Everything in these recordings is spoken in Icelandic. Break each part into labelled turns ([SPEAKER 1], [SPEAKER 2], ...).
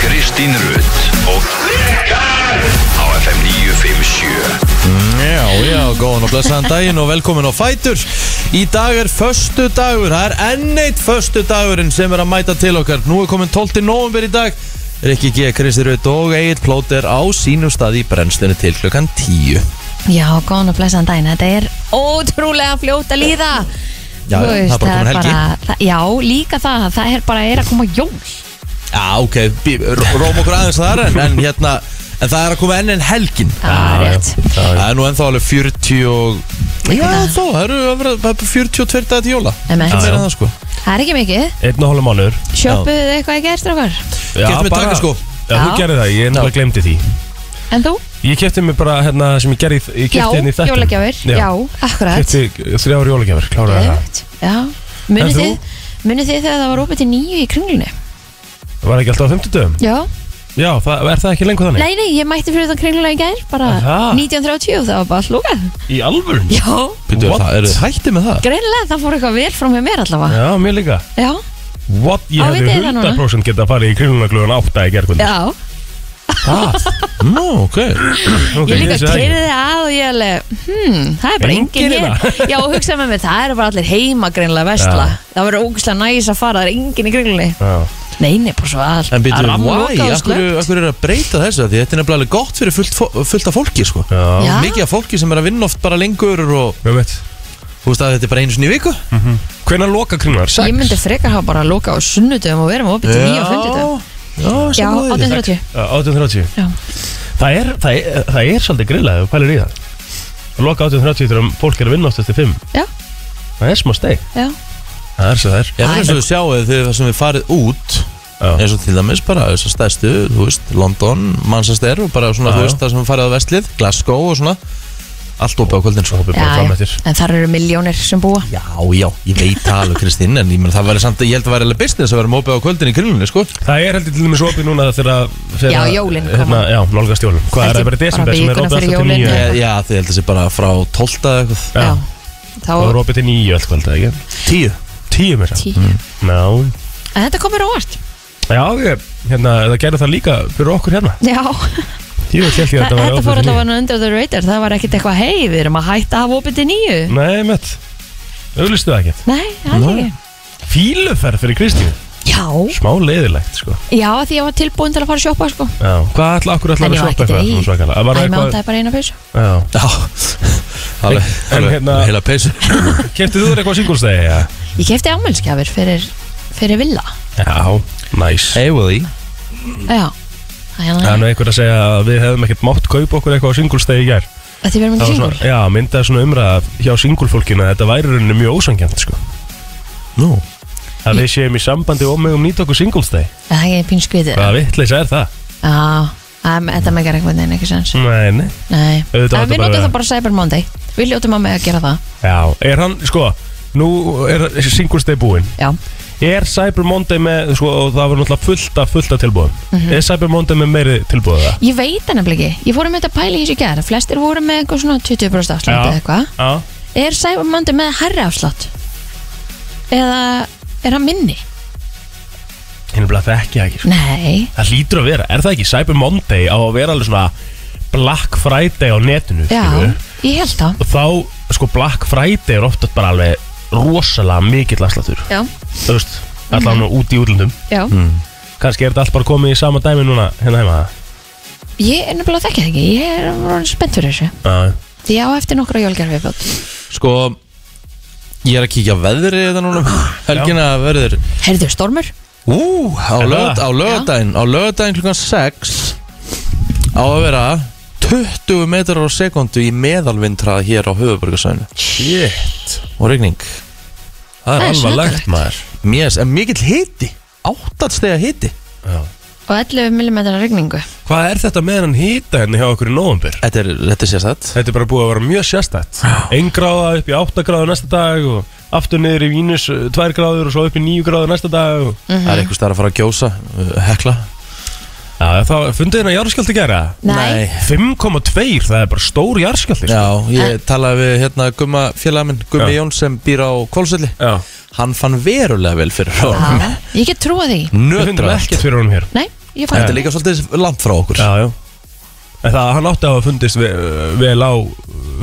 [SPEAKER 1] Kristín Rutt og Rikar á FM 957
[SPEAKER 2] Já, já, góðan og blessaðan daginn og velkomin á Fætur Í dag er föstu dagur, það er enn eitt föstu dagurinn sem er að mæta til okkar Nú er komin 12. november í dag Rikki G. Kristi Rutt og Egil Plóter á sínum stað í brennslunni til klukkan 10
[SPEAKER 3] Já, góðan og blessaðan daginn, þetta er ótrúlega fljótt að líða
[SPEAKER 2] Já,
[SPEAKER 3] Þú
[SPEAKER 2] það er bara komin helgi.
[SPEAKER 3] það, Já, líka það, það er bara er að koma jól
[SPEAKER 2] Já, ok, bí- ró- róm okkur aðeins þar en, en hérna, en það er að koma enn en helgin
[SPEAKER 3] Það er rétt
[SPEAKER 2] Það er nú ennþá alveg 40 og... Já, þó, það eru að vera- það eru 42 dagar til jóla
[SPEAKER 3] Emmett.
[SPEAKER 2] Ekki meira en það, sko.
[SPEAKER 3] Það er ekki mikið,
[SPEAKER 4] Einn og hálf mánur
[SPEAKER 3] sjöpuðu þið eitthvað ekki eftir okkar
[SPEAKER 2] Keypti mér takkaskó.
[SPEAKER 4] Já, þú
[SPEAKER 3] Já.
[SPEAKER 4] gerði það, ég ennlega glemdi því
[SPEAKER 3] En þú?
[SPEAKER 4] Ég kefti mér bara hérna sem ég gerði í- Ég
[SPEAKER 3] Já,
[SPEAKER 4] kefti hérna í þetta
[SPEAKER 3] jólagjafir, já, akkurat
[SPEAKER 4] Kefti þrjára jólagjafir, kláraði það
[SPEAKER 3] Geðveikt, Já, munið
[SPEAKER 4] En þú?
[SPEAKER 3] þið, munið þið þegar það var opið til nýju í kringlunni
[SPEAKER 4] Var ekki alltaf á fimmtudöfum?
[SPEAKER 3] Já,
[SPEAKER 4] Já, það, er það ekki lengur þannig?
[SPEAKER 3] nei, nei, ég mætti fyrir utan kringluna í gær bara
[SPEAKER 4] Aha.
[SPEAKER 3] 1930 og það var bara slúkað
[SPEAKER 4] Í alvörn?
[SPEAKER 3] Já,
[SPEAKER 2] Býttu,
[SPEAKER 4] What?
[SPEAKER 2] það- Eru þið hætti með það?
[SPEAKER 3] greinilega það fór eitthvað vel frá mér allavega
[SPEAKER 4] Já, mér líka
[SPEAKER 3] Já,
[SPEAKER 4] What? Ég
[SPEAKER 3] Á, vitið
[SPEAKER 4] hefði
[SPEAKER 3] þið það núna?
[SPEAKER 4] 100% getað að fara í kringlunaglugan átta í gerkvöld
[SPEAKER 3] já
[SPEAKER 2] Nú, ok
[SPEAKER 3] Ég líka keiri þið að og ég alveg hmm, það er bara enginn
[SPEAKER 4] Enginn er
[SPEAKER 3] hér Já, og hugsa með mér, það eru bara allir heima greinlega vestla
[SPEAKER 4] Já.
[SPEAKER 3] Það verður ógustlega næs að fara, það er enginn í kringlunni
[SPEAKER 4] Já,
[SPEAKER 3] Nei, nei, bara svo allt
[SPEAKER 2] En býttu, why?
[SPEAKER 3] rammlokað og
[SPEAKER 2] Akkur,
[SPEAKER 3] slökkt.
[SPEAKER 2] akkur er að breyta þessu Því þetta er nefnilega alveg gott fyrir fullt, fó- fullt af fólki sko.
[SPEAKER 4] já,
[SPEAKER 3] Já,
[SPEAKER 2] Mikið af fólki sem er að vinna oft bara lengur Og
[SPEAKER 4] við veit
[SPEAKER 2] þú
[SPEAKER 4] Mhm.
[SPEAKER 2] veist að þetta er bara einu sinni í viku
[SPEAKER 4] Hvenær loka kringlunar?
[SPEAKER 3] ég myndi frekar hafa bara að loka á sunnudöfum og verðum opið til nýja og fundudöfum
[SPEAKER 2] Já,
[SPEAKER 3] Já, 830
[SPEAKER 4] 1830
[SPEAKER 3] Já.
[SPEAKER 4] Eh, Það er, það er, það er svolítið grillað ef þú pælir í það Að Loka 1830 þegar fólk er að vinna átt eftir 5
[SPEAKER 3] Já.
[SPEAKER 4] Það er smá steg
[SPEAKER 3] Já,
[SPEAKER 4] Það er svo það er
[SPEAKER 2] Já, eins og við sjáum þið þegar sem við farið út
[SPEAKER 4] Já.
[SPEAKER 2] eins og til dæmis bara þessar stæstu, þú veist, London, Manchester og bara svona,
[SPEAKER 4] Já,
[SPEAKER 2] þú
[SPEAKER 4] já.
[SPEAKER 2] veist, það sem við farið á vestlið, Glasgow og svona allt opið á kvöldin
[SPEAKER 4] Svo
[SPEAKER 2] sko.
[SPEAKER 4] hopið
[SPEAKER 3] já,
[SPEAKER 4] bara fram
[SPEAKER 3] já.
[SPEAKER 4] eftir
[SPEAKER 3] en þar eru miljónir sem búa
[SPEAKER 2] Já, já, ég veit það alveg Kristín en ég, menn, það væri samt, ég held að það væri alveg business að vera með opið á kvöldin í kringlunni, sko
[SPEAKER 4] Það er heldur til dæmis opið núna þegar þegar-
[SPEAKER 3] Já, jólin koma.
[SPEAKER 4] hérna, Já, nálgast jólin Hvað er
[SPEAKER 3] Ekki
[SPEAKER 4] það
[SPEAKER 3] bara
[SPEAKER 4] bara í desember sem er
[SPEAKER 3] vikuna fyrir
[SPEAKER 4] opið alltaf til
[SPEAKER 3] jólin.
[SPEAKER 4] nýju
[SPEAKER 2] Já, Eh, já þið held að sé bara frá 12 eða eitthvað
[SPEAKER 4] Já.
[SPEAKER 3] þá
[SPEAKER 4] Það er opið til nýju alltaf kvöld, eða ekki?
[SPEAKER 2] 10
[SPEAKER 4] Tíu mér
[SPEAKER 3] tíu
[SPEAKER 4] Já,
[SPEAKER 3] En þetta komur á óvart
[SPEAKER 4] já, ég, hérna, það gerði það líka fyrir okkur hérna
[SPEAKER 3] Já,
[SPEAKER 4] Jú, ég held ég að
[SPEAKER 3] þetta,
[SPEAKER 4] þetta
[SPEAKER 3] fór
[SPEAKER 4] var opið til nýju
[SPEAKER 3] allavega under the radar Það var ekkit eitthvað, hei, við erum að hætta að hafa opið til nýju
[SPEAKER 4] Nei, mitt Auglistu það ekkert
[SPEAKER 3] Nei, alls ekki
[SPEAKER 4] Fíluferð fyrir Kristínu
[SPEAKER 3] Já,
[SPEAKER 4] Smá leiðilegt, sko
[SPEAKER 3] já því ég var tilbúin til að fara að sjoppa sko.
[SPEAKER 4] Já, hvað ætla, akkur ætlar
[SPEAKER 3] En ég
[SPEAKER 4] að
[SPEAKER 3] var
[SPEAKER 4] shoppa
[SPEAKER 3] ekkert
[SPEAKER 4] eitthvað
[SPEAKER 3] í.
[SPEAKER 4] svona svakalega? Það var
[SPEAKER 3] Æ, með
[SPEAKER 4] eitthvað,
[SPEAKER 3] ándaði bara eina peysu
[SPEAKER 4] já.
[SPEAKER 2] Já, alveg,
[SPEAKER 4] En
[SPEAKER 2] alveg,
[SPEAKER 4] hérna-
[SPEAKER 2] heila peysu
[SPEAKER 4] Kæftið þú þér eitthvað singulstæði, já?
[SPEAKER 3] Ég kefti ámælskjafir fyrir, fyrir villa
[SPEAKER 4] Já, næs.
[SPEAKER 2] Hey Willy
[SPEAKER 3] Já hérna.
[SPEAKER 4] Það er
[SPEAKER 3] Þannig
[SPEAKER 4] nú einhver að segja að við hefum ekkert mátt kaupa okkur eitthvað á singulstæði í gær.
[SPEAKER 3] að því verðum
[SPEAKER 4] Það
[SPEAKER 3] ekki
[SPEAKER 4] var
[SPEAKER 3] singur
[SPEAKER 4] svona, já, myndaði svona umræða hjá singulfólkinu að þetta væri í rauninni mjög ósangjant, sko.
[SPEAKER 2] Nú,
[SPEAKER 4] Að við séum í sambandi og megum nýta okkur singulstæði.
[SPEAKER 3] Það er pín skvitið Já,
[SPEAKER 4] Hvaða vittleisa er það?
[SPEAKER 3] em, þetta megar einhvern veginn ekki sens
[SPEAKER 4] Nei, nei.
[SPEAKER 3] Nei,
[SPEAKER 4] Auðvitað var
[SPEAKER 3] en við
[SPEAKER 4] þetta bara-
[SPEAKER 3] notum það bara Cyber Monday Við ljótum að með að gera það
[SPEAKER 4] Já, er hann, sko, nú er singulstæði búinn.
[SPEAKER 3] Já,
[SPEAKER 4] Er Cyber Monday með, sko, og það var náttúrulega fullt af, fullt af tilbúðum.
[SPEAKER 3] Mhm.
[SPEAKER 4] Er Cyber Monday með meiri tilbúða?
[SPEAKER 3] ég veit það nefnilega ekki Ég fórum með þetta pæli í þessu gera Flestir voru með eitthvað svona 20% afslátt
[SPEAKER 4] Já.
[SPEAKER 3] eða eitthvað
[SPEAKER 4] Já.
[SPEAKER 3] Er Cyber Monday með herri afslátt? Eða er hann minni?
[SPEAKER 4] Ég nefnilega þekki það ekki sko.
[SPEAKER 3] Nei,
[SPEAKER 4] Það hlýtur að vera, er það ekki Cyber Monday á að vera alveg svona Black Friday á netinu
[SPEAKER 3] já,
[SPEAKER 4] skilurðu?
[SPEAKER 3] ég held það
[SPEAKER 4] Og þá, sko Black Friday er ofta bara alveg rosalega mikill afsláttur
[SPEAKER 3] Já, Mhm.
[SPEAKER 4] Þú veist, allan út í útlundum
[SPEAKER 3] já
[SPEAKER 4] Kannski er þetta allt bara komið í sama dæmi núna hérna heima
[SPEAKER 3] Ég er nefnilega þekkið ekki, ég er orðin spennt fyrir þessu
[SPEAKER 4] Já,
[SPEAKER 3] Því ég á eftir nokkra jólgerfi viðbót
[SPEAKER 2] sko Ég er að kíkja á veðrið þetta núna um Helgina verður
[SPEAKER 3] Herðu, stormur?
[SPEAKER 2] Ú, á,
[SPEAKER 4] Er
[SPEAKER 2] lög,
[SPEAKER 4] það?
[SPEAKER 2] á lögadaginn Á lögadaginn klukkan 6 Á að vera 20 metrar á sekundu í meðalvindra hér á höfuborgarsvæðinu
[SPEAKER 4] shit
[SPEAKER 2] og rigning
[SPEAKER 4] Það
[SPEAKER 3] Það
[SPEAKER 4] er
[SPEAKER 3] er
[SPEAKER 4] alvarlegt maður
[SPEAKER 2] Mér er mikill hiti, áttatstega hiti
[SPEAKER 4] Já.
[SPEAKER 3] Og 11 mm regningu
[SPEAKER 4] Hvað er þetta með hann hýta henni hjá okkur í november?
[SPEAKER 2] Þetta er, þetta er sérstætt
[SPEAKER 4] Þetta er bara búið að vera mjög sérstætt Einn gráða upp í 8 gráðu næsta dag og aftur niður í vínus 2 gráður og svo upp í 9 gráðu næsta dag og...
[SPEAKER 2] Það er einhvers staðar að fara að gjósa, uh, hekla
[SPEAKER 4] Já, þá fundið hérna jarðskjálti gera
[SPEAKER 3] Nei,
[SPEAKER 4] 5,2, það er bara stór jarðskjálti sko.
[SPEAKER 2] Já, ég talaði við hérna Gumma félagamin, Gummi
[SPEAKER 4] Já.
[SPEAKER 2] Jón sem býr á Kólsvelli
[SPEAKER 4] Já.
[SPEAKER 2] Hann fann verulega vel fyrir
[SPEAKER 3] Já, ég get trúa því
[SPEAKER 4] Við fundum
[SPEAKER 2] Nötra
[SPEAKER 4] ekkert fyrir honum hér
[SPEAKER 3] Nei, ég
[SPEAKER 2] Þetta
[SPEAKER 3] fann
[SPEAKER 2] er líka svolítið langt frá okkur
[SPEAKER 4] Já, já En það, hann átti að hafa fundist vel, vel á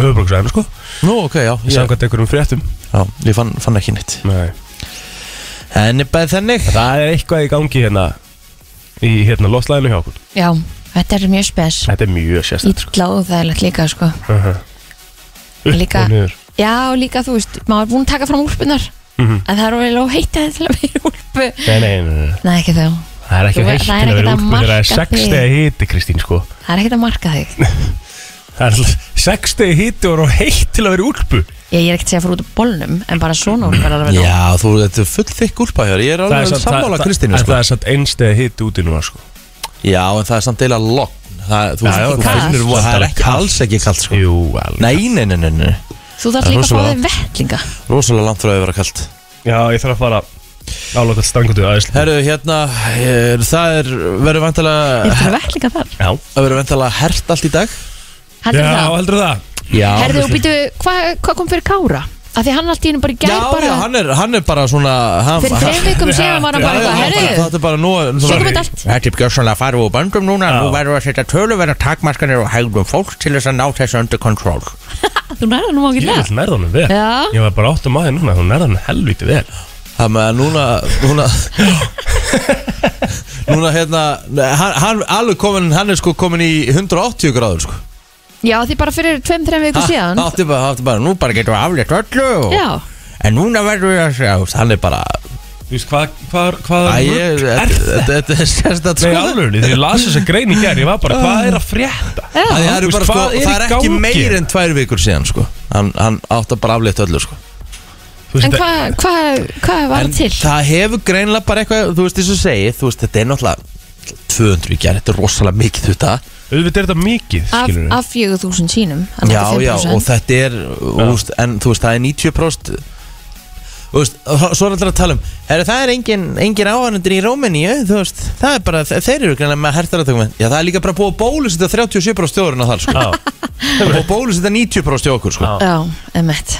[SPEAKER 4] höfubruksæðinu, sko
[SPEAKER 2] Nú, ok, já, ég,
[SPEAKER 4] Samkvæmt einhverjum fréttum
[SPEAKER 2] já, ég fann, fann ekki nýtt
[SPEAKER 4] Nei
[SPEAKER 2] En er bæðið þannig
[SPEAKER 4] Það er eitthvað í gangi hérna Í hérna loftlæðinu hjá okkur
[SPEAKER 3] Já, þetta er mjög spes
[SPEAKER 4] Þetta er mjög sérstætt, sko
[SPEAKER 3] Ítla og þægilegt líka sko
[SPEAKER 4] uh -huh. Upp
[SPEAKER 3] Líka-
[SPEAKER 4] og niður
[SPEAKER 3] Já, og líka þú veist, maður er búin að taka fram úlpunar
[SPEAKER 4] Mhm.
[SPEAKER 3] En það er orðið lág heitaði til að vera í úlpu
[SPEAKER 4] Nei, nei, nei, nei, nei.
[SPEAKER 3] Nei, ekki þá
[SPEAKER 4] það er ekki
[SPEAKER 3] Þú-
[SPEAKER 4] heitt
[SPEAKER 3] það er
[SPEAKER 4] til að
[SPEAKER 3] ekkert
[SPEAKER 4] vera
[SPEAKER 3] að
[SPEAKER 4] úlpunir Það er
[SPEAKER 3] marka
[SPEAKER 4] 6
[SPEAKER 3] þig.
[SPEAKER 4] stegi hiti, Kristín, sko
[SPEAKER 3] Það er ekkert að marka þig
[SPEAKER 4] Það er 6 stegi hiti og er of heitt til að vera í úlpu
[SPEAKER 3] Ég, ég er ekkert að segja fyrir út af bólnum En bara svona úlpur er alveg nóg
[SPEAKER 2] Já, þú, þetta er full þykk úlpæður Ég er alveg
[SPEAKER 4] samt-
[SPEAKER 2] sammála
[SPEAKER 4] það-
[SPEAKER 2] Kristínu
[SPEAKER 4] En
[SPEAKER 2] sko.
[SPEAKER 4] það er satt einn stegi hiti úti núna, sko
[SPEAKER 2] Já, en það er samt deila logn Það, þú,
[SPEAKER 4] Já, já,
[SPEAKER 2] þú
[SPEAKER 4] kalt.
[SPEAKER 2] finnur von Það er ekki
[SPEAKER 4] Kalt.
[SPEAKER 2] alls ekki kalt sko.
[SPEAKER 4] Jú, alveg
[SPEAKER 2] Nei, nei, nei, nei, nei
[SPEAKER 3] Þú þarf
[SPEAKER 2] Það er
[SPEAKER 3] líka að fá
[SPEAKER 2] rosalega.
[SPEAKER 3] þig vettlinga
[SPEAKER 2] Rosalega langt frá að vera kalt
[SPEAKER 4] Já, ég þarf að fara álokað strangutu aðeins
[SPEAKER 2] Herru, hérna, er, það er, verður
[SPEAKER 3] Er
[SPEAKER 2] vantalega
[SPEAKER 3] það vettlinga þar?
[SPEAKER 4] Já,
[SPEAKER 2] Það verður vantalega hert allt í dag
[SPEAKER 3] Heldur það?
[SPEAKER 4] heldur það
[SPEAKER 2] Já,
[SPEAKER 3] Herðu og býtu, hvað hvað kom fyrir Kára? Af því hann allt í hennu bara í
[SPEAKER 2] já,
[SPEAKER 3] gær bara
[SPEAKER 2] já hann, er, hann er bara svona hann,
[SPEAKER 3] Fyrir
[SPEAKER 2] hann-
[SPEAKER 3] þreim vikum síðan var hann bara
[SPEAKER 2] Já, já,
[SPEAKER 3] eitthvað
[SPEAKER 2] hann bara-
[SPEAKER 3] Herðu,
[SPEAKER 2] Þetta er bara nú
[SPEAKER 3] svo
[SPEAKER 2] Sorry.
[SPEAKER 3] komið allt
[SPEAKER 5] Þetta er gjössanlega farið úr bandum núna
[SPEAKER 4] Já.
[SPEAKER 5] Nú verður að setja töluverðar takmarkanir og hegðum fólks til þess að ná þessu under control
[SPEAKER 3] Þú nærðar nú ákveð
[SPEAKER 4] Ég
[SPEAKER 3] lega
[SPEAKER 4] vil nærða honum vel
[SPEAKER 3] Já.
[SPEAKER 4] Ég var bara áttum aðeins núna, þú nærða honum helviti vel
[SPEAKER 2] Það með að núna Núna Núna hérna hann, hann, alveg komin, hann er sko komin í 180 gráður sko
[SPEAKER 3] Já, af því bara fyrir tveim, þreim
[SPEAKER 2] Ah,
[SPEAKER 3] vikum síðan
[SPEAKER 2] Ha, átti bara, átti bara, nú
[SPEAKER 5] Nú bara getum við aflétt öllu og-
[SPEAKER 3] Já,
[SPEAKER 5] En núna verður við að sjá
[SPEAKER 2] Hann er bara
[SPEAKER 4] Þú veist, hvað hva, hva,
[SPEAKER 2] Æ,
[SPEAKER 4] er
[SPEAKER 2] ég- Þetta þetta er sérstætt
[SPEAKER 4] Nei,
[SPEAKER 2] sko
[SPEAKER 4] alveg, þegar ég las þessa grein í gær Ég var bara, hvað er að frétta?
[SPEAKER 3] já
[SPEAKER 2] Það
[SPEAKER 4] Þú
[SPEAKER 2] eru
[SPEAKER 4] veist,
[SPEAKER 2] bara sko,
[SPEAKER 4] hvað er í
[SPEAKER 2] það er ekki
[SPEAKER 4] gangi?
[SPEAKER 2] meir en tvær vikur síðan sko Hann, hann átti bara aflétt öllu sko
[SPEAKER 4] Þú
[SPEAKER 3] En
[SPEAKER 4] veist,
[SPEAKER 3] hvað hva, hva var það til?
[SPEAKER 2] það hefur greinlega bara eitthvað, þú veist þess að segja Þú veist, þetta er náttúrulega 200 í gerð, þetta er rosalega mikið þetta
[SPEAKER 4] auðvitað er þetta mikið,
[SPEAKER 3] Af,
[SPEAKER 4] skilur við
[SPEAKER 3] af 4.000 sínum þannig
[SPEAKER 2] Já,
[SPEAKER 3] að þetta
[SPEAKER 2] já,
[SPEAKER 3] er 5%.
[SPEAKER 2] og þetta er úst, En þú veist, það er 90% Þú veist, og svo er alltaf að tala um er, Það er engin, engin áhænundur í Rómeníu Þú veist, það er bara, þe- þeir eru greinlega með hertaratökum Já, það er líka bara búið að bólusetja 37% stjóruna þar, sko Það er búið að bólusetja 90% hjá okkur, sko
[SPEAKER 4] Já.
[SPEAKER 3] Já, emmett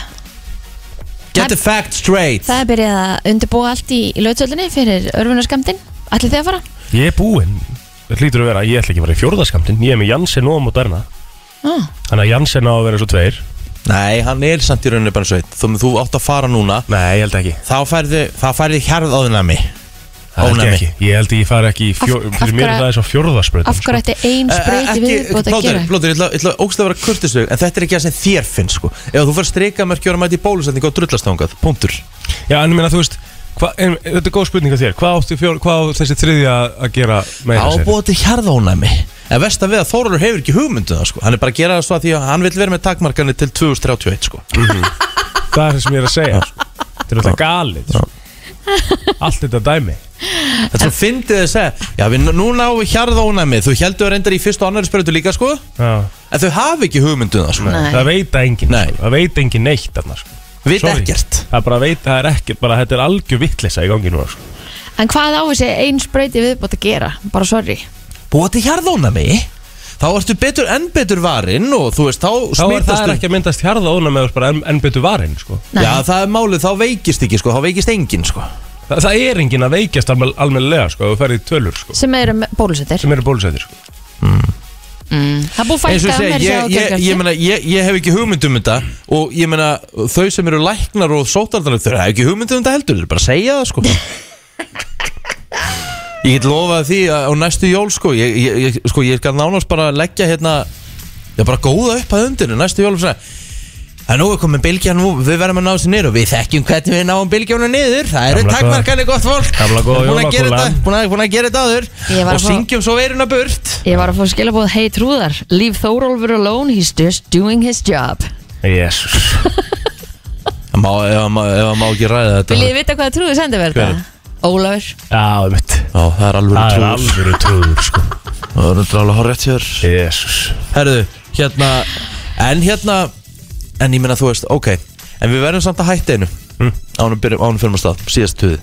[SPEAKER 2] Get the fact straight
[SPEAKER 3] Það er byrjað að undirbúa allt í, í lautsöldinni fyrir örfunarskemdin Ætlið þið að fara?
[SPEAKER 4] Ég er búinn Það hlýtur að vera, ég ætla ekki að vera í fjórðaskamtin Ég er með Janssen og Moderna
[SPEAKER 3] Ah.
[SPEAKER 4] Þannig að Janssen á að vera svo tveir
[SPEAKER 2] Nei, hann er samt í rauninni bara sveit Þú, þú átt að fara núna
[SPEAKER 4] Nei, ég held ekki
[SPEAKER 2] Þá færðu, þá færðu hjarðóðnami
[SPEAKER 4] Það held ég
[SPEAKER 2] Ónæmi.
[SPEAKER 4] ekki Ég held ég fari ekki í fjórða
[SPEAKER 3] Af- af
[SPEAKER 4] Fyrir mér er
[SPEAKER 3] hverju-
[SPEAKER 4] það eins og fjórðaspröð
[SPEAKER 3] Af hverju ætti ein
[SPEAKER 2] Eh,
[SPEAKER 3] spreyti viðbót að
[SPEAKER 2] Plóður,
[SPEAKER 3] gera?
[SPEAKER 2] plóður, ég ætla- ég ætla ógst að vera kurtisug En þetta er ekki það sem þér finnst sko Ef þú fyrir streikamerki og að mæta í bólusetningu og drullastangað Punktur
[SPEAKER 4] Já, en ég meina, þú veist hva, en, Þetta er góð spurning að þér Hvað áttu fjór, hvað átti þessi þriðja að gera með
[SPEAKER 2] Á
[SPEAKER 4] þessi?
[SPEAKER 2] bóti hjarðónæmi En versta við að Þórólur hefur ekki hugmyndu það sko Hann er bara að gera það svo að því að hann vil vera með takmarkanir til 2031 sko
[SPEAKER 4] Mhm. Það er það sem ég er að segja sko. Þetta er alltaf galið sko. Allt þetta dæmi
[SPEAKER 2] Þetta er svo fyndið að segja Já, við nú náum við hjarðónæmi Þú heldur reyndar í fyrst og annari spyrjötu líka sko
[SPEAKER 4] Já.
[SPEAKER 2] En þau hafa ekki hugmyndu það sko
[SPEAKER 3] Nei.
[SPEAKER 4] Það veit engin
[SPEAKER 2] Nei.
[SPEAKER 4] sko. Það veit engin neitt þarna, sko.
[SPEAKER 2] Veit
[SPEAKER 4] Sorry.
[SPEAKER 2] ekkert
[SPEAKER 4] Það er bara veit, það er ekkert bara, Þetta er algjör vittleysa í gangi núna sko.
[SPEAKER 3] En hvað á þessi ein spreyti viðbót að gera? Bara sorry
[SPEAKER 2] Bóti hjarðónæmi Þá ertu betur enn betur varinn og þú veist, þá
[SPEAKER 4] Þá er það
[SPEAKER 2] smitastu
[SPEAKER 4] er ekki að myndast hjarða óna með bara enn, enn betur varinn sko.
[SPEAKER 3] Nei.
[SPEAKER 2] um. Já, það er málið, þá veikist ekki sko, þá veikist enginn sko
[SPEAKER 4] það, það er engin að veikjast almen, almenlega sko, ef Þú ferði í tölur sko,
[SPEAKER 3] Sem eru með- bólusettir Mm.
[SPEAKER 4] sem eru bólusætir sko.
[SPEAKER 3] Það er búið um
[SPEAKER 2] Eins og ég
[SPEAKER 3] fækkað
[SPEAKER 2] segi,
[SPEAKER 3] meira að segja
[SPEAKER 2] ég,
[SPEAKER 3] á
[SPEAKER 2] ég, ég,
[SPEAKER 3] gjörgjörn.
[SPEAKER 2] meina, ég, ég hef ekki hugmynd um þetta og ég meina, þau sem eru læknar og sótarðanar, þau hef ekki hugmynd um þetta heldur þau eru bara að segja það sko Ég get lofað því að á næstu jól sko, ég, ég, ég, sko, ég skal nánast bara leggja hérna ég bara góða upp að undir næstu jól og segja Það nú er komið bylgja nú, við verðum að ná þessu niður og við þekkjum hvernig við náum bylgjana niður Það eru
[SPEAKER 4] Gamla góða-
[SPEAKER 2] takmarkanir gott fólk
[SPEAKER 4] Gamla góða
[SPEAKER 2] Búin að gera
[SPEAKER 4] jólakúlan.
[SPEAKER 2] þetta- Búin að- búin að gera þetta áður
[SPEAKER 3] Ég var að
[SPEAKER 2] Og
[SPEAKER 3] fá-
[SPEAKER 2] syngjum svo veruna burt
[SPEAKER 3] Ég var að fá skilabóð Hey trúðar, leave Þórólfur alone He's just doing his job
[SPEAKER 4] Jesus
[SPEAKER 2] Ef maður má, ef hann má ekki ræða þetta
[SPEAKER 3] Viljið þið vita hvað trúði sendi verða? Ólafur
[SPEAKER 4] Já, um mitt
[SPEAKER 2] Já, það er alveg
[SPEAKER 4] Það er
[SPEAKER 2] trúður
[SPEAKER 4] alvöru trúður sko
[SPEAKER 2] Það er alveg alveg horrið hjör
[SPEAKER 4] Jesus
[SPEAKER 2] Herðu, hérna En hérna En ég meina þú veist,
[SPEAKER 4] Hm?
[SPEAKER 2] ok En við verðum samt að hætta einu mm. Ánum, byrjum, ánum fyrir maður stað, síðast tuði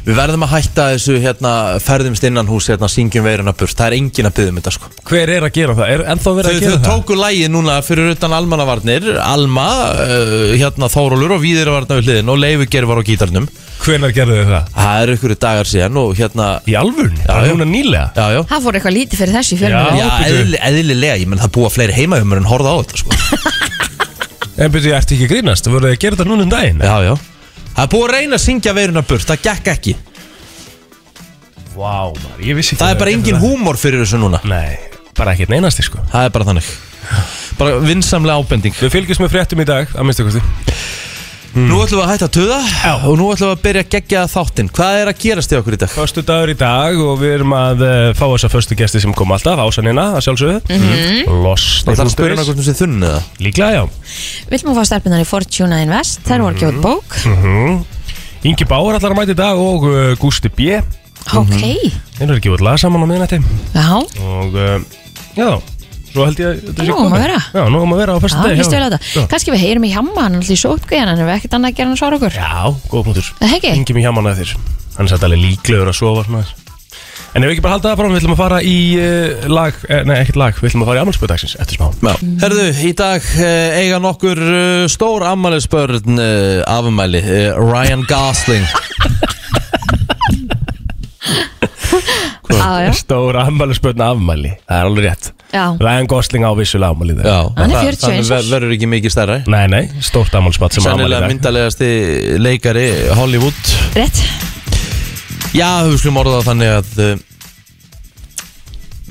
[SPEAKER 2] við verðum að hætta þessu hérna, ferðumst innan hús, hérna, syngjum veiruna burt það er engin að byggja um þetta sko
[SPEAKER 4] Hver er að gera það? Er ennþá
[SPEAKER 2] Þau,
[SPEAKER 4] verið að
[SPEAKER 2] þau
[SPEAKER 4] gera það?
[SPEAKER 2] tóku lægið núna fyrir utan almannavarnir Alma, uh, hérna Þórólur og Víðir varna við hliðin og Leifuger var á gítarnum
[SPEAKER 4] Hvenar gerðu þau það?
[SPEAKER 2] Það eru ykkur dagar síðan og hérna
[SPEAKER 4] Í alvörn?
[SPEAKER 2] Já,
[SPEAKER 4] Það er
[SPEAKER 2] já.
[SPEAKER 4] núna nýlega?
[SPEAKER 2] Já, já
[SPEAKER 3] Það fór eitthvað lítið fyrir þessu í fjölmjörnum
[SPEAKER 2] Já,
[SPEAKER 4] byrju.
[SPEAKER 2] eðli, eðlilega, ég menn það búa fleiri heimahumur en horfa á þetta sko
[SPEAKER 4] En byrju, ertu ekki að grínast? Þú voruð að gera þetta núna um daginn?
[SPEAKER 2] Já, já Það er búið að reyna að syngja veiruna burt, það gekk ekki
[SPEAKER 4] Vá, maður, ég vissi ekki
[SPEAKER 2] Það er
[SPEAKER 4] að
[SPEAKER 2] bara
[SPEAKER 4] þau
[SPEAKER 2] engin
[SPEAKER 4] gerðu
[SPEAKER 2] húmor fyrir þessu núna
[SPEAKER 4] það. Nei, bara ekkert neinasti sko
[SPEAKER 2] Það er bara þannig Bara vinsamlega ábending Hmm.
[SPEAKER 4] Við fylgjumst með fréttum í dag, að minnstu kosti
[SPEAKER 2] Nú ætlum við að hætta að tuða
[SPEAKER 4] Já.
[SPEAKER 2] Og nú ætlum við að byrja að gegja þáttinn Hvað er að gerast í okkur í dag?
[SPEAKER 4] Föstu dagur í dag og við erum að eh, fá þessa föstu gesti sem kom alltaf, ásanina að sjálfsögðu
[SPEAKER 3] Mhm.
[SPEAKER 4] Lost
[SPEAKER 2] Það er að spyrja hana hvort hún sé þunn eða
[SPEAKER 4] Líklega já
[SPEAKER 3] Vilma fá stelpunar í Fortuna Invest Þær voru að gefa út bók
[SPEAKER 4] Mhm. Ingi Báur allar að mæta í dag og uh, Gústi B Mhm.
[SPEAKER 3] Ok,
[SPEAKER 2] Mhm.
[SPEAKER 4] Þeir eru ekki út laga saman á miðnætti
[SPEAKER 3] já,
[SPEAKER 4] Og uh, já, svo held ég að þetta sé
[SPEAKER 3] Nú á
[SPEAKER 4] komið.
[SPEAKER 3] að vera.
[SPEAKER 4] Já, nú um að vera á
[SPEAKER 3] já,
[SPEAKER 4] föstu dag
[SPEAKER 3] lístu vel á þetta Kanski við heyrum í hjamma hann alltaf í sótkvíðan Hann er ekkert annað að gera hann svara okkur
[SPEAKER 4] Já, góð punktur
[SPEAKER 3] Það hekki?
[SPEAKER 4] Ingi mér hjá manna þér Hann er satt alveg líklegur að sofa svona aðeins. En ef við ekki bara halda það fram, við ætlum að fara í uh, lag, eh, nei ekkert lag, við ætlum að fara í amalspöðdagsins eftir smá.
[SPEAKER 2] Já. Herðu, í dag eh, eiga nokkur eh, stór ammælisbörn eh, afumæli, eh, Ryan Gosling
[SPEAKER 3] Já, já,
[SPEAKER 4] Stór ammælisbörn afmæli, það er alveg rétt.
[SPEAKER 3] já,
[SPEAKER 4] Ryan Gosling á vissulega afmæli þegar.
[SPEAKER 2] Já,
[SPEAKER 3] Hann er
[SPEAKER 2] það-
[SPEAKER 3] 41
[SPEAKER 2] þannig ver-
[SPEAKER 3] árs.
[SPEAKER 2] verður ekki mikið stærra
[SPEAKER 4] Nei, nei, stórt ammálspöld sem á afmæli
[SPEAKER 2] Sennilega
[SPEAKER 4] þegar.
[SPEAKER 2] myndalegasti leikari Hollywood
[SPEAKER 3] rétt
[SPEAKER 2] Já, við slum orða það þannig að eh,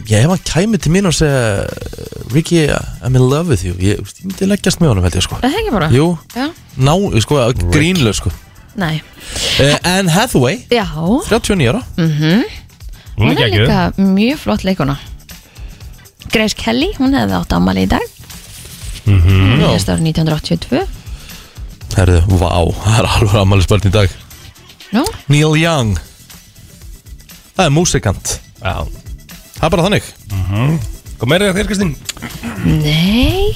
[SPEAKER 2] Já, ef hann kæmi til mín og segja Ricky, I'm in love with you Ég, ég myndi leggjast með honum, held ég sko
[SPEAKER 3] Það hekki bara
[SPEAKER 2] Jú,
[SPEAKER 3] Já,
[SPEAKER 2] ná, sko, grínlega sko
[SPEAKER 3] nei,
[SPEAKER 2] uh, Anne Hathaway,
[SPEAKER 3] já Mhm.
[SPEAKER 2] 39 ára
[SPEAKER 4] Hún
[SPEAKER 3] Hún
[SPEAKER 4] er
[SPEAKER 3] er
[SPEAKER 4] geggjuð.
[SPEAKER 3] líka mjög flott leikuna Grace Kelly, hún hefði átt ammali í dag Hún
[SPEAKER 2] Mm. Já.
[SPEAKER 3] hefðist árið 1982
[SPEAKER 2] Herðu, vá, það er alveg ammælisbörn í dag
[SPEAKER 3] Nú,
[SPEAKER 2] Neil Young Það er músikant
[SPEAKER 4] Já.
[SPEAKER 2] Það er bara þannig
[SPEAKER 4] Hvað meira þér, Kristinn?
[SPEAKER 3] nei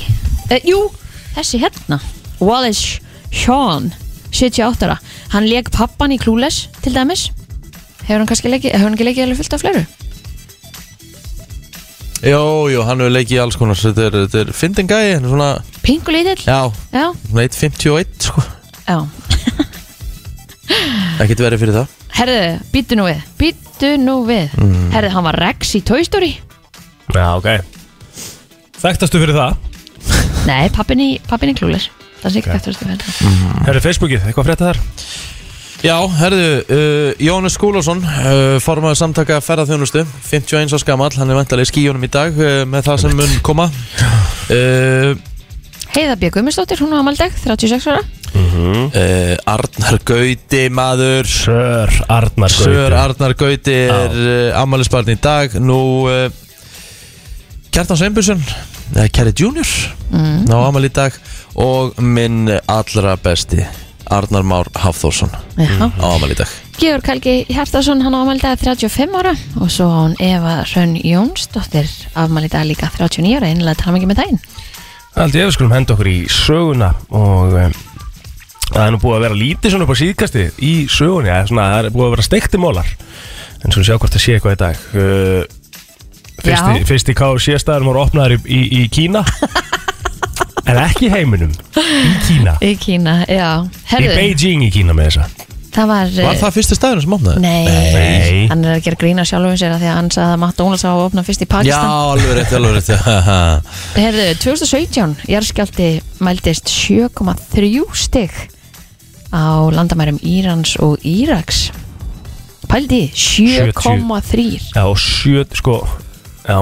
[SPEAKER 3] eh, Jú, þessi hérna Wallace Shawn 78 ára, hann leik pappan í Clueless til dæmis Hefur hann kannski leikið, hefur hann ekki leikið alveg fullt af fleiru?
[SPEAKER 2] Jó, jú, hann hefur leikið í alls konar Þetta er, þetta er fyndin gæi, hann er svona
[SPEAKER 3] Pingu lítill?
[SPEAKER 2] Já,
[SPEAKER 3] Já,
[SPEAKER 2] svona 1.51 sko
[SPEAKER 3] já
[SPEAKER 2] Það getur verið fyrir það
[SPEAKER 3] Herðu, býttu nú við, býttu nú við Herðu, hann var Rex í Toy Story
[SPEAKER 4] Já, ok. Þekktastu fyrir það?
[SPEAKER 3] Nei, pappin í, pappin í Clueless Það sé ekki eftir að stuða þetta
[SPEAKER 2] Mhm.
[SPEAKER 4] Herri, Facebookið, eitthvað frétta þar?
[SPEAKER 2] Já, herðu, uh, Jónas Skúlason uh, formaður samtaka ferðarþjónustu 51 á skamall, hann er vantarlega í skíjónum í dag uh, með það sem mun koma uh,
[SPEAKER 3] Heiða B. Guðmundsdóttir, hún á amaldag, 36 ára
[SPEAKER 2] uh, Arnar Gauti maður
[SPEAKER 4] Sör Arnar
[SPEAKER 2] Sör Arnar Gauti er uh, ammælisbarn í dag Nú uh, Kjartan Sveinbjörnsson eða Kjæri Junior mm. ná ammæli í dag og minn allra besti Arnar Már Hafþórsson á
[SPEAKER 3] Já.
[SPEAKER 2] ammæli í dag
[SPEAKER 3] Georg Helgi Hjartarsson, hann á amaldag 35 ára og svo á hún Eva Hrönn Jónsdóttir afmaldag líka 39 ára, einlega tala mikið með daginn
[SPEAKER 4] Aldi, ef við skulum henda okkur í söguna og um, það er nú búið að vera lítið svona upp á síðkasti í sögunni, eða svona, það er búið að vera steikti mólar en svona sjá hvort það sé eitthvað í dag uh, fyrsti,
[SPEAKER 3] Já.
[SPEAKER 4] fyrsti KFC-staðurum voru opnaður í, í, í Kína en ekki í heiminum í Kína,
[SPEAKER 3] Í Kína, já
[SPEAKER 4] í
[SPEAKER 3] Herðu,
[SPEAKER 4] Beijing í Kína með þessa
[SPEAKER 3] það var, eh,
[SPEAKER 2] Var það fyrsti staðurinn sem opnaði?
[SPEAKER 3] Nei.
[SPEAKER 4] Nei.
[SPEAKER 3] hann er að gera grína sjálfum sér að því að hann sagði að McDonalds á að opna fyrst í
[SPEAKER 2] Já,
[SPEAKER 3] Pakistan
[SPEAKER 2] alveg rétt, alveg rétt já.
[SPEAKER 3] Herðu, 2017 jarðskjálti mældist 7,3 stig á landamærum Írans og Íraks Pældi, 7,3
[SPEAKER 4] Já, og sjö, sko, já,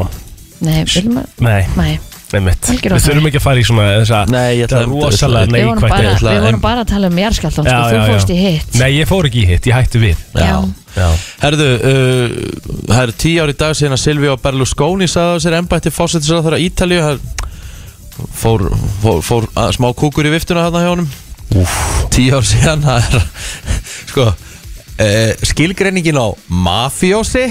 [SPEAKER 3] Nei, viljum að
[SPEAKER 4] nei,
[SPEAKER 3] Nei,
[SPEAKER 4] nei mitt
[SPEAKER 3] Algjör
[SPEAKER 4] Við
[SPEAKER 3] óþarfi.
[SPEAKER 4] þurfum ekki að fara í svona þessa
[SPEAKER 2] Nei, ég ætla
[SPEAKER 4] þetta rosalega
[SPEAKER 3] við vorum,
[SPEAKER 4] neikvætt
[SPEAKER 3] bara,
[SPEAKER 2] ætla-
[SPEAKER 3] við
[SPEAKER 2] en-
[SPEAKER 3] vorum bara að tala um jarðskjáltan sko,
[SPEAKER 4] Já,
[SPEAKER 3] þú
[SPEAKER 4] já, já.
[SPEAKER 3] fórst í hitt
[SPEAKER 4] Nei, ég fór ekki í hitt, ég hætti við
[SPEAKER 3] Já.
[SPEAKER 4] Já.
[SPEAKER 2] Herðu, uh, það er tíu ár í dag síðan að Silvio Berlusconi sagði á sér embætti fósettisraðara Ítalíu það fór, fór, fór að, smá kúkur í viftuna hérna hjá honum tíu ár síðan það er sko uh, skilgreiningin á mafjósi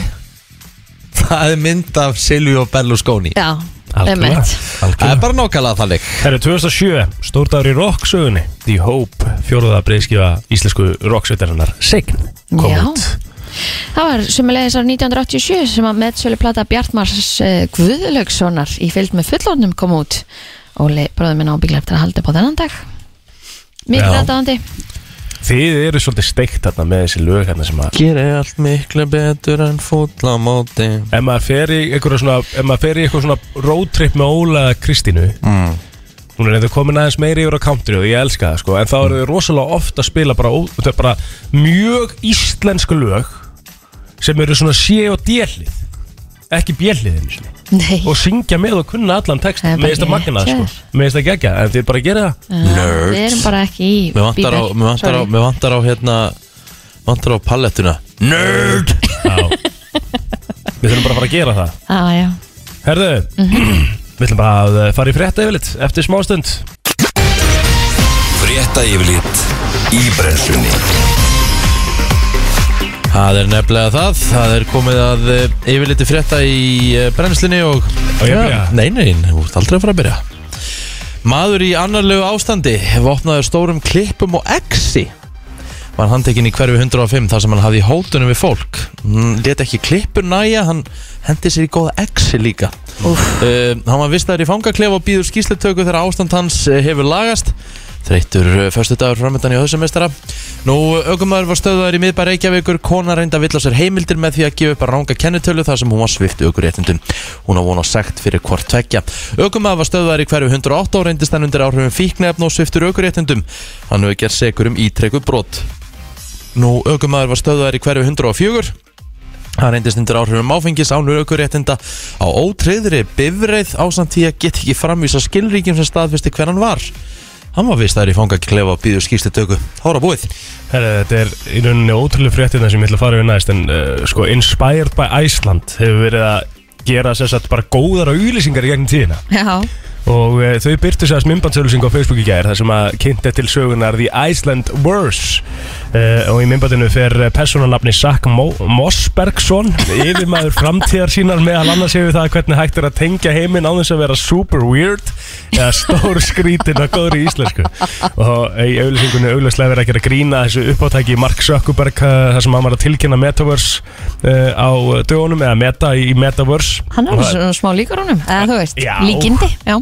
[SPEAKER 2] það er mynd af Silvio Berlusconi
[SPEAKER 3] Já,
[SPEAKER 4] Algjörlega,
[SPEAKER 3] Einmitt.
[SPEAKER 2] Það er
[SPEAKER 4] algjörlega
[SPEAKER 2] bara nákvæmlega þannig
[SPEAKER 4] Það eru 2007, stórdagur í rocksögunni The Hope, fjóruða breyðskifa íslensku rocksveitarinnar Sign kom
[SPEAKER 3] Já.
[SPEAKER 4] út
[SPEAKER 3] Það var sumulegis árið 1987 sem að meðsölu plata Bjartmars eh, Guðlaugssonar í fylgd með fullornum kom út Óli bróður minn ábygglega eftir að halda upp á þennan dag Mikið
[SPEAKER 4] Já.
[SPEAKER 3] aðdáðandi
[SPEAKER 4] Þið eru svolítið steikt þarna með þessi lög hérna sem að
[SPEAKER 2] Gera allt miklu betur en fúll á móti
[SPEAKER 4] Ef maður fer í eitthvað svona, ef maður fer í eitthvað svona roadtrip með Óla eða Kristínu mm. Hún er eitthvað komin aðeins meiri yfir á country og ég elska það sko En þá eru þau rosalega oft að spila bara, ó- þetta er bara mjög íslensku lög Sem eru svona sé og délið Ekki bjélið einu sinni
[SPEAKER 3] Nei,
[SPEAKER 4] Og syngja með og kunna allan text
[SPEAKER 3] Það er bara
[SPEAKER 4] Með þetta
[SPEAKER 3] ekki
[SPEAKER 4] magnað
[SPEAKER 3] rétt hjá
[SPEAKER 4] sko Með þetta gegja, en þið bara gera það
[SPEAKER 3] uh, við erum bara ekki í
[SPEAKER 2] Mér vantar á,
[SPEAKER 3] Bieber,
[SPEAKER 2] mér vantar á,
[SPEAKER 3] sorry.
[SPEAKER 2] mér vantar á hérna Vantar á palettuna Nerd
[SPEAKER 4] Já Við þurfum bara að fara að gera það
[SPEAKER 3] Á, já.
[SPEAKER 4] Herðu,
[SPEAKER 3] Mhm.
[SPEAKER 4] við ætlum bara að eh, fara í frétta yfirlit Eftir smástund
[SPEAKER 1] Frétta yfirlit í brennslunni
[SPEAKER 2] Það er nefnilega það, það er komið að eh, yfirliti frétta í eh, brennslinni og...
[SPEAKER 4] Á ég að byrja?
[SPEAKER 2] Nei, nei, nei, þú ert aldrei að fara að byrja. Maður í annarlegu ástandi vopnaður stórum klippum og exi var handtekinn í hverfi 105 þar sem hann hafði í hótunum við fólk. Hann let ekki klippur næja, hann hendi sér í góða exi líka. Uh, hann var vistaður í fangaklefa og býður skýsletöku þegar ástand hans eh, hefur lagast Þreyttur uh, förstu dagur framöndan í höðsumestara Nú, aukumæður var stöðaður í miðbæ Reykjavíkur Kona reynda að villa sér heimildir með því að gefa upp að ranga kennitölu þar sem hún var svift aukuréttindum Hún á vona sagt fyrir hvort tvekja Aukumæður var stöðaður í hverju 108 og reyndist hann undir áhrifum fíknefn og sviftur aukuréttindum Hann hefur gert segur um ítreku brot Nú, aukumæður var stöðaður í hverju 104 Hann reyndist undir áhrifum áfengis ánur aukuréttinda á ótreyðri bifreið ásamt því að get ekki framvísa skilríkjum sem staðfesti hver hann var. Hann var vist þær í fangaklefa og býður skýrslitöku. Hóra búið.
[SPEAKER 4] Herra, þetta er í rauninni ótrúlega fréttina sem ég ætla að fara við næst en uh, sko Inspired by Iceland hefur verið að gera sér satt bara góðara auðlýsingar í gegnum tíðina
[SPEAKER 3] Já.
[SPEAKER 4] og uh, þau byrtu sér að smimbandsaulusingu á Facebook í gær þar sem að kynnti til sögunar The Iceland Worse uh, og í mimbandinu fer personalafni Sack Mo Mossbergsson yfirmaður framtíðar sínar meðal annars hefur það hvernig hægt er að tengja heiminn á þess að vera super weird eða stór skrítin og góður í íslensku og í auðlýsingunni auðlýslega verið að gera grína þessu uppáttæki Mark Zuckerberg uh, þar sem hann var að tilkynna Metaverse uh, á dögunum eða Meta í Metaverse
[SPEAKER 3] Hann er
[SPEAKER 4] Og
[SPEAKER 3] alveg
[SPEAKER 4] það-
[SPEAKER 3] svona smá líkar honum eða þú veist,
[SPEAKER 4] Já.
[SPEAKER 3] líkindi já.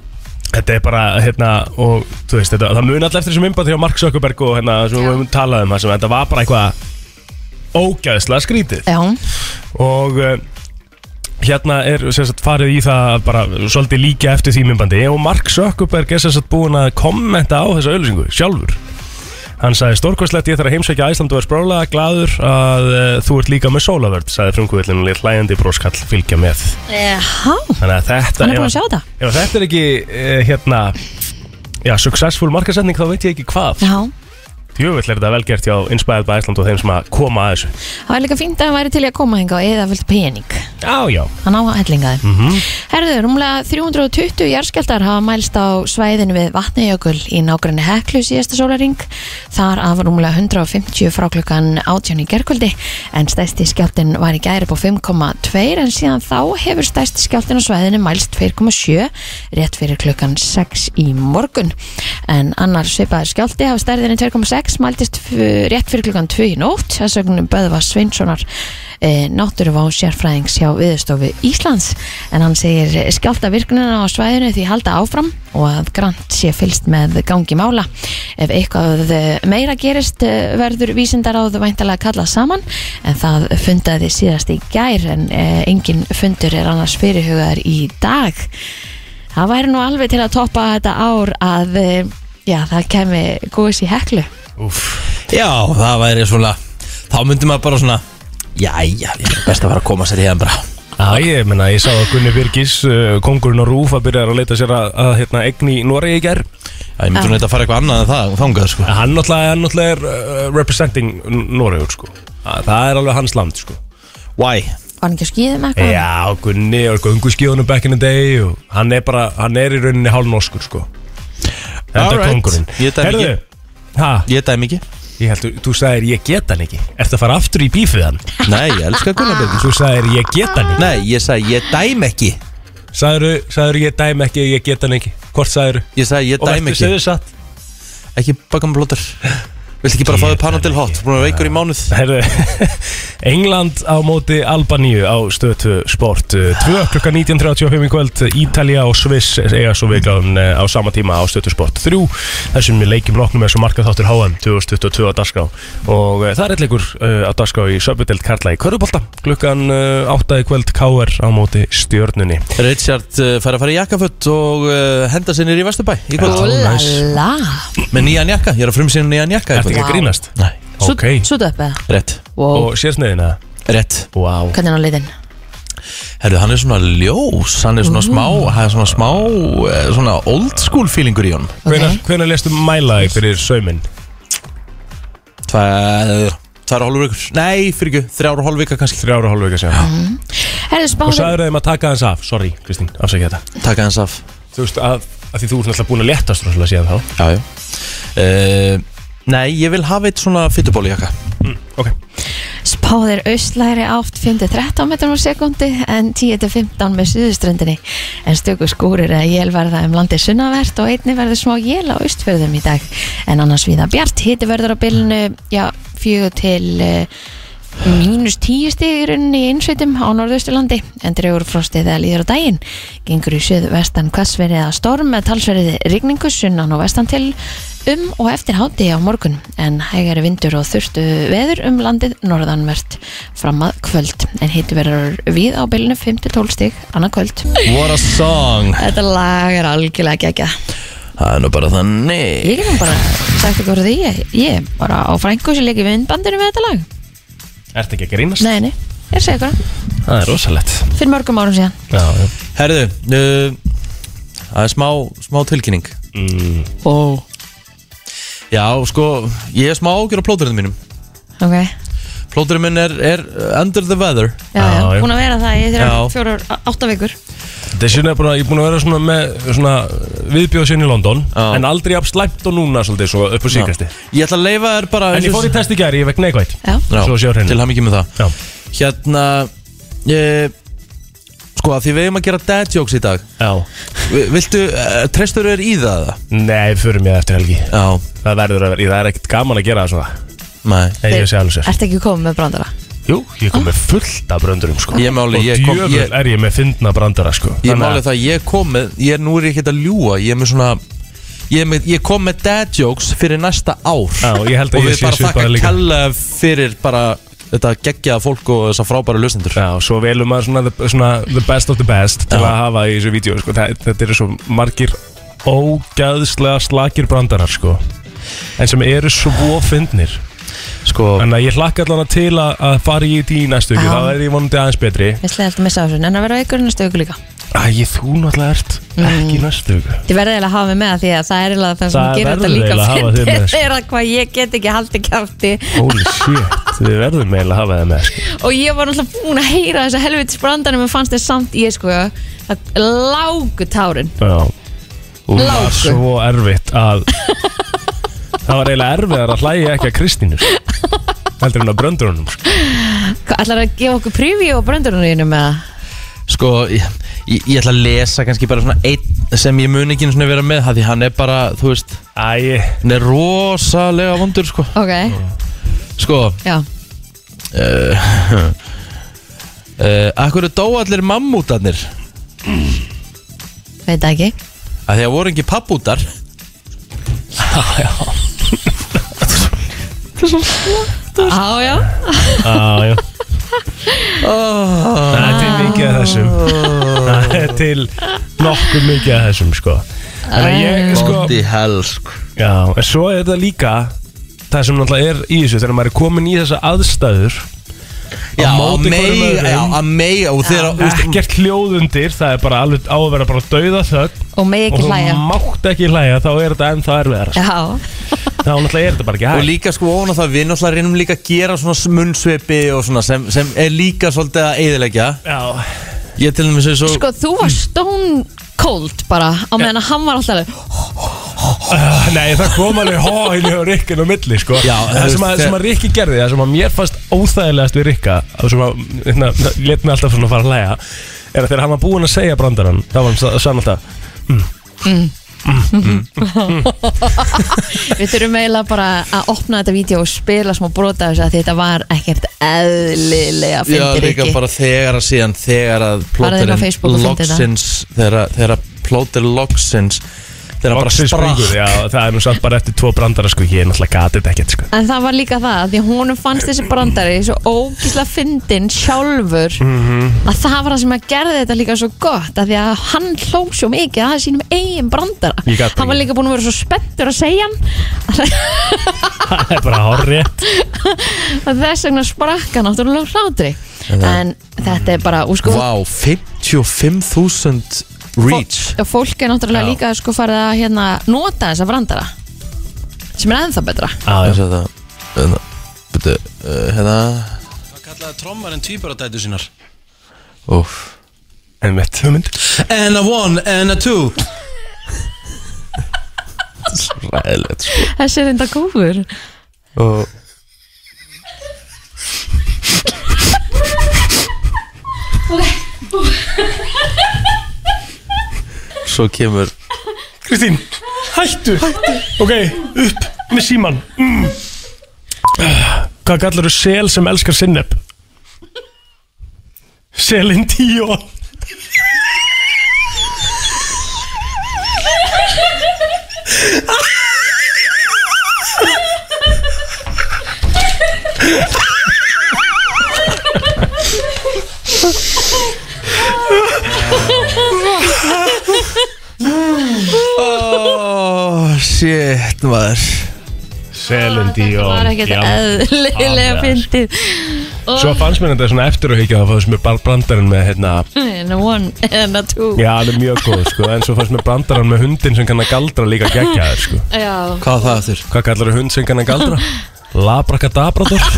[SPEAKER 4] Þetta er bara, hérna, og þú veist, þetta, það mun alltaf eftir þessum umbað því að Mark Zuckerberg og hérna, sem við höfum talað um, það sem þetta var bara eitthvað ógæðslega skrítið.
[SPEAKER 3] já,
[SPEAKER 4] Og uh, hérna er, sem sagt, farið í það að bara svolítið líka eftir því myndbandi og Mark Zuckerberg er sem sagt búin að kommenta á þessa auðlýsingu sjálfur. Hann sagði stórkvæslegt ég þarf að heimsækja Æsland og er sprálega gladur að uh, þú ert líka með sólavörd, sagði frumkvöldin og létt hlæjandi broskall fylgja með.
[SPEAKER 3] já.
[SPEAKER 4] Þannig að þetta
[SPEAKER 3] hann er
[SPEAKER 4] ef
[SPEAKER 3] búin að sjá þetta
[SPEAKER 4] Ef þetta er ekki uh, hérna Já, successful markasetning þá veit ég ekki hvað
[SPEAKER 3] já.
[SPEAKER 4] Jöfull er þetta velgert hjá Inspired by Iceland og þeim sem að koma að þessu
[SPEAKER 3] það var líka fínt að hann væri til í að koma hinga og eða vilt pening
[SPEAKER 4] Já, Mhm. já
[SPEAKER 3] hann á að hellinga þeim Herðu, rúmlega 320 jarðskjaldar hafa mælst á svæðinu við Vatnajökul í nágrinni Heklu síðasta sólaring þar af rúmlega 150 frá klukkan 18 í gerkvöldi en stæsti skjaldin var í gæri upp á 5,2 en síðan þá hefur stæsti skjaldin á svæðinu mælst 2,7 rétt fyrir klukkan 6 í morgun en annar svipaður skjálti hafa stærðinni 2,6 mæltist f- rétt fyrir klukkan 2 í nótt þess vegna Böðvar Sveinssonar eh, náttúruvá sérfræðings hjá viðstofu Íslands en hann segir skjálta virknina á svæðinu því halda áfram og að grant sé fylst með gangi mála. Ef eitthvað eh, meira gerist eh, verður vísindaráð væntalega kallað saman en það fundaði síðast í gær en eh, engin fundur er annars fyrirhugaður í dag. Það væri nú alveg til að toppa þetta ár að eh, já, það kemi góðs í heklu.
[SPEAKER 2] Já, það væri svona, þá myndi maður bara svona, jæja, ég er best að fara að koma sér hérna bara.
[SPEAKER 4] Já, ég menna, ég sá að Gunni Birgis, uh, kongurinn og Rúfa byrjar að leita sér að, að hérna, egni í Noregi í ger
[SPEAKER 2] Já, ég myndi svona þetta að fara eitthvað annað en það, þangað sko.
[SPEAKER 4] Hann náttúrulega, hann náttúrulega er uh, representing N- Noregur, sko Að- Það er alveg hans land, sko
[SPEAKER 2] Why?
[SPEAKER 3] Var hann ekki á skýðum eitthvað?
[SPEAKER 4] Já, Gunni og gönguskíðunum back in the day og hann er bara, hann er í rauninni hálf norskur, sko Þetta er
[SPEAKER 2] Alright.
[SPEAKER 4] kongurinn
[SPEAKER 2] Ég dæmi ekki.
[SPEAKER 4] Hæ?
[SPEAKER 2] Ég dæmi ekki.
[SPEAKER 4] Ég heldur, þú sagðir ég get hann ekki Eftir að fara aftur í bífið hann
[SPEAKER 2] Nei, ég elska Gunnar Birgis.
[SPEAKER 4] Þú sagðir ég get hann ekki
[SPEAKER 2] Nei, ég sagði ég dæmi ekki.
[SPEAKER 4] Sæður, sæður ég dæm ekki, ég get hann ekki Hvort sæður
[SPEAKER 2] Ég sagði, ég dæm ekki
[SPEAKER 4] segðu satt
[SPEAKER 2] Ekki baka með blóttur Viltu ekki bara fá þér panna til hot Búin að vera veikur í mánuð
[SPEAKER 4] Herðu, England á móti Albaníu á stöðtu sport 2 klukka 19.35 í kvöld Ítalja og Sviss eiga svo vegan eh, á sama tíma á stöðtu sport 3 þessum við leikjum loknum er svo markað þáttur HM 2022 á Daská og eh, það er eitthvað uh, á Daská í Söpudeld Karla í Körðubolta klukkan uh, 8 í kvöld KR á móti stjörnunni
[SPEAKER 2] Richard uh, fær að fara í jakkafött og uh, henda sér nýri í Vesturbæ í kvöld
[SPEAKER 3] Úlala
[SPEAKER 2] Með nýjan jakka, ég er að frumsýna nýjan jakka í
[SPEAKER 4] Ertu
[SPEAKER 2] kvöld
[SPEAKER 4] ekki að grínast?
[SPEAKER 2] Nei,
[SPEAKER 4] Ok,
[SPEAKER 3] Svo döp eða
[SPEAKER 2] rétt,
[SPEAKER 3] wow.
[SPEAKER 4] og sérsniðina?
[SPEAKER 2] rétt
[SPEAKER 4] Wow.
[SPEAKER 3] Hvernig er hann á litin?
[SPEAKER 2] Herru, hann er svona ljós, hann er svona smá, hann er svona smá, eh, svona old school feelingur í honum
[SPEAKER 4] Hvenær, hvenær lestu mæla þig fyrir sauminn?
[SPEAKER 2] Tvær, Eh, tvær og hálfur vikur Nei, fyrir ekki, þrjár og hálfur vika kannski
[SPEAKER 4] Þrjára hálfu ekki að segja
[SPEAKER 3] Herðu
[SPEAKER 4] Og
[SPEAKER 3] spáðin
[SPEAKER 4] sagður þeim að taka hans af, sorry Kristín, afsækja þetta
[SPEAKER 2] Taka hans af
[SPEAKER 4] Þú veist að, að því þú ert náttúrulega búin að léttast rosalega síðan þá
[SPEAKER 2] Já, já uh, Nei, ég vil hafa eitt svona fyttubóli jakka
[SPEAKER 4] Ok
[SPEAKER 3] Spáðir austlæri átt 5-13 metrum á sekundi en 10-15 með suðuströndinni en stöku skúrir að jél verða um landi sunnavert og einni verður smá jél á austfjörðum í dag en annars viða bjart hiti verður á bylnu já, fjögur til uh, mínus 10 stig í rauninni í innsveitum á norðausturlandi en dregur frostið eða líður á daginn gengur í söðu vestan hvassverið eða storm með talsverið rigningu sunnan og vestan til um og eftir háti á morgun en hægari vindur og þurftu veður um landið norðanvert fram að kvöld en hittu verður við á bylunu 5-12 stig annað kvöld
[SPEAKER 2] What a song
[SPEAKER 3] Þetta lag er algjörlega geggja
[SPEAKER 2] Það er nú bara þannig
[SPEAKER 3] Ég er nú bara sagt ekki voru því ég, ég er bara á frængu sem leik í vindbandinu með þetta lag
[SPEAKER 4] Ert ekki að grínast?
[SPEAKER 3] Nei, nei, ég segi ykkur það.
[SPEAKER 4] Það er rosalegt
[SPEAKER 3] fyrir mörgum árum síðan
[SPEAKER 4] Já, já
[SPEAKER 2] Herðu, uh, það er smá, smá tilkynning
[SPEAKER 4] mm,
[SPEAKER 3] Ó,
[SPEAKER 2] Já, sko, ég er smá ágjör á plóturinn mínum
[SPEAKER 3] ok
[SPEAKER 2] Plóturinn minn er, er under the weather
[SPEAKER 3] Já,
[SPEAKER 4] Já,
[SPEAKER 3] já,
[SPEAKER 4] já.
[SPEAKER 3] búin að vera það í
[SPEAKER 2] Já.
[SPEAKER 3] þrjá fjórar, á- átta vikur
[SPEAKER 4] Þessi er búin að, ég er búin að vera svona með svona viðbjóð sinni í London
[SPEAKER 2] Já.
[SPEAKER 4] En aldrei jafn slæmt og núna svolítið svo upp á síkasti
[SPEAKER 2] Ég ætla að leifa þér bara
[SPEAKER 4] En ég fór í test í gæri, ég vekk neikvægt
[SPEAKER 3] Já,
[SPEAKER 2] Já,
[SPEAKER 4] Svo sjá hreinu.
[SPEAKER 2] Til hann með það
[SPEAKER 4] Já
[SPEAKER 2] Hérna, ég, sko, að því við erum að gera dad jokes í dag
[SPEAKER 4] Já
[SPEAKER 2] Vi- Viltu, uh, treystur þér í það? eða?
[SPEAKER 4] Nei, fyrir mér eftir helgi
[SPEAKER 2] Já,
[SPEAKER 4] Það verður að vera, það er ekkert gaman að gera það svona
[SPEAKER 2] nei
[SPEAKER 4] Nei, ég sé alveg sér
[SPEAKER 3] Ertu ekki komið með brandara?
[SPEAKER 4] Jú, ég kom með fullt af brandurum sko
[SPEAKER 2] Ég máli,
[SPEAKER 4] Og
[SPEAKER 2] ég kom-
[SPEAKER 4] djöfull
[SPEAKER 2] ég-
[SPEAKER 4] er ég með fyndna brandara sko
[SPEAKER 2] Ég
[SPEAKER 4] Þannig að-
[SPEAKER 2] máli það að ég kom með, ég nú er ég ekkert að ljúa Ég er með svona Ég, er með, ég kom með dad jokes fyrir næsta ár
[SPEAKER 4] Já, og ég held að
[SPEAKER 2] Og
[SPEAKER 4] ég
[SPEAKER 2] við
[SPEAKER 4] sé
[SPEAKER 2] bara
[SPEAKER 4] svipaður
[SPEAKER 2] þakka
[SPEAKER 4] líka.
[SPEAKER 2] kalla fyrir bara þetta geggjaða fólk og þessa frábæra lösendur
[SPEAKER 4] Já, og svo velum maður svona the, svona the best of the best
[SPEAKER 2] Já.
[SPEAKER 4] til að hafa í þessu vídeo sko. Þa, Þetta eru svo margir ógæðslega slakir brandarar sko. en sem eru svo fyndnir
[SPEAKER 2] Sko,
[SPEAKER 4] Þannig að ég hlakka allan til að, að fara í því í næstu ykkur,
[SPEAKER 3] Já.
[SPEAKER 4] þá er ég vonandi aðeins betri
[SPEAKER 3] Mér slegði alltaf missa af þessu, en að vera á ykkur næstu viku líka
[SPEAKER 4] Æ, þú náttúrulega ert
[SPEAKER 2] Mm.
[SPEAKER 4] ekki í næstu ykkur
[SPEAKER 3] Þið verðið eiginlega að hafa mig með því að það er eiginlega það sem
[SPEAKER 4] Það
[SPEAKER 3] gerir þetta
[SPEAKER 4] verður
[SPEAKER 3] líka
[SPEAKER 4] eiginlega að hafa þig
[SPEAKER 3] fyndið.
[SPEAKER 4] með, sko.
[SPEAKER 3] Það er að hvað ég get ekki haldið kjátti
[SPEAKER 4] Holy shit, við verðum eiginlega að hafa það með sko.
[SPEAKER 3] og ég var náttúrulega búin að heyra þessa helvitis brandarum en fannst þið samt ég sko það lágu tárin
[SPEAKER 4] Já Og það var
[SPEAKER 3] Láku.
[SPEAKER 4] svo erfitt að Það var eiginlega erfiðar að hlæja ekki að Kristínu sko. heldur en að bröndurunum sko.
[SPEAKER 3] Hvað, Ætlar að gefa okkur prífi á brandurinu þínum eða?
[SPEAKER 2] sko ég, ég, ég ætla að lesa kannski bara svona einn sem ég mun ekki einu sinni vera með það því hann er bara, þú veist,
[SPEAKER 4] Æ,
[SPEAKER 2] hann er rosalega vondur sko
[SPEAKER 3] Ok,
[SPEAKER 2] Sko, eh,
[SPEAKER 3] já
[SPEAKER 2] uh, akkur er dó allir mammútarnir
[SPEAKER 3] Veit það ekki
[SPEAKER 2] að því að voru ekki pappútar
[SPEAKER 3] Á já
[SPEAKER 4] Já, já Það er til mikið af þessum Það er til nokkuð mikið af þessum sko Þannig að ég sko
[SPEAKER 2] Bloody hell sko
[SPEAKER 4] Já, en svo er þetta líka Það sem náttúrulega er í þessu Þegar maður er komin í þessa aðstæður
[SPEAKER 2] Já, að
[SPEAKER 4] móti hverjum
[SPEAKER 2] meiga,
[SPEAKER 4] öðrum.
[SPEAKER 2] já, að meiga og þeirra, þú veist,
[SPEAKER 4] Ekkert hljóð undir Það er bara alveg á að vera bara dauða þögn
[SPEAKER 3] Og megi
[SPEAKER 4] Og
[SPEAKER 3] ekki
[SPEAKER 4] þú
[SPEAKER 3] hlæja
[SPEAKER 4] mátt ekki hlæja Þá er þetta ennþá erfiðar
[SPEAKER 3] Já,
[SPEAKER 4] Þá náttúrulega er þetta bara ekki
[SPEAKER 2] Og
[SPEAKER 4] hægt
[SPEAKER 2] líka sko ofan á það við náttúrulega reynum líka að gera svona smunnsveipi og svona sem, sem er líka svolítið að eyðileggja
[SPEAKER 4] Já,
[SPEAKER 2] Ég til dæmis eins og
[SPEAKER 3] sko þú var stone cold bara á meðan að hann var alltaf alveg,
[SPEAKER 4] Ah, Nei, það kom alveg hóinu og Rikkin á milli, sko
[SPEAKER 2] Já,
[SPEAKER 4] Það sem að,
[SPEAKER 2] þeir-
[SPEAKER 4] sem að Rikki gerði, það sem að mér fannst óþægilegast við Rikka Það sem að, hérna, let mig alltaf svona fara að hlæja er að þegar hann var búinn að segja brandarann þá var hann sa- sann alltaf
[SPEAKER 3] Mm.
[SPEAKER 2] Mm.
[SPEAKER 3] Við þurfum eiginlega bara að opna þetta vídeo og spila smá brota þess að þetta var ekkert eðlilega
[SPEAKER 2] Já,
[SPEAKER 3] fyndir
[SPEAKER 2] líka
[SPEAKER 3] ekki
[SPEAKER 2] bara þegar að síðan þegar að
[SPEAKER 3] Farðu inn á Facebook
[SPEAKER 2] plóterinn
[SPEAKER 3] og fundið þetta.
[SPEAKER 2] loksins þegar að- þegar að plóterinn loksins þegar að bara
[SPEAKER 4] Loksins springur,
[SPEAKER 2] sprakk
[SPEAKER 4] já, það er nú samt bara eftir tvo brandara sko, ég er náttúrulega gatið þetta ekkert sko.
[SPEAKER 3] En það var líka það, að því honum fannst þessi brandari svo ógísla fyndin sjálfur að það var það sem að gerði þetta líka svo gott að því að hann hló svo mikið að sínum eigin brandara
[SPEAKER 4] Ég gat það
[SPEAKER 3] Hann var
[SPEAKER 4] ekki.
[SPEAKER 3] líka búin að vera svo spenntur að segja hann
[SPEAKER 4] það er bara horrið
[SPEAKER 3] að þess vegna sprakk hann náttúrulega úr hlátri En þetta er bara, og sko
[SPEAKER 2] Vá, 55.000 reach
[SPEAKER 3] fólk, fólk er náttúrulega
[SPEAKER 4] Já.
[SPEAKER 3] líka sko farið að hérna, nota þessa brandara sem er ennþá betra
[SPEAKER 2] Þess að það hérna, Byrju, uh, hérna Hvað kallaði trommarinn týpur á dætu sínar? Úf
[SPEAKER 4] en mitt
[SPEAKER 2] And a one, and a two Ræðilegt sko
[SPEAKER 3] Þessi er enda góður
[SPEAKER 2] Og Svo kemur
[SPEAKER 4] Kristín, hættu, hættu. ok, upp með síman mm. hvað kallar þú sel sem elskar sinneb selin tíu
[SPEAKER 2] Oh, shit maður
[SPEAKER 4] selin tíu
[SPEAKER 3] Þetta var ekkert eðlilega fyndið
[SPEAKER 4] svo fannst mér þetta svona eftir að higgja það fannst mér bara brandarinn með hérna
[SPEAKER 3] And a one and a two
[SPEAKER 4] já, hann er mjög góð sko, en svo fannst mér brandarinn með hundin sem kann að galdra líka geggja þér sko
[SPEAKER 3] Já,
[SPEAKER 2] Hvað var það aftur?
[SPEAKER 4] hvað kallar þú hund sem kann að galdra labrakadabrador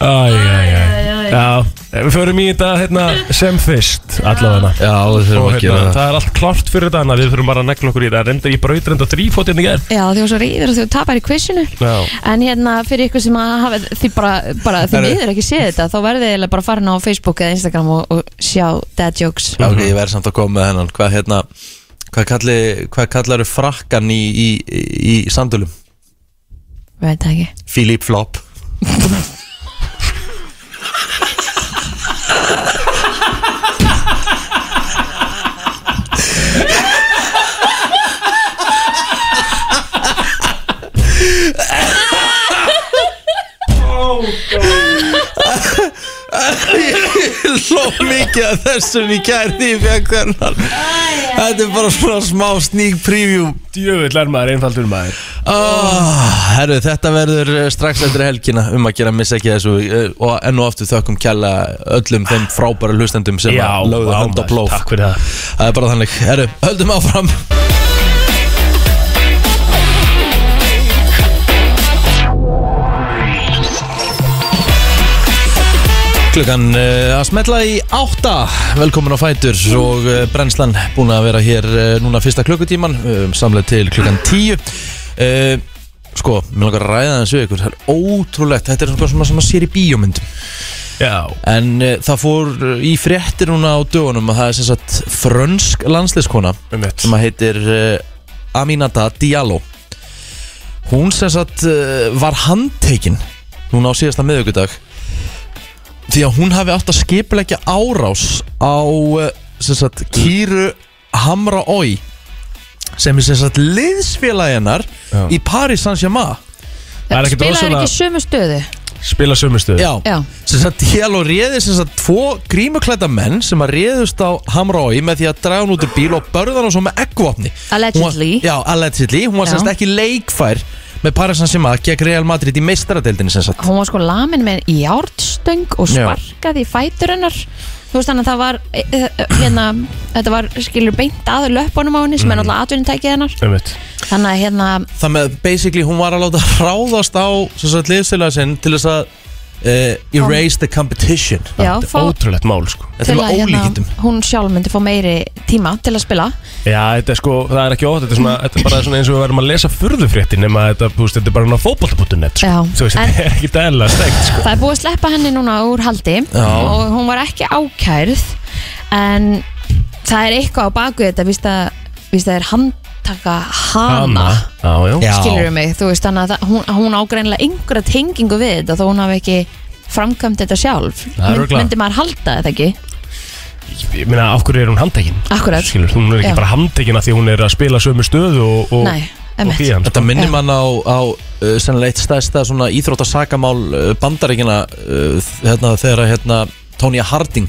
[SPEAKER 4] Æj, æj, æj Já, við förum í þetta hérna, sem fyrst allavega
[SPEAKER 2] Já, það
[SPEAKER 4] Og
[SPEAKER 2] þurfum að gera
[SPEAKER 4] hérna,
[SPEAKER 2] það
[SPEAKER 4] það er allt klart fyrir þetta þannig að Við þurfum bara að negla okkur í þetta Reyndar ég braut reynda þrýfótinn í gerð
[SPEAKER 3] já því var svo reyður og því tapar í quizinu
[SPEAKER 4] Já.
[SPEAKER 3] En hérna fyrir ykkur sem að hafa Þið bara, bara þið
[SPEAKER 2] Herru.
[SPEAKER 3] miður ekki séð þetta Þá verðið eiginlega bara farin á Facebook eða Instagram og, og sjá dad jokes
[SPEAKER 2] Já,
[SPEAKER 4] Mhm.
[SPEAKER 2] ok, ég verð samt að koma með hennan Hvað hérna Hvað, kalli, hvað kallarðu frakkan í, í, í, í sandölum?
[SPEAKER 3] Veit það ekki
[SPEAKER 2] Philip Flop Ég hló mikið að þessum í kærði í fjökkurnar Þetta er bara svona smá sneak preview
[SPEAKER 4] Djöfull er maður, einfaldur maður
[SPEAKER 2] Oh, herru, þetta verður eh, strax eftir helgina um að gera missa ekki þessu eh, og enn og aftur þökkum kjalla öllum þeim frábæra hlustendum sem
[SPEAKER 4] Já,
[SPEAKER 2] að lögðu
[SPEAKER 4] vá,
[SPEAKER 2] hönd á
[SPEAKER 4] maður,
[SPEAKER 2] plóf
[SPEAKER 4] Takk fyrir það
[SPEAKER 2] Það er bara þannig, herru, höldum áfram Klukkan uh, að smetla í átta Velkomin á Fætur og uh, brennslan búin að vera hér uh, núna fyrsta klukkutíman uh, samlega til klukkan tíu uh, Sko, mér langar að ræða þessu ykkur Það er ótrúlegt, þetta er svona svona sem maður sér í bíómyndum
[SPEAKER 4] Já,
[SPEAKER 2] En uh, það fór í fréttir núna á dögunum að það er sem sagt frönsk landsliðskona
[SPEAKER 4] um mitt
[SPEAKER 2] sem að heitir uh, Aminata Diallo hún sem sagt uh, var handtekinn núna á síðasta miðugudag því að hún hafi átt að skipulegja árás á uh, sem sagt Kýru Hamra Ói sem er sem sagt liðsfélagjennar
[SPEAKER 4] Já.
[SPEAKER 2] í Paris Saint-Germain
[SPEAKER 4] Það er ekkert
[SPEAKER 3] Spilaðir
[SPEAKER 4] rosalega-
[SPEAKER 3] ekki sömu stöðu
[SPEAKER 4] Spila sömustuð
[SPEAKER 2] Já,
[SPEAKER 3] Já.
[SPEAKER 2] sem sagt Diallo réði sem sagt tvo grímuklæta menn sem að réðust á Hamrái með því að draga hann út úr bíl og börða hann svo með eggvopni
[SPEAKER 3] Allegedly.
[SPEAKER 2] Hún var, Já, allegedly, hún var
[SPEAKER 3] Já.
[SPEAKER 2] sem sagt ekki leikfær með Paris Saint-Germain gegn Real Madrid í meistaradeildinni sem sagt
[SPEAKER 3] hún var sko lamin með járnstöng og
[SPEAKER 2] Já.
[SPEAKER 3] sparkaði í fætur hennar þú veist þannig að það var e, e, hérna, þetta var skilur beint að löpunum á henni sem er náttúrulega atvinnintækið hennar
[SPEAKER 4] Um mitt
[SPEAKER 3] þannig að hérna
[SPEAKER 2] Það með basically hún var að láta ráðast á sem sagt liðsfélag sinn til þess að uh, Erase the competition
[SPEAKER 3] Já, fá
[SPEAKER 4] Ótrúlegt mál sko
[SPEAKER 2] Þetta er alveg ólíkittum
[SPEAKER 3] hérna, hún sjálf myndi fá meiri tíma til að spila
[SPEAKER 4] Já, þetta er sko, það er ekki ótt Þetta er, svona, þetta er bara svona eins og við verðum að lesa furðufrétti Nema þetta, þú veist, þetta er bara hann á fótbolta.net sko.
[SPEAKER 3] Já.
[SPEAKER 4] Þú veist, þetta er ekki dæla stegt sko
[SPEAKER 3] Það er búið að sleppa henni núna úr haldi og hún var ekki ákærð en það er eitthvað á baku þetta víst að, víst að það er handtaka hana,
[SPEAKER 4] Já, já,
[SPEAKER 3] hana. skilur mig þú veist þannig að það- hún, hún ágreinlega einhverja tengingu við þetta þó hún hafi ekki framkvæmt þetta sjálf
[SPEAKER 4] Það er örugglega.
[SPEAKER 3] myndi maður halda þetta ekki
[SPEAKER 4] Ég meina, af hverju er hún handtekinn?
[SPEAKER 3] Akkurat.
[SPEAKER 4] Skilur, hún er ekki
[SPEAKER 3] Já.
[SPEAKER 4] bara handtekinn af því hún er að spila sömu stöðu og, og,
[SPEAKER 3] Nei,
[SPEAKER 4] og
[SPEAKER 3] emmitt.
[SPEAKER 4] hann,
[SPEAKER 2] Þetta
[SPEAKER 4] sko.
[SPEAKER 2] minnir
[SPEAKER 3] Já.
[SPEAKER 2] mann á, á uh, sennilega eitt stærsta svona íþróttasakamál uh, bandaríkina uh, hérna, þegar að, hérna, Tónja Harding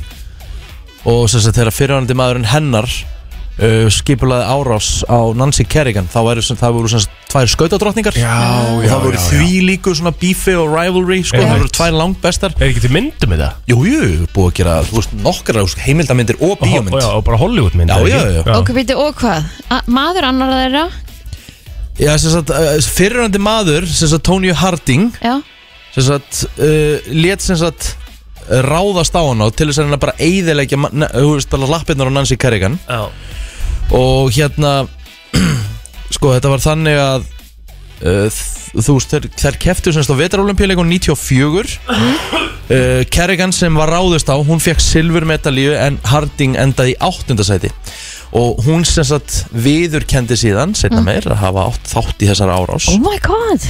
[SPEAKER 2] og sem sagt, þegar fyrirvændi maðurinn hennar uh, skipulaði árás á Nancy Kerrigan þá væru, sem, það voru sem, sagt tvær skautadrottningar
[SPEAKER 4] Já,
[SPEAKER 2] og
[SPEAKER 4] já,
[SPEAKER 2] það voru
[SPEAKER 4] já, já.
[SPEAKER 2] því líku svona bífi og rivalry sko,
[SPEAKER 4] Já.
[SPEAKER 2] það voru tvær langbestar
[SPEAKER 4] Er ekki til um myndum í það?
[SPEAKER 2] Jú, jú, búið að gera þú veist, nokkra heimildamindir og bíómynd
[SPEAKER 4] Og, já, og bara Hollywood mynd
[SPEAKER 2] Já, já, já.
[SPEAKER 3] Ok, býttu og hvað? A maður annar þeirra,
[SPEAKER 2] Já, sem sagt, uh, fyrirvændi maður sem sagt, Tónju Harding
[SPEAKER 3] já,
[SPEAKER 2] sem sagt, uh, lét sem sagt ráðast á hana og til þess að hérna bara eyðilegja, ma- ne- þú veist, bara lappirnar á Nancy Kerrigan
[SPEAKER 4] já.
[SPEAKER 2] og hérna sko, þetta var þannig að uh, þ- þú veist, þær, þær keftu semst á vetarolimpíuleikum 94 uh, Kerrigan sem var ráðist á hún fekk silfurmedalíu en Harding endaði í áttundasæti og hún sem sagt viðurkendi síðan, setna
[SPEAKER 3] Mm.
[SPEAKER 2] meir, að hafa átt þátt í þessar árás
[SPEAKER 3] oh my god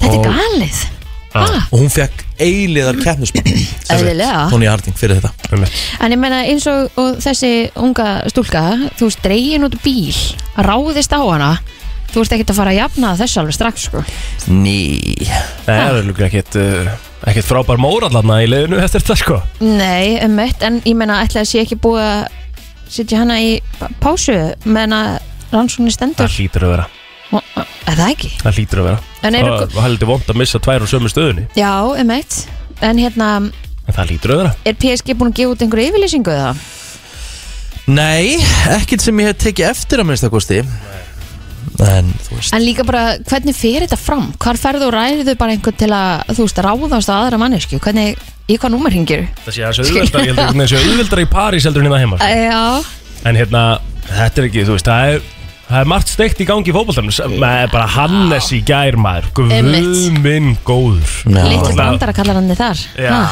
[SPEAKER 3] Þetta
[SPEAKER 4] Og-
[SPEAKER 3] er galið ah,
[SPEAKER 2] og hún fekk eiliðar keppnismann
[SPEAKER 3] Eðlilega.
[SPEAKER 2] Tóni Harding fyrir þetta
[SPEAKER 4] Einmitt.
[SPEAKER 3] En ég meina eins og, og þessi unga stúlka Þú veist, dregin út úr bíl Ráðist á hana Þú ert ekkert að fara að jafna þess alveg strax sko.
[SPEAKER 2] Ný
[SPEAKER 4] Nei, það er líka ekkert uh, ekkert frábær móralanna í leiðinu eftir þetta sko
[SPEAKER 3] Nei, um En ég meina, ætlaði sé ekki búið að Sitja hana í p- pásu Meðan að rannsóknir stendur
[SPEAKER 4] Það hlýtur að vera
[SPEAKER 3] Ó, ó, Er það ekki?
[SPEAKER 4] Það hlýtur að vera
[SPEAKER 3] En eru,
[SPEAKER 4] Það er heldur vond að missa tvær úr sömu stöðunni
[SPEAKER 3] já, um En hérna,
[SPEAKER 4] En það hlýtur að vera
[SPEAKER 3] er PSG búin að gefa út einhverju yfirlýsingu eða?
[SPEAKER 2] Nei, ekkert sem ég hef tekið eftir að minnsta kosti En þú veist
[SPEAKER 3] En líka bara, hvernig fer þetta fram? Hvar ferðu og ræðu bara einhvern til að, þú veist, ráðast á aðra mannesku? Hvernig, í hvað númer hringir?
[SPEAKER 4] Það sé aðeins auðveldar, ég heldur þessi auðveldar í París heldur en það heima sko.
[SPEAKER 3] Eh, Já,
[SPEAKER 4] En hérna, þetta er ekki, þú veist, það er Það er margt steikt í gangi í fótboltanum sem- maður er bara Hannes í gær maður Guð
[SPEAKER 3] Einmitt.
[SPEAKER 4] minn góður
[SPEAKER 2] Já.
[SPEAKER 3] litlu
[SPEAKER 4] Það-
[SPEAKER 3] brandara kallar hann þið þar.
[SPEAKER 4] Já,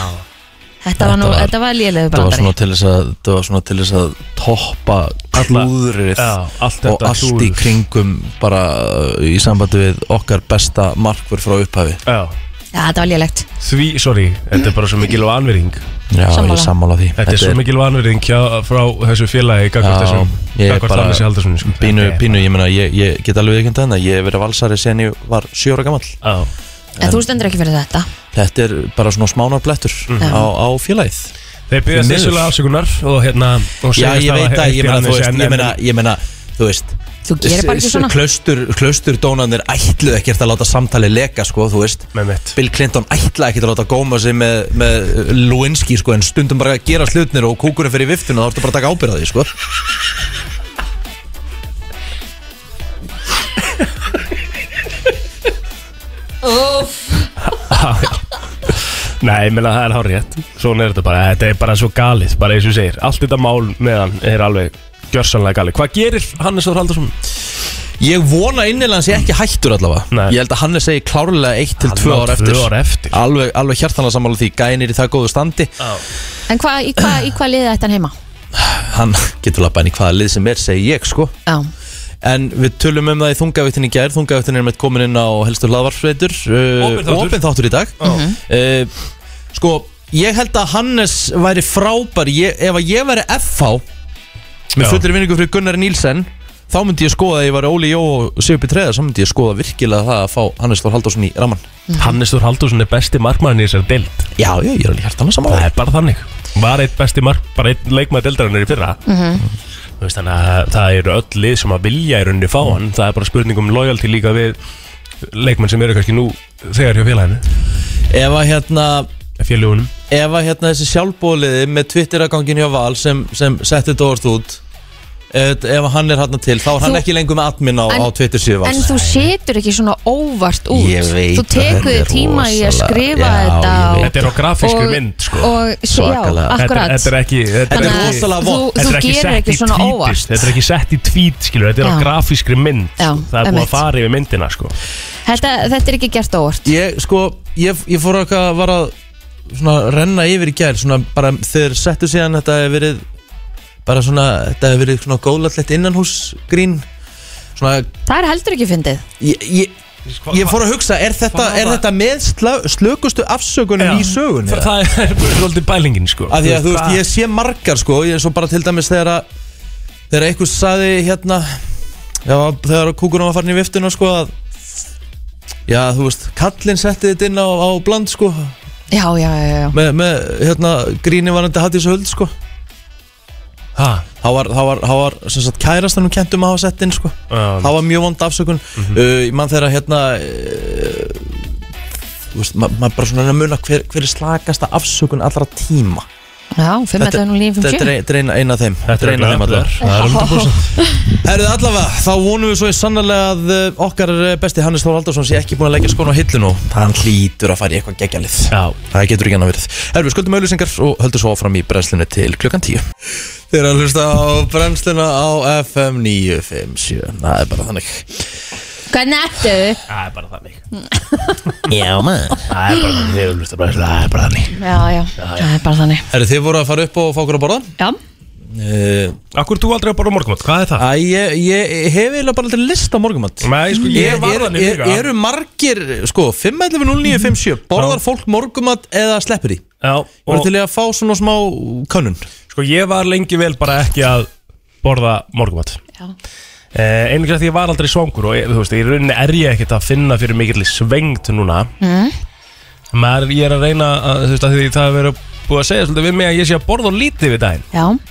[SPEAKER 3] Ha, þetta var nú,
[SPEAKER 2] Þetta var-
[SPEAKER 3] þetta var lélegu
[SPEAKER 2] Það var
[SPEAKER 3] brandari.
[SPEAKER 2] svona til þess að Það var svona til þess að Toppa
[SPEAKER 4] Alla-
[SPEAKER 2] klúðrið
[SPEAKER 4] já, allt
[SPEAKER 2] Og
[SPEAKER 4] þetta
[SPEAKER 2] allt í
[SPEAKER 4] klúður.
[SPEAKER 2] kringum Bara uh, í sambandi við okkar besta markvör frá upphafi
[SPEAKER 4] Já,
[SPEAKER 3] Já, þetta var lélegt.
[SPEAKER 4] því, sorry, þetta er bara svo mikil vanverðing
[SPEAKER 2] Já,
[SPEAKER 3] Sammála.
[SPEAKER 2] ég er sammála því
[SPEAKER 4] Þetta er svo mikil vanverðing hjá- frá þessu félagi gagvart
[SPEAKER 2] Já,
[SPEAKER 4] þessum,
[SPEAKER 2] ég er
[SPEAKER 4] gagvart
[SPEAKER 2] bara-
[SPEAKER 4] Hannes í Haldarsson sko.
[SPEAKER 2] Pínu,
[SPEAKER 4] Þetta er
[SPEAKER 2] pínu, ég meina, ég, ég get alveg ekki að Ég hef verið valsari sen ég var sjö ára gamall
[SPEAKER 4] bara- Já,
[SPEAKER 3] En þú stendur ekki fyrir þetta.
[SPEAKER 2] Þetta er bara svona smánarblettur á, á félagið
[SPEAKER 4] Þeir byrjast
[SPEAKER 2] Því miður.
[SPEAKER 4] þessulega afsökunar og hérna og
[SPEAKER 2] Já,
[SPEAKER 4] segjast
[SPEAKER 2] ég
[SPEAKER 4] hafa
[SPEAKER 2] veit að, ég
[SPEAKER 4] heyrt í
[SPEAKER 2] meina,
[SPEAKER 4] Hannes
[SPEAKER 2] þú veist,
[SPEAKER 4] en-
[SPEAKER 2] ég meina, ég meina, þú veist
[SPEAKER 3] Þú gerir bara ekki
[SPEAKER 2] s-
[SPEAKER 3] svona.
[SPEAKER 2] Klaustur, klausturdónarnir ætluðu ekkert að láta samtali leka, sko, þú veist
[SPEAKER 4] en- Með mitt
[SPEAKER 2] Bill Clinton ætlaði ekkert að láta góma sig með, með Lewinsky, sko, en stundum bara að gera slutnir og kúkurinn fyrir viftuna, þá ertu bara að taka ábyrða því, sko
[SPEAKER 4] Nei, ég meina, það er hár rétt Svona er þetta bara, þetta er bara svo galið bara eins og þú segir, allt þetta mál meðan er alveg gjörsanlega galið Hvað gerir Hannes Þór Haldarsson?
[SPEAKER 2] Ég vona innilega hans ég ekki hættur allavega
[SPEAKER 4] Nei.
[SPEAKER 2] Ég held að Hannes segi klárlega eitt til
[SPEAKER 4] Hann
[SPEAKER 2] tvö
[SPEAKER 4] á
[SPEAKER 2] ár
[SPEAKER 4] tvö
[SPEAKER 2] eftir
[SPEAKER 4] ár eftir.
[SPEAKER 2] Alveg, alveg hjartanlega sammála því, gæin er í það góðu standi
[SPEAKER 3] En hvað, í hvað, í hvað liði ætti hann heima?
[SPEAKER 2] Hann getur lappa henni hvaða lið sem er, segi ég, sko
[SPEAKER 3] Já,
[SPEAKER 2] En við tölum um það í þungavittin í gær Þungavittin er með komin inn á helstu hlaðvarfreitur uh,
[SPEAKER 4] Opinn þáttur.
[SPEAKER 2] Opinn þáttur í dag uh, Sko, ég held að Hannes væri frábær ég, Ef að ég væri FH
[SPEAKER 4] Já.
[SPEAKER 2] Með fullri vinningu fyrir Gunnar Nílsen Þá myndi ég skoða að ég var Óli Jó og Sigur Pétreða Þá myndi ég skoða virkilega það að fá Hannes Þór Halldórsson í ramman
[SPEAKER 4] Mhm. Hannes Þór Haldarsson er besti markmaðurinn í þessari deild
[SPEAKER 2] Já, já, ég er alveg hjartanlega
[SPEAKER 4] Það
[SPEAKER 2] saman
[SPEAKER 4] er bara þannig Var eitt besti mark, bara einn leikmaður deildarinnar í fyrra Þú veist þannig að það eru öll lið sem að vilja í rauninni fá hann Það er bara spurning um loyalty líka við leikmenn sem eru kannski nú þegar hjá félaginu
[SPEAKER 2] Ef að hérna
[SPEAKER 4] félagunum
[SPEAKER 2] Ef að hérna þessi sjálfbóliði með Twitter-agangin hjá Val sem, sem setti þetta orð út eh, ef hann er hann til þá er hann
[SPEAKER 3] Þú-
[SPEAKER 2] ekki lengur með admin á,
[SPEAKER 3] En-
[SPEAKER 2] á Twitter síðu
[SPEAKER 3] En þú setur ekki svona óvart út
[SPEAKER 5] Ég veit
[SPEAKER 3] Þú
[SPEAKER 5] að
[SPEAKER 3] tekur
[SPEAKER 5] þetta er
[SPEAKER 3] þér tíma í að
[SPEAKER 5] rosalega-
[SPEAKER 3] skrifa
[SPEAKER 5] Já,
[SPEAKER 3] þetta
[SPEAKER 5] ég
[SPEAKER 3] og-
[SPEAKER 5] veit.
[SPEAKER 4] Þetta er á grafískri
[SPEAKER 3] og-
[SPEAKER 4] mynd, sko.
[SPEAKER 3] Og,
[SPEAKER 5] Svakalega.
[SPEAKER 3] já,
[SPEAKER 4] Þetta er-
[SPEAKER 3] akkurat
[SPEAKER 4] Þetta er ekki þetta
[SPEAKER 2] Þetta er
[SPEAKER 3] Þannig að
[SPEAKER 2] rosalega
[SPEAKER 3] þú-
[SPEAKER 2] vont.
[SPEAKER 3] Þú
[SPEAKER 4] Þetta er
[SPEAKER 3] gerir
[SPEAKER 4] sett
[SPEAKER 3] ekki
[SPEAKER 4] í
[SPEAKER 3] svona
[SPEAKER 4] tweetið,
[SPEAKER 3] óvart
[SPEAKER 4] Þetta er ekki sett í tweet, skilur, þetta er á
[SPEAKER 3] Já.
[SPEAKER 4] grafískri mynd
[SPEAKER 3] Já,
[SPEAKER 4] sko. Það er búið
[SPEAKER 3] einmitt.
[SPEAKER 4] að fara yfir myndina, sko
[SPEAKER 3] þetta, þetta er ekki gert óvart
[SPEAKER 2] Ég, sko, ég, ég fór eitthvað að var að svona renna yfir í gær svona bara þegar settu síðan þetta hefur verið bara svona, þetta hefur verið svona góðlætlegt innanhúsgrín svona,
[SPEAKER 3] Það er heldur ekki fyndið
[SPEAKER 2] ég, ég, ég fór að hugsa er þetta,
[SPEAKER 4] Hvað
[SPEAKER 2] er
[SPEAKER 4] var-
[SPEAKER 2] þetta með sla, slökustu afsökunum í sögunni?
[SPEAKER 4] Það- Það er bara svolítið bælingin, sko
[SPEAKER 2] Af því að þú veist,
[SPEAKER 4] það-
[SPEAKER 2] ég sé margar sko Ég er svo bara til dæmis þegar að Þegar eitthvað saði hérna já, Þegar kúkurinn var farin í viftuna sko að Já, þú veist, kallinn setti þetta inn á, á bland sko
[SPEAKER 3] Já, já, já, já, já.
[SPEAKER 2] Með, með hérna, gríni var þetta hattís höld sko
[SPEAKER 4] Ha,
[SPEAKER 2] Þá var, þá var, þá var sem sagt, kærastanum kentum að hafa sett inn sko
[SPEAKER 4] um,
[SPEAKER 2] Það var mjög vond afsökun mm uh, Ég mann þegar hérna uh, Þú veist, ma- maður bara svona er að muna hver, hver er slagasta afsökun allra tíma
[SPEAKER 3] já fimm
[SPEAKER 2] Þetta-
[SPEAKER 3] þetta er nú lífum
[SPEAKER 2] Þetta
[SPEAKER 3] sjö
[SPEAKER 2] er ein- þetta er ein- ein af þeim
[SPEAKER 4] Þetta er
[SPEAKER 2] ein af
[SPEAKER 4] ekki
[SPEAKER 2] þeim allar
[SPEAKER 4] allar Það er 100%
[SPEAKER 2] Herðu allavega, þá vonum við svo í sannlega að uh, okkar uh, besti Hannes Þór Aldarsson sé ekki búin að leggja skon á hillinu Hann hlýtur að fara í eitthvað geggjalið
[SPEAKER 4] Já,
[SPEAKER 2] Það getur ekki annað verið Herðu, við skuldum auðlýsingar og höldum svo áfram í brennslunni til klukkan 10 Þeir eru að hlusta á brennsluna á FM 957 Það er bara þannig
[SPEAKER 3] Hvernig ertu?
[SPEAKER 4] það er bara þannig
[SPEAKER 2] Já maður
[SPEAKER 4] Það er bara þannig, þið eru hlusta bara Það er bara þannig
[SPEAKER 3] Já, já, það er bara þannig
[SPEAKER 2] Herðu, þið voru að fara upp og fá okkur að borða
[SPEAKER 3] Já,
[SPEAKER 2] uh,
[SPEAKER 4] Akkur þú aldrei að borða morgunmátt, hvað er það?
[SPEAKER 2] Æ, ég, ég hef eiginlega bara aldrei list á morgumat
[SPEAKER 4] Nei, sko, ég var
[SPEAKER 2] er,
[SPEAKER 4] þannig
[SPEAKER 2] er,
[SPEAKER 4] líka.
[SPEAKER 2] Eru margir, sko, 5.11.09.57 Borðar fólk morgumat eða sleppur í?
[SPEAKER 4] Já,
[SPEAKER 2] Þú
[SPEAKER 4] og
[SPEAKER 2] til í að fá svona smá könnun
[SPEAKER 4] sko ég var lengi vel bara ekki að borða morgunmátt
[SPEAKER 3] já,
[SPEAKER 4] Eh, einnig að því ég var aldrei svangur og ég, þú veist, í rauninni er ég ekkert að finna fyrir mikill svengt núna maður ég er að reyna að, þú veist, að því það hefur verið búið að segja svolítið við mig að ég sé að borða og lítið við daginn
[SPEAKER 3] já
[SPEAKER 4] og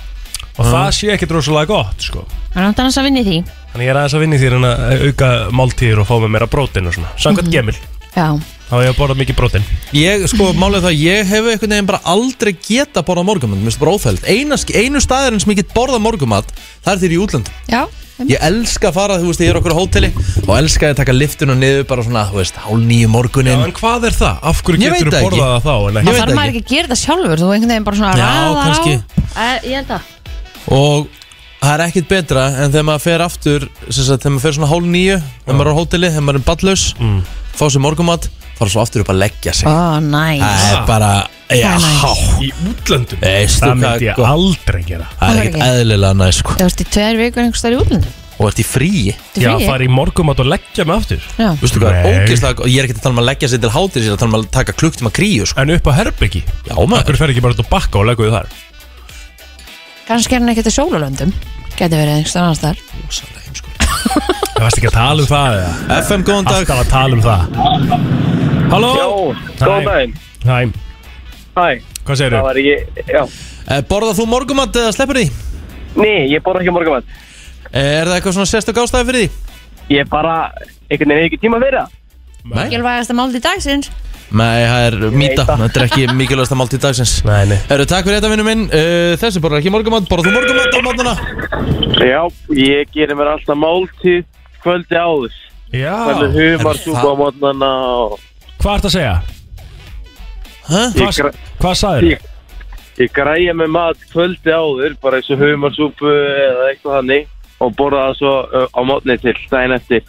[SPEAKER 2] Mm.
[SPEAKER 4] það sé ekkert rosalega gott sko.
[SPEAKER 3] Það er náttúrulega annars að vinni því
[SPEAKER 4] þannig ég er aðeins að vinna í því en að auka máltíðir og fá með meira brótin og svona samkvæmt
[SPEAKER 2] Mhm.
[SPEAKER 4] gemil,
[SPEAKER 3] Já,
[SPEAKER 4] þá hef ég að borða mikið brótin
[SPEAKER 2] Ég, sko, málið er það, ég hef einhvern veginn bara aldrei geta borða morgumat Mér finnst það bara óþæld Eina, Einu staðurinn sem ég get borða morgumat Það er þér í útlönd
[SPEAKER 3] já,
[SPEAKER 2] Ég elska að fara, þú veist, ég er okkur á hóteli Og elska ég að taka liftun og niður bara svona, þú veist, hálf nýju morgunin
[SPEAKER 4] en hvað er það? Af hverju
[SPEAKER 2] Ég veit
[SPEAKER 4] getur þú
[SPEAKER 2] það ekki.
[SPEAKER 4] borðað það þá? en
[SPEAKER 2] Ég
[SPEAKER 4] ekki-
[SPEAKER 2] veit
[SPEAKER 3] þarf maður
[SPEAKER 2] ekki.
[SPEAKER 3] ekki að gera það sjálfur Þú einhvern veginn bara svona
[SPEAKER 2] Já,
[SPEAKER 3] raðar á.
[SPEAKER 2] kannski.
[SPEAKER 3] Eh, Ég held að
[SPEAKER 2] Og það er ekkit betra en þegar maður fer aftur sem sagt, Þegar maður fer svona hálf nýju Þegar maður er á hóteli, þegar maður er ballaus
[SPEAKER 4] Mm.
[SPEAKER 2] Fá sér morgumat, fara svo aftur upp að leggja sig
[SPEAKER 3] Ó, næs
[SPEAKER 2] Það er bara, já,
[SPEAKER 3] Það er næs.
[SPEAKER 4] í útlöndum?
[SPEAKER 2] Veistu
[SPEAKER 4] það
[SPEAKER 2] hvað sko.
[SPEAKER 4] myndi
[SPEAKER 2] gott.
[SPEAKER 4] ég aldrei gera
[SPEAKER 2] Það er
[SPEAKER 3] Það er
[SPEAKER 2] ekkert
[SPEAKER 3] ekki.
[SPEAKER 2] eðlilega næ sko.
[SPEAKER 3] Þú ert í tveir vikur einhvers þar í útlundu
[SPEAKER 2] Og ert í fríi
[SPEAKER 4] Já, fara í morgumat og leggja mig aftur
[SPEAKER 3] Já,
[SPEAKER 2] Vistu hvað,
[SPEAKER 4] Nei.
[SPEAKER 2] ógeðslega Ég er ekki að tala um að leggja sér til hátir Ég er að tala um að taka klukktíma kríu sko.
[SPEAKER 4] En upp á herbyggi?
[SPEAKER 2] Já, maður.
[SPEAKER 4] Akkur fer ekki bara út á bakka og leggur þið þar?
[SPEAKER 3] kannski er hann ekkert í sólalöndum Geti verið einhvers þar annars þar
[SPEAKER 2] Rosalega heimsko.
[SPEAKER 4] Það varst ekki að tala um það eða?
[SPEAKER 2] FM, góðan dag
[SPEAKER 4] Alltaf að tala um það Halló?
[SPEAKER 6] Já, góðan daginn.
[SPEAKER 4] Hæ,
[SPEAKER 6] Hæ,
[SPEAKER 4] hvað segir
[SPEAKER 6] það var ég, já.
[SPEAKER 2] Eh, Borðar þú morgumat eða sleppur því? Eh,
[SPEAKER 6] Nei, ég borða ekki morgumat.
[SPEAKER 2] Er það eitthvað svona sérstök ástæði fyrir því?
[SPEAKER 6] Ég bara, einhvern veginn hef ekki tíma að vera.
[SPEAKER 2] Nei,
[SPEAKER 3] Mikilvægasta máldi dagsins
[SPEAKER 2] Nei það er mýta
[SPEAKER 6] það.
[SPEAKER 2] Þetta er ekki mikilvægasta mál til dagsins
[SPEAKER 4] Nei, nei
[SPEAKER 2] Herru, takk fyrir þetta vinnu minn Eh, Þessi borðar ekki morgumat Borðar þú morgumat á mátnuna?
[SPEAKER 6] Já, ég gerir mér alltaf máltíð kvöldi áður.
[SPEAKER 4] Ah.
[SPEAKER 6] Þannig
[SPEAKER 4] Já,
[SPEAKER 6] humar
[SPEAKER 2] er
[SPEAKER 6] súpa
[SPEAKER 2] það-
[SPEAKER 6] á mótnana og
[SPEAKER 4] hvað ertu að segja?
[SPEAKER 2] Hæ?
[SPEAKER 6] Ég
[SPEAKER 4] Hvað,
[SPEAKER 6] gra-
[SPEAKER 4] hvað sagðir?
[SPEAKER 6] Ég- ég græja með mat kvöldi áður, bara eins og humar súpu eða eitthvað hannig og borða það svo uh, á mótni til daginn eftir.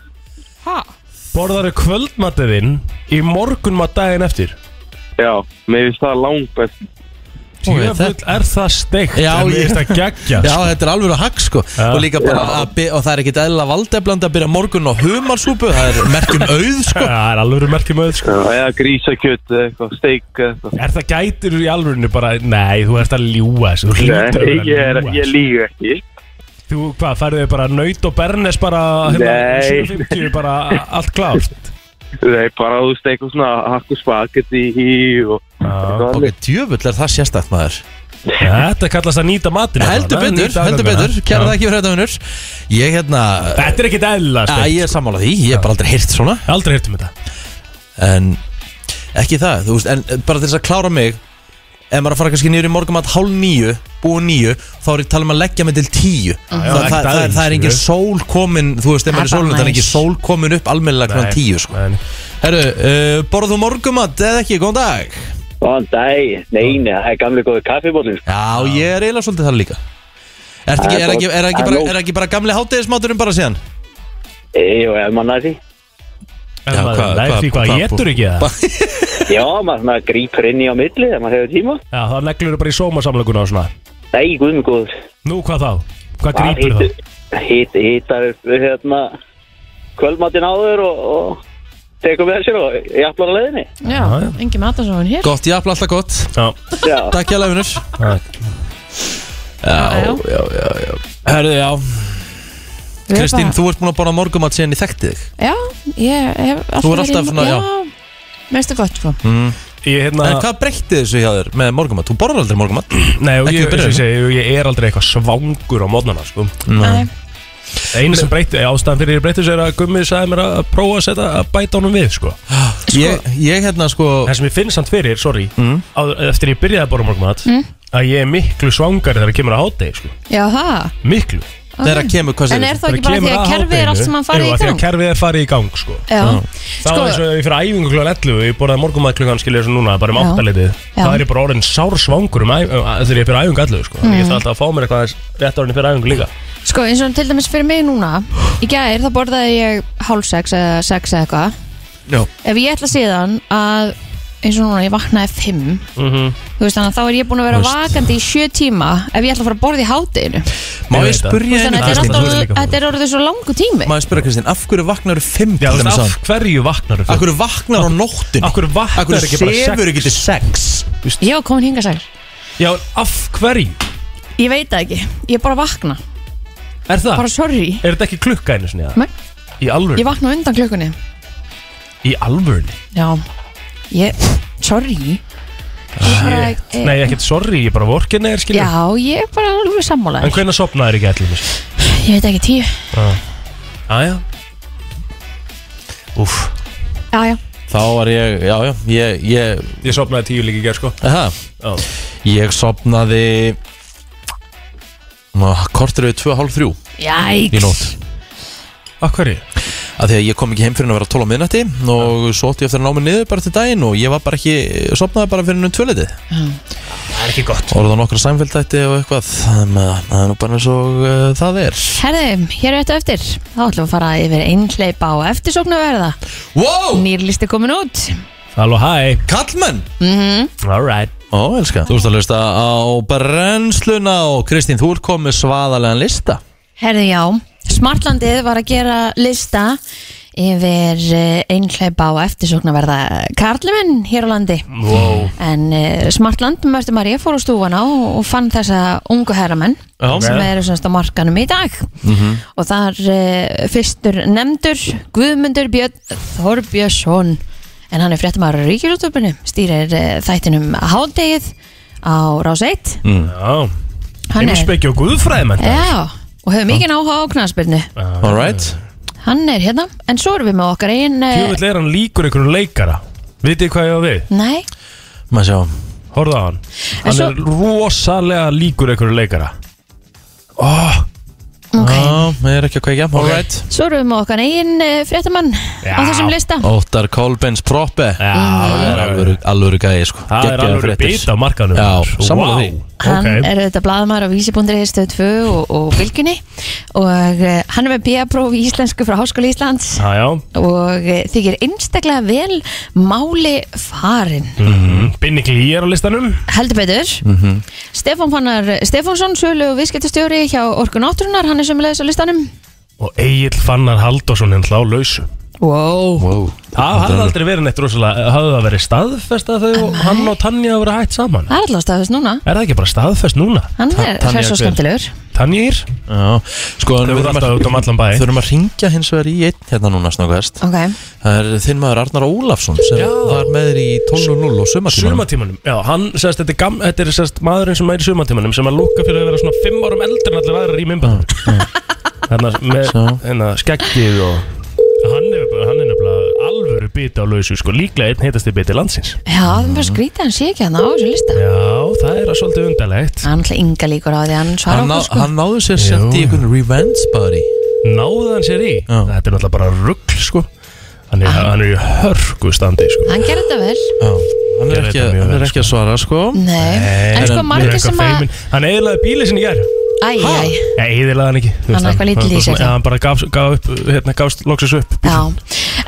[SPEAKER 4] Borðaru kvöldmatiðinn í morgunmat daginn eftir
[SPEAKER 6] Já, mér finnst það langbæst.
[SPEAKER 2] Ó, ég,
[SPEAKER 4] Tjöfull er það steikt
[SPEAKER 2] Já,
[SPEAKER 4] En
[SPEAKER 2] ég-
[SPEAKER 4] ég er það geggja
[SPEAKER 2] Já, þetta er alveg að hagg sko
[SPEAKER 4] Já.
[SPEAKER 2] og, líka bara að by- og það er ekki eðla valdeflandi að byrja morgun á humarsúpu Það er merkjum auð sko
[SPEAKER 4] Það er alveg merkjum öð sko
[SPEAKER 6] Já, grísakjöt eða eitthvað, steik eða eitthvað.
[SPEAKER 4] Er það gætir í alvörinu bara Nei, þú ert að ljúga þessu Þú hlýtur
[SPEAKER 6] Nei,
[SPEAKER 4] að
[SPEAKER 6] ég, er,
[SPEAKER 4] vera að
[SPEAKER 6] ég
[SPEAKER 4] ljúga sko.
[SPEAKER 6] lígu ekki.
[SPEAKER 4] Þú hvað, færðu þið bara nöyt og bernes bara hérna,
[SPEAKER 6] Nei.
[SPEAKER 4] 750 bara allt klárt
[SPEAKER 6] Nei, bara þú veist eitthvað svona hakku spagetti í og
[SPEAKER 4] Já.
[SPEAKER 6] eitthvað
[SPEAKER 2] Ok,
[SPEAKER 6] annað.
[SPEAKER 2] djöfull er það sérstætt maður
[SPEAKER 4] Þetta kallast að nýta matinn
[SPEAKER 2] Heldur
[SPEAKER 4] allavega,
[SPEAKER 2] betur,
[SPEAKER 4] nýta
[SPEAKER 2] heldur
[SPEAKER 4] aðgangana.
[SPEAKER 2] betur, kæra
[SPEAKER 4] Já.
[SPEAKER 2] það ekki fyrir þetta vinnur Ég hérna,
[SPEAKER 4] Þetta er ekkit eðla
[SPEAKER 2] að ég er sammála því, ég er bara aldrei hýrt svona
[SPEAKER 4] Aldrei hirtum þetta
[SPEAKER 2] En eh, ekki það, þú veist, en bara til þess að klára mig Ef maður að fara kannski niður í morgumat hálf nýju Þá og 9 þá er ég að tala um að leggja mig til 10 það,
[SPEAKER 4] já,
[SPEAKER 2] það,
[SPEAKER 4] ekki
[SPEAKER 2] það, það,
[SPEAKER 4] aðeins,
[SPEAKER 2] það er engin sól komin þú veist, ef
[SPEAKER 3] Það
[SPEAKER 2] maður
[SPEAKER 3] er
[SPEAKER 2] er sólun
[SPEAKER 3] bara
[SPEAKER 2] það er
[SPEAKER 3] næs.
[SPEAKER 2] engin sól komin upp almennilega
[SPEAKER 4] Nei,
[SPEAKER 2] kvæðan 10 sko.
[SPEAKER 4] nei.
[SPEAKER 2] Herru, uh, borðu þú morgumat eða ekki, góðan dag
[SPEAKER 7] Góðan dag, nei, nei, það er gamli góði sko. kaffibólin
[SPEAKER 2] Já, ég er eiginlega svolítið það líka Er ekki, er ekki, er ekki, bara, er ekki bara gamli hátegismáturinn bara síðan?
[SPEAKER 7] Jú, ef maður nær því
[SPEAKER 4] En
[SPEAKER 2] Já,
[SPEAKER 4] maður
[SPEAKER 2] hvað-
[SPEAKER 4] nær
[SPEAKER 2] hvað-
[SPEAKER 4] því hvað
[SPEAKER 2] hvað-
[SPEAKER 4] getur ekki það
[SPEAKER 7] Já, maður svona grýpur inn í á milli ef maður hefur tíma
[SPEAKER 4] Já, þá leggurðu bara í sómasamlökuna og svona
[SPEAKER 7] Nei, guðum góður
[SPEAKER 4] Nú, hvað þá? Hvað grýpur þá?
[SPEAKER 7] Hít, hítar upp hérna kvöldmatinn áður og, og tekur með sér og jafnlar að leiðinni
[SPEAKER 3] Já,
[SPEAKER 4] já.
[SPEAKER 3] engin matarsofun hér
[SPEAKER 2] Gott, já, alltaf gott
[SPEAKER 4] Já,
[SPEAKER 7] Já,
[SPEAKER 2] Takk hjá lefinur
[SPEAKER 4] takk.
[SPEAKER 3] Já, já.
[SPEAKER 2] Herru, já,
[SPEAKER 3] Við erum
[SPEAKER 2] Kristín,
[SPEAKER 3] bara-
[SPEAKER 2] þú ert búin að borða morgumat síðan ég þekkti þig
[SPEAKER 3] Já, ég hef alltaf
[SPEAKER 2] Þú er alltaf
[SPEAKER 4] Hérna,
[SPEAKER 2] svona, já.
[SPEAKER 3] já Mér finnst það gott, sko
[SPEAKER 4] Ég, hérna,
[SPEAKER 2] En hvað breytti þessu hjá þér með morgumat? Þú borðar aldrei morgumat
[SPEAKER 4] nei, og
[SPEAKER 2] ekki við
[SPEAKER 4] ég, ég,
[SPEAKER 2] byrjunum?
[SPEAKER 4] ég, ég er aldrei eitthvað svangur á mótnana, sko
[SPEAKER 3] Nei.
[SPEAKER 4] Einu sem breyti, ástæðan fyrir ég breyti sér að Gummi sagði mér að að prófa að setja að bæta honum við, sko
[SPEAKER 2] Ég, ég hérna sko Mm.
[SPEAKER 4] Það sem ég finn samt fyrir, sorry áður, Eftir ég byrjaði að borða morgunmat
[SPEAKER 3] Mm.
[SPEAKER 4] Að ég er miklu svangari þegar kemur að hátegi, sko
[SPEAKER 3] Já, það
[SPEAKER 4] Miklu
[SPEAKER 2] Þegar kemur, hvað
[SPEAKER 3] En
[SPEAKER 2] segir
[SPEAKER 3] er það ekki bara því að kerfið er allt sem hann farið í
[SPEAKER 4] Þegar
[SPEAKER 3] gang?
[SPEAKER 4] kerfið er farið í gang, sko
[SPEAKER 3] Já,
[SPEAKER 4] Það var eins
[SPEAKER 3] sko,
[SPEAKER 4] og ég fyrir æfingu klukkan 11 Ég borðaði morgunmat klukkan skilja þessu núna Bara um
[SPEAKER 3] Já.
[SPEAKER 4] 8 litið
[SPEAKER 3] Já.
[SPEAKER 4] Það er ég bara orðin sár svangur um æ- um- að- Þegar ég fyrir æfingu 11 sko.
[SPEAKER 3] Mm.
[SPEAKER 4] Þannig Ég þarf alltaf að fá mér eitthvað aðeins rétt árinni fyrir æfingu líka
[SPEAKER 3] sko, eins og til dæmis fyrir mig núna Í gær þá borðaði ég hálf sex eða sex eða eitthvað
[SPEAKER 2] Já.
[SPEAKER 3] Ef ég ætla síðan að eins og núna ég vaknaði fimm
[SPEAKER 2] Mhm.
[SPEAKER 3] Þú veist þannig að þá er ég búin að vera vakandi í sjö tíma Ef ég ætla að fara að borða í hátinu Þú
[SPEAKER 2] Má
[SPEAKER 4] Ég
[SPEAKER 2] ég
[SPEAKER 4] veit það.
[SPEAKER 2] spurja
[SPEAKER 3] veist þannig að þetta
[SPEAKER 2] einu
[SPEAKER 3] er
[SPEAKER 2] Kristín?
[SPEAKER 3] alltaf
[SPEAKER 4] þú veist
[SPEAKER 3] orðið-
[SPEAKER 4] líka.
[SPEAKER 3] þetta er orðið svo langu tími
[SPEAKER 2] Má ég spurja Kristín, af hverju vaknar þú fimm
[SPEAKER 4] Já,
[SPEAKER 2] til
[SPEAKER 4] þú
[SPEAKER 2] þess að
[SPEAKER 4] veist, af hverju vaknar
[SPEAKER 2] Af hverju vaknar á nóttunni?
[SPEAKER 4] Af hverju vaknar
[SPEAKER 2] Af hverju
[SPEAKER 4] ekki bara sex?
[SPEAKER 2] sefur ekki til sex?
[SPEAKER 3] Ég var komin hinga sæl
[SPEAKER 4] Já, af hverju?
[SPEAKER 3] Ég veit það ekki, ég er bara að vakna
[SPEAKER 4] Er það?
[SPEAKER 3] Bara sorry,
[SPEAKER 4] Er þetta ekki klukka einu sinni? eða?
[SPEAKER 3] Nei.
[SPEAKER 4] Í
[SPEAKER 3] ég
[SPEAKER 4] alvörni?
[SPEAKER 3] vakna á undan klukkunni
[SPEAKER 4] Í alvörni?
[SPEAKER 3] Já, ég, sorry Ég bara, eh,
[SPEAKER 4] Nei, ekkert sorry, ég bara vorkinni er skilja
[SPEAKER 3] Já, ég er bara alveg sammála
[SPEAKER 4] En hvernig sopnaður ekki allir mér?
[SPEAKER 3] Ég veit ekki tíu
[SPEAKER 2] Ah.
[SPEAKER 4] Æja Úf,
[SPEAKER 3] Já, já,
[SPEAKER 2] Þá var ég, já, já, ég, ég,
[SPEAKER 4] ég sopnaði tíu líka í gerð sko
[SPEAKER 2] aha,
[SPEAKER 4] Já.
[SPEAKER 2] ég sopnaði Ná, kortur við tvö, hálf þrjú
[SPEAKER 3] jæks
[SPEAKER 2] í nótt
[SPEAKER 4] Af hverju?
[SPEAKER 2] að því að ég kom ekki heim fyrir en að vera 12 á miðnætti og svo ótti ég eftir að ná mig niður bara til daginn og ég var bara ekki, sopnaði bara fyrir um ennum tvöliti Það er
[SPEAKER 4] ekki gott.
[SPEAKER 2] Og það nokkra sæmfélgdætti og eitthvað, þannig að það er nú bara eins og uh, það er
[SPEAKER 3] Herðu, hér er þetta eftir Þá ætlum við að fara yfir einhleipa og eftirsóknarverða
[SPEAKER 2] Wow,
[SPEAKER 3] Nýrlisti komin út Mhm.
[SPEAKER 4] Halló, hæ
[SPEAKER 2] kallmenn!
[SPEAKER 4] Alright
[SPEAKER 2] Ó, elska Þú ert að hlusta á brennsluna og Kristín, þú ert komið svaðalegan lista
[SPEAKER 3] Herðu, já, Smartlandið var að gera lista yfir eh, einhleipa og eftirsóknarverða Karluminn hér á landi
[SPEAKER 4] Wow
[SPEAKER 3] En uh, Smartland, Mörti Maria fór á stúfana og, og fann þessa ungu herramenn
[SPEAKER 2] Já.
[SPEAKER 3] sem eru semst á markanum í dag og þar uh, fyrstur nefndur Guðmundur Björn Þorbjörnsson en hann er fréttamaður á Ríkjusúttöpunni stýrir uh, þættinum Hádegið á Rás 1
[SPEAKER 2] Mm.
[SPEAKER 4] Já
[SPEAKER 3] Hann er-
[SPEAKER 4] Heimsbyggi og guðfræðimenn Ah,
[SPEAKER 3] Já, og hefur mikið áhuga á knarsbyrnu
[SPEAKER 2] All right
[SPEAKER 3] Hann er hérna, en svo erum við með okkar einn uh,
[SPEAKER 4] Tjóðvill er hann líkur einhverjum leikara Vitið þið hvað ég á við?
[SPEAKER 3] Nei,
[SPEAKER 2] Maður sjá
[SPEAKER 4] Horða á hann Hann
[SPEAKER 3] svo-
[SPEAKER 4] er rosalega líkur einhverjum leikara
[SPEAKER 1] Ah.
[SPEAKER 4] oh,
[SPEAKER 3] ok
[SPEAKER 2] Já, ég er ekki að kveikja All right
[SPEAKER 3] Svo erum við með okkar einn uh, fréttamann á
[SPEAKER 4] Já.
[SPEAKER 3] þessum lista
[SPEAKER 2] Óttar Kolbens proppe
[SPEAKER 4] Já,
[SPEAKER 2] Það er alvöru, alvöru gæi sko
[SPEAKER 4] Það er
[SPEAKER 2] Geggjaðar
[SPEAKER 4] alveg
[SPEAKER 2] fréttir.
[SPEAKER 4] bit á markanum
[SPEAKER 2] Já, sammála því.
[SPEAKER 3] Hann
[SPEAKER 4] okay.
[SPEAKER 3] er auðvitað blaðmaður á vísibundri stöð 2 og, og bylginni og uh, hann er með B.A.próf í íslensku frá Háskóli Íslands
[SPEAKER 4] Já, Ah, já
[SPEAKER 3] og uh, þykir einstaklega vel máli farin
[SPEAKER 2] Mhm.
[SPEAKER 4] mm. Binni Glý er á listanum
[SPEAKER 3] heldur betur Stefán Fannar Stefánsson, sölu og viðskiptastjóri hjá Orku Náttúrunar, hann er sömulegis á listanum
[SPEAKER 4] Og Egil Fannar Halldórsson er hlá lausu
[SPEAKER 3] wow.
[SPEAKER 2] Wow
[SPEAKER 4] Það hafði aldrei verið neitt rosalega Hafði það verið staðfest að þau og hann og Tanja hafa verið hætt saman
[SPEAKER 3] það er alltaf staðist núna
[SPEAKER 4] Er það ekki bara staðfest núna?
[SPEAKER 3] hann
[SPEAKER 2] Ta-
[SPEAKER 3] er
[SPEAKER 2] Tanja
[SPEAKER 3] hress og
[SPEAKER 2] hver?
[SPEAKER 3] skemmtilegur
[SPEAKER 4] Tanjir?
[SPEAKER 2] Já, sko en
[SPEAKER 4] Þau
[SPEAKER 2] við
[SPEAKER 4] eru
[SPEAKER 2] þurfum
[SPEAKER 4] alltaf út um allan bæ.
[SPEAKER 2] Þurfum að ringja hins vegar í einn hérna núna snakkaðast
[SPEAKER 3] ok,
[SPEAKER 2] Það er þinn maður Arnar Ólafsson sem
[SPEAKER 4] Já.
[SPEAKER 2] var með þér í 12.0 og sumartímanum
[SPEAKER 4] Sumatímanum, já, hann sérst, þetta er, gam, þetta er sérst, maðurinn sem er í sumatímanum sem að lúka fyrir að vera svona fimm árum eldri en allir aðrir í minnbæðunum Þannig að með
[SPEAKER 2] Svo.
[SPEAKER 4] hérna, skeggið og Hann er, bara- hann er nefnilega alvöru biti á lausu sko, líklega einn heitasti biti landsins
[SPEAKER 3] Já, það er bara
[SPEAKER 2] Mm.
[SPEAKER 3] skrítið, hann sé ekki hann á þessu lista
[SPEAKER 4] Já, það er að svolítið undarlegt
[SPEAKER 3] Það er náttúrulega ynga líkur á því að hann svara
[SPEAKER 2] Hann, ná,
[SPEAKER 3] okkur sko
[SPEAKER 2] hann náðu sér sent í einhvern revenge body
[SPEAKER 4] Náði hann sér í
[SPEAKER 2] Já. Ah.
[SPEAKER 4] Þetta er náttúrulega bara rugg sko Hann er, hann er í hörgu standi sko
[SPEAKER 3] Hann gerði þetta vel
[SPEAKER 2] Já, hann er
[SPEAKER 4] Ég veit
[SPEAKER 2] ekki,
[SPEAKER 4] það mjög
[SPEAKER 2] hann er
[SPEAKER 4] vel,
[SPEAKER 2] ekki að svara sko
[SPEAKER 3] Nei, en sko
[SPEAKER 2] hann-
[SPEAKER 4] Hann er
[SPEAKER 3] margir
[SPEAKER 4] eitthvað
[SPEAKER 3] sem að
[SPEAKER 4] feiminn. Hann eiginlega bílið sinni hér
[SPEAKER 3] Æ, æ,
[SPEAKER 4] Nei, eiginlega hann ekki Þú
[SPEAKER 3] Hann
[SPEAKER 4] veist,
[SPEAKER 3] er eitthvað lítill í
[SPEAKER 4] bara
[SPEAKER 3] sér,
[SPEAKER 4] svona-
[SPEAKER 3] þá.
[SPEAKER 4] Já, Hann bara gaf, gaf upp, hérna, gafst loksins upp
[SPEAKER 3] já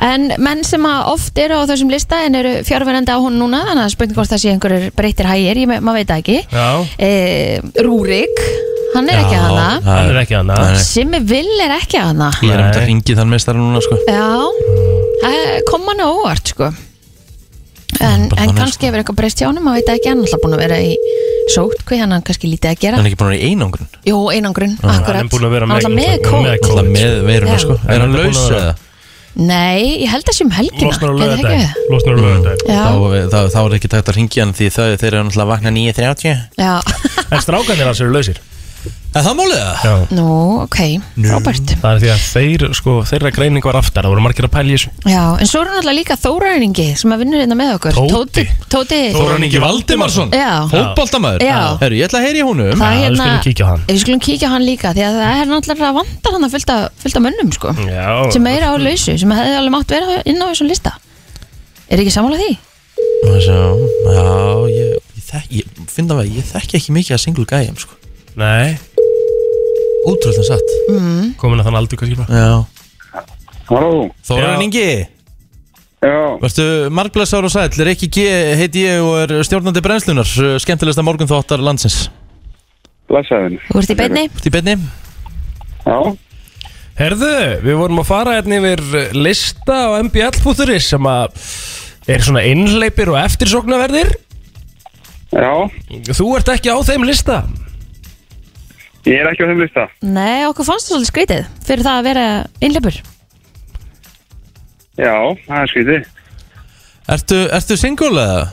[SPEAKER 3] En menn sem að oft eru á þessum lista en eru fjárverandi á hún núna þannig að spurning hvort það sé einhverjur breyttir hægir ég, me- maður veit það ekki
[SPEAKER 4] Já,
[SPEAKER 3] e, Rúrik, hann er ekki hana
[SPEAKER 2] Það
[SPEAKER 4] hann er ekki hann
[SPEAKER 2] Nei.
[SPEAKER 3] Simmi Vill er ekki hana
[SPEAKER 2] Ég er um
[SPEAKER 4] Nei.
[SPEAKER 2] þetta ringið þann meistara núna sko
[SPEAKER 3] Já, það kom hann á óvart sko En,
[SPEAKER 2] bara
[SPEAKER 3] en
[SPEAKER 2] þannig,
[SPEAKER 3] kannski
[SPEAKER 2] sko.
[SPEAKER 3] hefur eitthvað breyst hjá hann maður veit það ekki hann er alltaf búin að vera í sótt hvað hann er kannski lítið að gera
[SPEAKER 2] Hann er ekki búin að vera í einangrun
[SPEAKER 3] Jú, einangrun, akkurat
[SPEAKER 4] Hann er búinn að vera
[SPEAKER 3] Hann er
[SPEAKER 4] með-
[SPEAKER 3] alltaf með
[SPEAKER 4] með
[SPEAKER 3] kóð
[SPEAKER 2] Alltaf með veiruna
[SPEAKER 3] Já.
[SPEAKER 2] sko Er
[SPEAKER 4] Hann
[SPEAKER 2] hann
[SPEAKER 4] er búin að
[SPEAKER 2] laus
[SPEAKER 4] vera-
[SPEAKER 2] eða?
[SPEAKER 3] Nei, ég held að sé um helgina
[SPEAKER 4] Losnar á
[SPEAKER 3] gæti það ekki
[SPEAKER 4] lögadag
[SPEAKER 3] verið?
[SPEAKER 4] Losnar á lögadag
[SPEAKER 3] Já,
[SPEAKER 2] Mm. Þá, þá, þá er ekki tægt að ringja hann því þau, þeir eru náttúrulega að vakna 9.30
[SPEAKER 3] já,
[SPEAKER 4] En strákanir hans eru lausir
[SPEAKER 2] Er það málið það?
[SPEAKER 4] Já
[SPEAKER 3] nú, ok, Robert
[SPEAKER 4] Það er því að þeir, sko, þeirra greining var aftar Það voru margir að pæli þessu
[SPEAKER 3] Já, en svo er hann alltaf líka Þóraringi sem að vinnur hérna með okkur
[SPEAKER 4] Tóti.
[SPEAKER 3] Tóti,
[SPEAKER 4] Þórarinn Ingi
[SPEAKER 2] Valdimarsson
[SPEAKER 3] Já.
[SPEAKER 2] Fótboltamaður
[SPEAKER 3] Já.
[SPEAKER 2] Herru, ég ætla að heyri húnum
[SPEAKER 3] það
[SPEAKER 4] Já,
[SPEAKER 3] er
[SPEAKER 4] við
[SPEAKER 3] hérna
[SPEAKER 4] skulum kíkja á hann.
[SPEAKER 3] Við skulum kíkja á hann líka því að það er náttúrulega vandar hann að fylta, fylta mönnum sko
[SPEAKER 4] Mm. Já
[SPEAKER 3] sem meira á lausu, sem hefði alveg mátt vera inn á þessum lista Er ekki sammála því?
[SPEAKER 2] Já, já ég, ég, þek, ég finn það að ég þekki ekki mikið að single gæjum sko
[SPEAKER 4] Nei,
[SPEAKER 2] Útrúlega satt
[SPEAKER 3] Mm.
[SPEAKER 4] komin að þann aldur kannski bara
[SPEAKER 2] Já
[SPEAKER 6] Halló
[SPEAKER 4] Já.
[SPEAKER 2] Þórarinn Ingi
[SPEAKER 6] Já,
[SPEAKER 2] Vartu margblæsar og sæll, Rikki G heiti ég og er stjórnandi brennslunar skemmtilegsta morgun þóttar landsins
[SPEAKER 6] blessaðin
[SPEAKER 3] Þú ert í beinni?
[SPEAKER 2] Þú ert í beinni?
[SPEAKER 6] Já,
[SPEAKER 4] Herðu, við vorum að fara hérna yfir lista á mbl.is sem að er svona innleipir og eftirsóknarverðir
[SPEAKER 6] já
[SPEAKER 4] Þú ert ekki á þeim lista
[SPEAKER 6] Ég er ekki á þeim lista
[SPEAKER 3] Nei, okkur fannst það svolítið skrítið fyrir það að vera innleipur
[SPEAKER 6] Já, það er skrítið
[SPEAKER 2] Ertu, ertu single eða?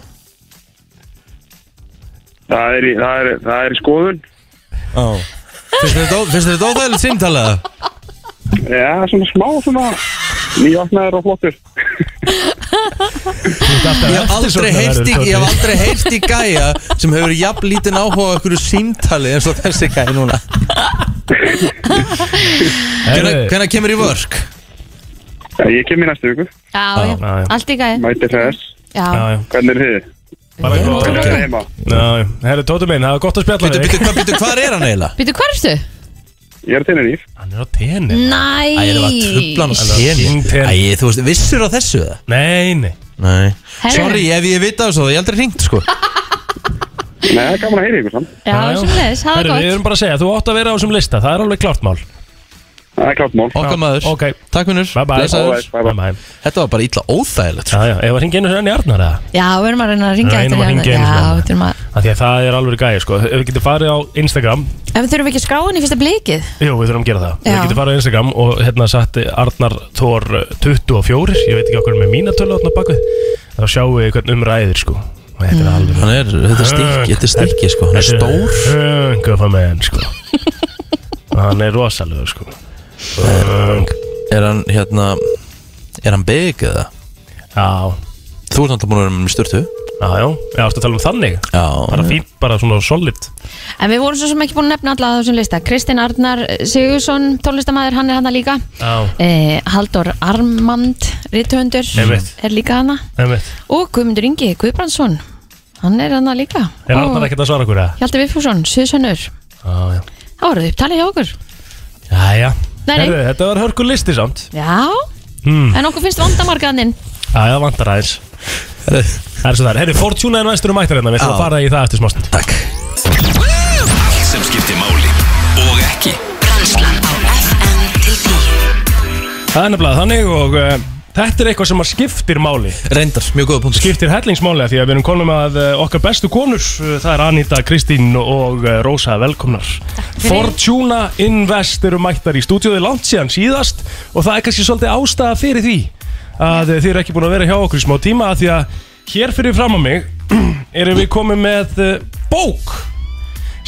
[SPEAKER 6] Það er, í- það, er, það er í skoðun
[SPEAKER 2] Já Finnst þér þetta ó- finnst þér þetta óþægilegt símtal eða?
[SPEAKER 6] Já, svona smá svona Nýjafnaður og flottur
[SPEAKER 2] Ég hef aldrei heyrt í, ég hef aldrei heyrt í gæja sem hefur jafn lítinn áhuga á einhverju símtali eins og þessi gæja núna Hvenær
[SPEAKER 4] Herðu,
[SPEAKER 2] hvenær kemur í vörk?
[SPEAKER 6] Já, Ég kem í næstu viku
[SPEAKER 3] Já, já,
[SPEAKER 4] já, já.
[SPEAKER 3] allt í gæði
[SPEAKER 6] Mæti þess
[SPEAKER 3] Já,
[SPEAKER 4] já, já,
[SPEAKER 6] Hvernig er þið?
[SPEAKER 4] bara
[SPEAKER 6] Bara
[SPEAKER 4] góð
[SPEAKER 6] vera heima
[SPEAKER 4] Já, já, herðu, Tóti minn, það er gott að spjalla
[SPEAKER 2] Býtu,
[SPEAKER 4] við
[SPEAKER 2] býtu,
[SPEAKER 4] þig
[SPEAKER 2] hvað, býtu, hvað er hann eiginlega?
[SPEAKER 3] Býtu, hvað ertu?
[SPEAKER 6] Ég er tennir íf
[SPEAKER 4] Hann er á tenni
[SPEAKER 3] Næs
[SPEAKER 2] Æ, það var trublan og séni
[SPEAKER 4] Sýntel.
[SPEAKER 2] Æ, þú veist, vissur á þessu það?
[SPEAKER 4] Nei, nei
[SPEAKER 2] Nei
[SPEAKER 3] Herru.
[SPEAKER 2] Sorry, ef ég vita þessu það, ég hef aldrei hringt sko
[SPEAKER 6] Nei, það er gaman að heyra ykkur samt
[SPEAKER 3] Já, sem leðis, hafa
[SPEAKER 4] Herðu,
[SPEAKER 3] gott
[SPEAKER 4] við erum bara að segja, þú átt að vera á þessum lista, það er alveg klart mál
[SPEAKER 6] Það er klart mál
[SPEAKER 2] Okkar
[SPEAKER 4] Já,
[SPEAKER 2] maður
[SPEAKER 4] ok.
[SPEAKER 2] Takk minnur
[SPEAKER 4] Bye bye
[SPEAKER 6] Blessaður.
[SPEAKER 4] Bye bye, bye.
[SPEAKER 2] Þetta var bara illa óþægilegt sko.
[SPEAKER 4] Já, já, ef að ringja einu sinni enn í Arnar eða
[SPEAKER 3] Já, við erum að reyna að ringja
[SPEAKER 4] Reynum að
[SPEAKER 3] eftir
[SPEAKER 4] hringja einu
[SPEAKER 3] hérna.
[SPEAKER 4] sinni.
[SPEAKER 3] Já, við erum að
[SPEAKER 4] Af Því að það er alveg gæði, sko Ef við getum farið á Instagram
[SPEAKER 3] En við þurfum ekki að skrá henni í fyrsta blikið
[SPEAKER 4] Jú, við þurfum að gera það
[SPEAKER 3] Já.
[SPEAKER 4] Við getum farið á Instagram og hérna satt Arnar Thor eh, 24 Ég veit ekki okkur með mína tölu átna bakvið Þá sjáum við hvern umræðir, sko Og
[SPEAKER 3] Mm.
[SPEAKER 4] þetta er alveg
[SPEAKER 2] Hann er, þetta er stikki, þetta er stikki sko Hann er stór
[SPEAKER 4] Höngafa með henn, sko Og Hann er rosalegur, sko Hung.
[SPEAKER 2] Er hann, hérna Er hann big eða?
[SPEAKER 4] Já,
[SPEAKER 2] Þú ert náttúrulega búin að vera með styrtu
[SPEAKER 4] já, já Já, ertu að tala um þannig Bara
[SPEAKER 2] Já
[SPEAKER 4] fínt, bara svona solid
[SPEAKER 3] En við vorum svo sem ekki búin að nefna alla á þessum lista Kristinn Arnar Sigursson, tónlistamæður, hann er hann líka
[SPEAKER 4] Já,
[SPEAKER 3] eh, Haldur Armand, rithöndur
[SPEAKER 4] Einmitt.
[SPEAKER 3] Er líka hann
[SPEAKER 4] einmitt
[SPEAKER 3] Og Guðmundur Ingi Guðbrandsson Hann er hann líka
[SPEAKER 4] Er Arnar ekkert að svara okkur, eða?
[SPEAKER 3] Hjaldi Viffússon, Suðsönnur
[SPEAKER 4] Já, já
[SPEAKER 3] Það voruð upptalið hjá okkur
[SPEAKER 4] Jæja,
[SPEAKER 3] Nei, Hmm. nei.
[SPEAKER 4] Herðu, þetta var hörku listi samt
[SPEAKER 3] Já,
[SPEAKER 4] mm.
[SPEAKER 3] en okkur finnst vandamarkaðaninn
[SPEAKER 4] Jæja, vantar aðeins Það er svo þar, herru, Fortuna er næstur um mættar hérna Við ætlum að
[SPEAKER 2] Já.
[SPEAKER 4] fara í það eftir smástund
[SPEAKER 2] Takk
[SPEAKER 1] Allt sem skiptir máli og ekki
[SPEAKER 8] Brennslan á FM til 10
[SPEAKER 4] Það er nefnilega þannig og uh, þetta er eitthvað sem að skiptir máli
[SPEAKER 2] Reyndar, mjög góða punktur
[SPEAKER 4] Skiptir hellingsmáli af því að við erum konum að uh, okkar bestu konur uh, Það er Anita, Kristín og uh, Rósa velkomnar Fortuna Invest eru mættar í stúdíóði langt síðan síðast Og það er kannski svolítið ástæða fyrir því Að uh, þið eru ekki búin að vera hjá okkur í smá tíma af Því að hér fyrir fram á mig erum við komið með uh, bók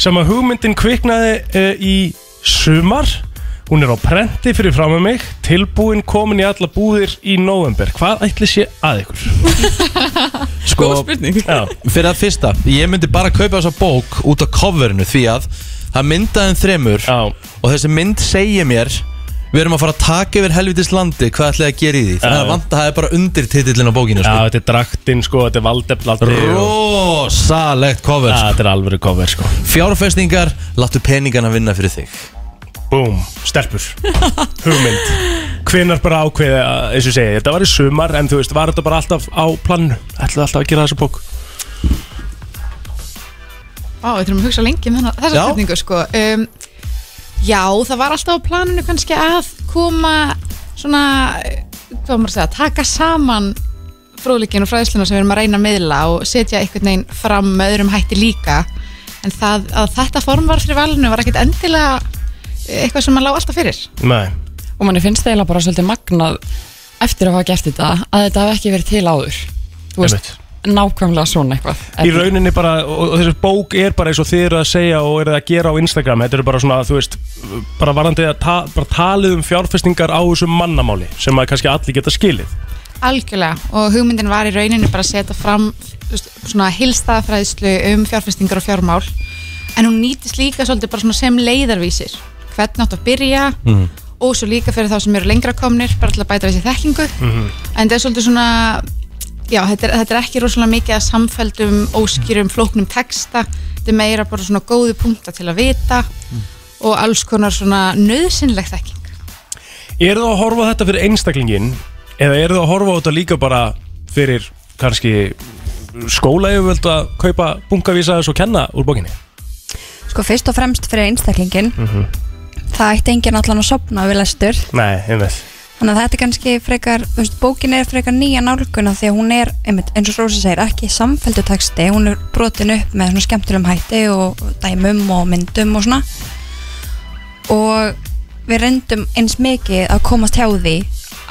[SPEAKER 4] sem að hugmyndin kviknaði uh, í eh, sumar hún Hún er á prenti fyrir fram með mig Tilbúin komin í alla búðir í november Hvað ætli sé að ykkur?
[SPEAKER 2] Sko,
[SPEAKER 9] Góð spurning
[SPEAKER 4] Já,
[SPEAKER 2] fyrir að fyrsta Ég myndi bara kaupa þessa bók út af coverinu Því að það myndaði en þremur
[SPEAKER 4] já,
[SPEAKER 2] Og þessi mynd segir mér Við erum að fara að taka yfir helvitis landi Hvað ætlaði að gera í því Þannig
[SPEAKER 4] Já.
[SPEAKER 2] að vanta það er bara undir titillin á bókinu
[SPEAKER 4] já
[SPEAKER 2] sko.
[SPEAKER 4] þetta er draktinn sko, þetta er valdeflaldi og-
[SPEAKER 2] Rosalegt cover
[SPEAKER 4] Já,
[SPEAKER 2] sko.
[SPEAKER 4] þetta er alvöru cover sko
[SPEAKER 2] Fjárfestingar, láttu peningana vinna fyrir þig
[SPEAKER 4] Búm, stelpur Hugmynd Hvenar bara ákveði að, eins og ég segi, þetta var í sumar En þú veist, var þetta bara alltaf á plannu Ætlaði alltaf að gera þessa bók
[SPEAKER 9] Vá, við þurfum að hugsa lengi um þennan- þessa
[SPEAKER 2] Já.
[SPEAKER 9] spurningu sko. um, Já, það var alltaf á planinu kannski að koma svona, eh, hvað á maður að segja taka saman fróðleikin og fræðsluna sem við erum að reyna að miðla og setja einhvern veginn fram með öðrum hætti líka en það, að þetta form var fyrir valinu var ekkert endilega eh, eitthvað sem maður lá alltaf fyrir
[SPEAKER 4] Nei,
[SPEAKER 10] og manni finnst það eiginlega bara svolítið magnað eftir að hafa gert þetta að þetta hafi ekki verið til áður þú veist,
[SPEAKER 4] einmitt
[SPEAKER 10] nákvæmlega svona eitthvað
[SPEAKER 4] Í rauninni bara, og, og þessi bók er bara eins og þið eru að segja og eru að gera á Instagram Þetta eru bara svona, þú veist, bara varandi að ta, bara talið um fjárfestingar á þessu mannamáli Sem að kannski allir geta skilið
[SPEAKER 9] Algjörlega og hugmyndin var í rauninni bara að setja fram þú veist, svona hilstaðfræðslu um fjárfestingar og fjármál en hún nýtist líka svolítið bara svona sem leiðarvísir hvernig átt að byrja
[SPEAKER 1] Mhm.
[SPEAKER 9] og svo líka fyrir þá sem eru lengra komnir bara til að bæta þessi þekkingu
[SPEAKER 1] Mhm.
[SPEAKER 9] en þetta er svolítið svona já, þetta er, þetta er ekki rosalega mikið að samfældum óskýrum, flóknum texta þetta er meira bara svona góði punkta til að vita og alls konar svona nöðsynleg þekking
[SPEAKER 4] Er það að horfa á þetta fyrir einstaklingin eða er það að horfa á þetta líka bara fyrir kannski skóla ef við að kaupa bungavísa og kenna úr bókinni?
[SPEAKER 11] Sko fyrst og fremst fyrir einstaklingin Það ætti enginn allan að sopna við lestur
[SPEAKER 4] Nei, einmitt.
[SPEAKER 11] Þannig að þetta er kannski frekar þú veist, Bókin er frekar nýja nálguna Því að hún er, einmitt, eins og Rósa segir, ekki samfældu texti Hún er brotin upp með svona skemmtilegum hætti Og dæmum og myndum og svona Og við reyndum eins mikið að komast hjá því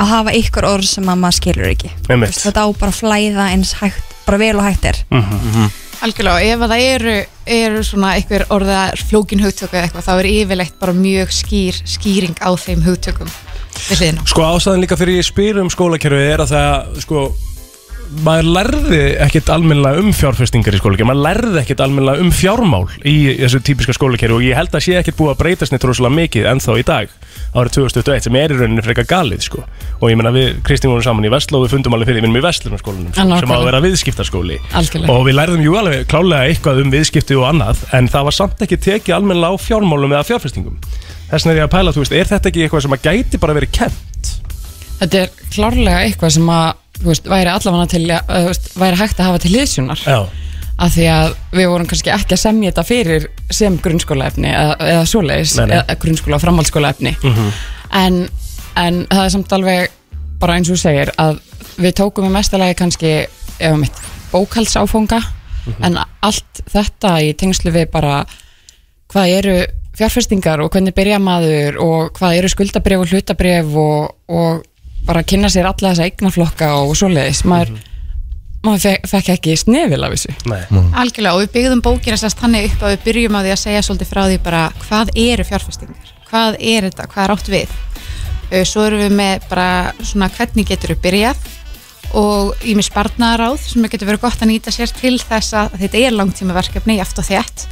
[SPEAKER 11] Að hafa ykkur orð sem að maður skilur ekki Þú
[SPEAKER 1] Mhm.
[SPEAKER 4] Einmitt.
[SPEAKER 11] veist, Þetta á bara að flæða eins hægt Bara vel og hægt er
[SPEAKER 1] Mhm.
[SPEAKER 9] Algjörlega, og ef að það eru, eru svona einhver orða flókin hugtöku eða eitthvað, þá er yfirleitt bara mjög skýr skýring á þeim hugtökum við hliðina.
[SPEAKER 4] Sko ástæðan líka fyrir ég spyr um skólakerfið er að það, sko, maður lærði ekkert almennilega um fjárfestingar í skólakerfið, maður lærði ekkert almennilega um fjármál í þessu típiska skólakerfi og ég held að sé ekkert búið að breytast neitt rosalega mikið ennþá í dag árið 2021 sem er í rauninni frekar galið sko og ég menna við Kristín vorum saman í Vestló og við fundum alveg fyrir, við erum í Vestlunarskólanum sko,
[SPEAKER 10] Alveg.
[SPEAKER 4] sem á að vera viðskiptaskóli
[SPEAKER 10] Algjörlega.
[SPEAKER 4] og við lærðum jú alveg klálega eitthvað um viðskipti og annað en það var samt ekki tekið almennilega á fjármálum eða fjárfestingum þess vegna er ég að pæla, þú veist, er þetta ekki eitthvað sem að gæti bara verið kent?
[SPEAKER 10] þetta er klárlega eitthvað sem að þú veist, væri allavega til, að- þú veist, væri hægt að hafa til liðsjónar
[SPEAKER 4] Já,
[SPEAKER 10] af því að við vorum kannski ekki að semja þetta fyrir sem grunnskólaefni eða, eða svoleiðis,
[SPEAKER 4] Nei, nei.
[SPEAKER 10] eða grunnskóla og framhaldsskólaefni en, en það er samt alveg bara eins og þú segir að við tókum í mestalagi kannski eða mitt bókaldsáfónga en allt þetta í tengslu við bara hvað eru fjárfestingar og hvernig byrja maður og hvað eru skuldabref og hlutabref og, og bara kynna sér alla þessa eignaflokka og svoleiðis maður, maður fekk, fekk ekki snefil af þessu
[SPEAKER 4] nei
[SPEAKER 9] Algjörlega, og við byggðum bókina sérst þannig upp að við byrjum á því að segja svolítið frá því bara hvað eru fjárfestingar, hvað er þetta, hvað er átt við. Eh, Svo erum við með bara svona hvernig getur við byrjað og ími sparnaráð sem getur verið gott að nýta sér til þess að þetta er langtíma verkefni í aft og þétt.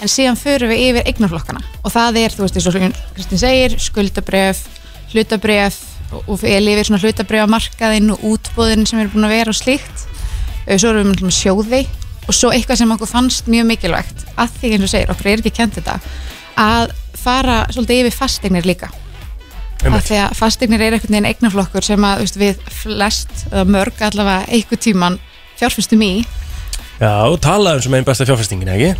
[SPEAKER 9] en síðan förum við yfir eignarflokkana og það er, þú veist, eins og Kristín segir skuldabref, hlutabref og og ég lifir svona hlutabrefmarkaðinn og útbóðin sem eru búin að vera og slíkt Eh, svo erum við með sjóði og svo eitthvað sem okkur fannst mjög mikilvægt að því eins og segir, okkur er ekki kent þetta að fara svolítið yfir fasteignir líka
[SPEAKER 4] Einmitt.
[SPEAKER 9] af því að fasteignir er einhvern veginn eignarflokkur sem að þú veist, við flest, eða mörg allavega einhvern tíman fjárfyrstum í
[SPEAKER 4] Já,
[SPEAKER 2] um
[SPEAKER 4] talaðum sem einn besta fjárfestingin, ekki?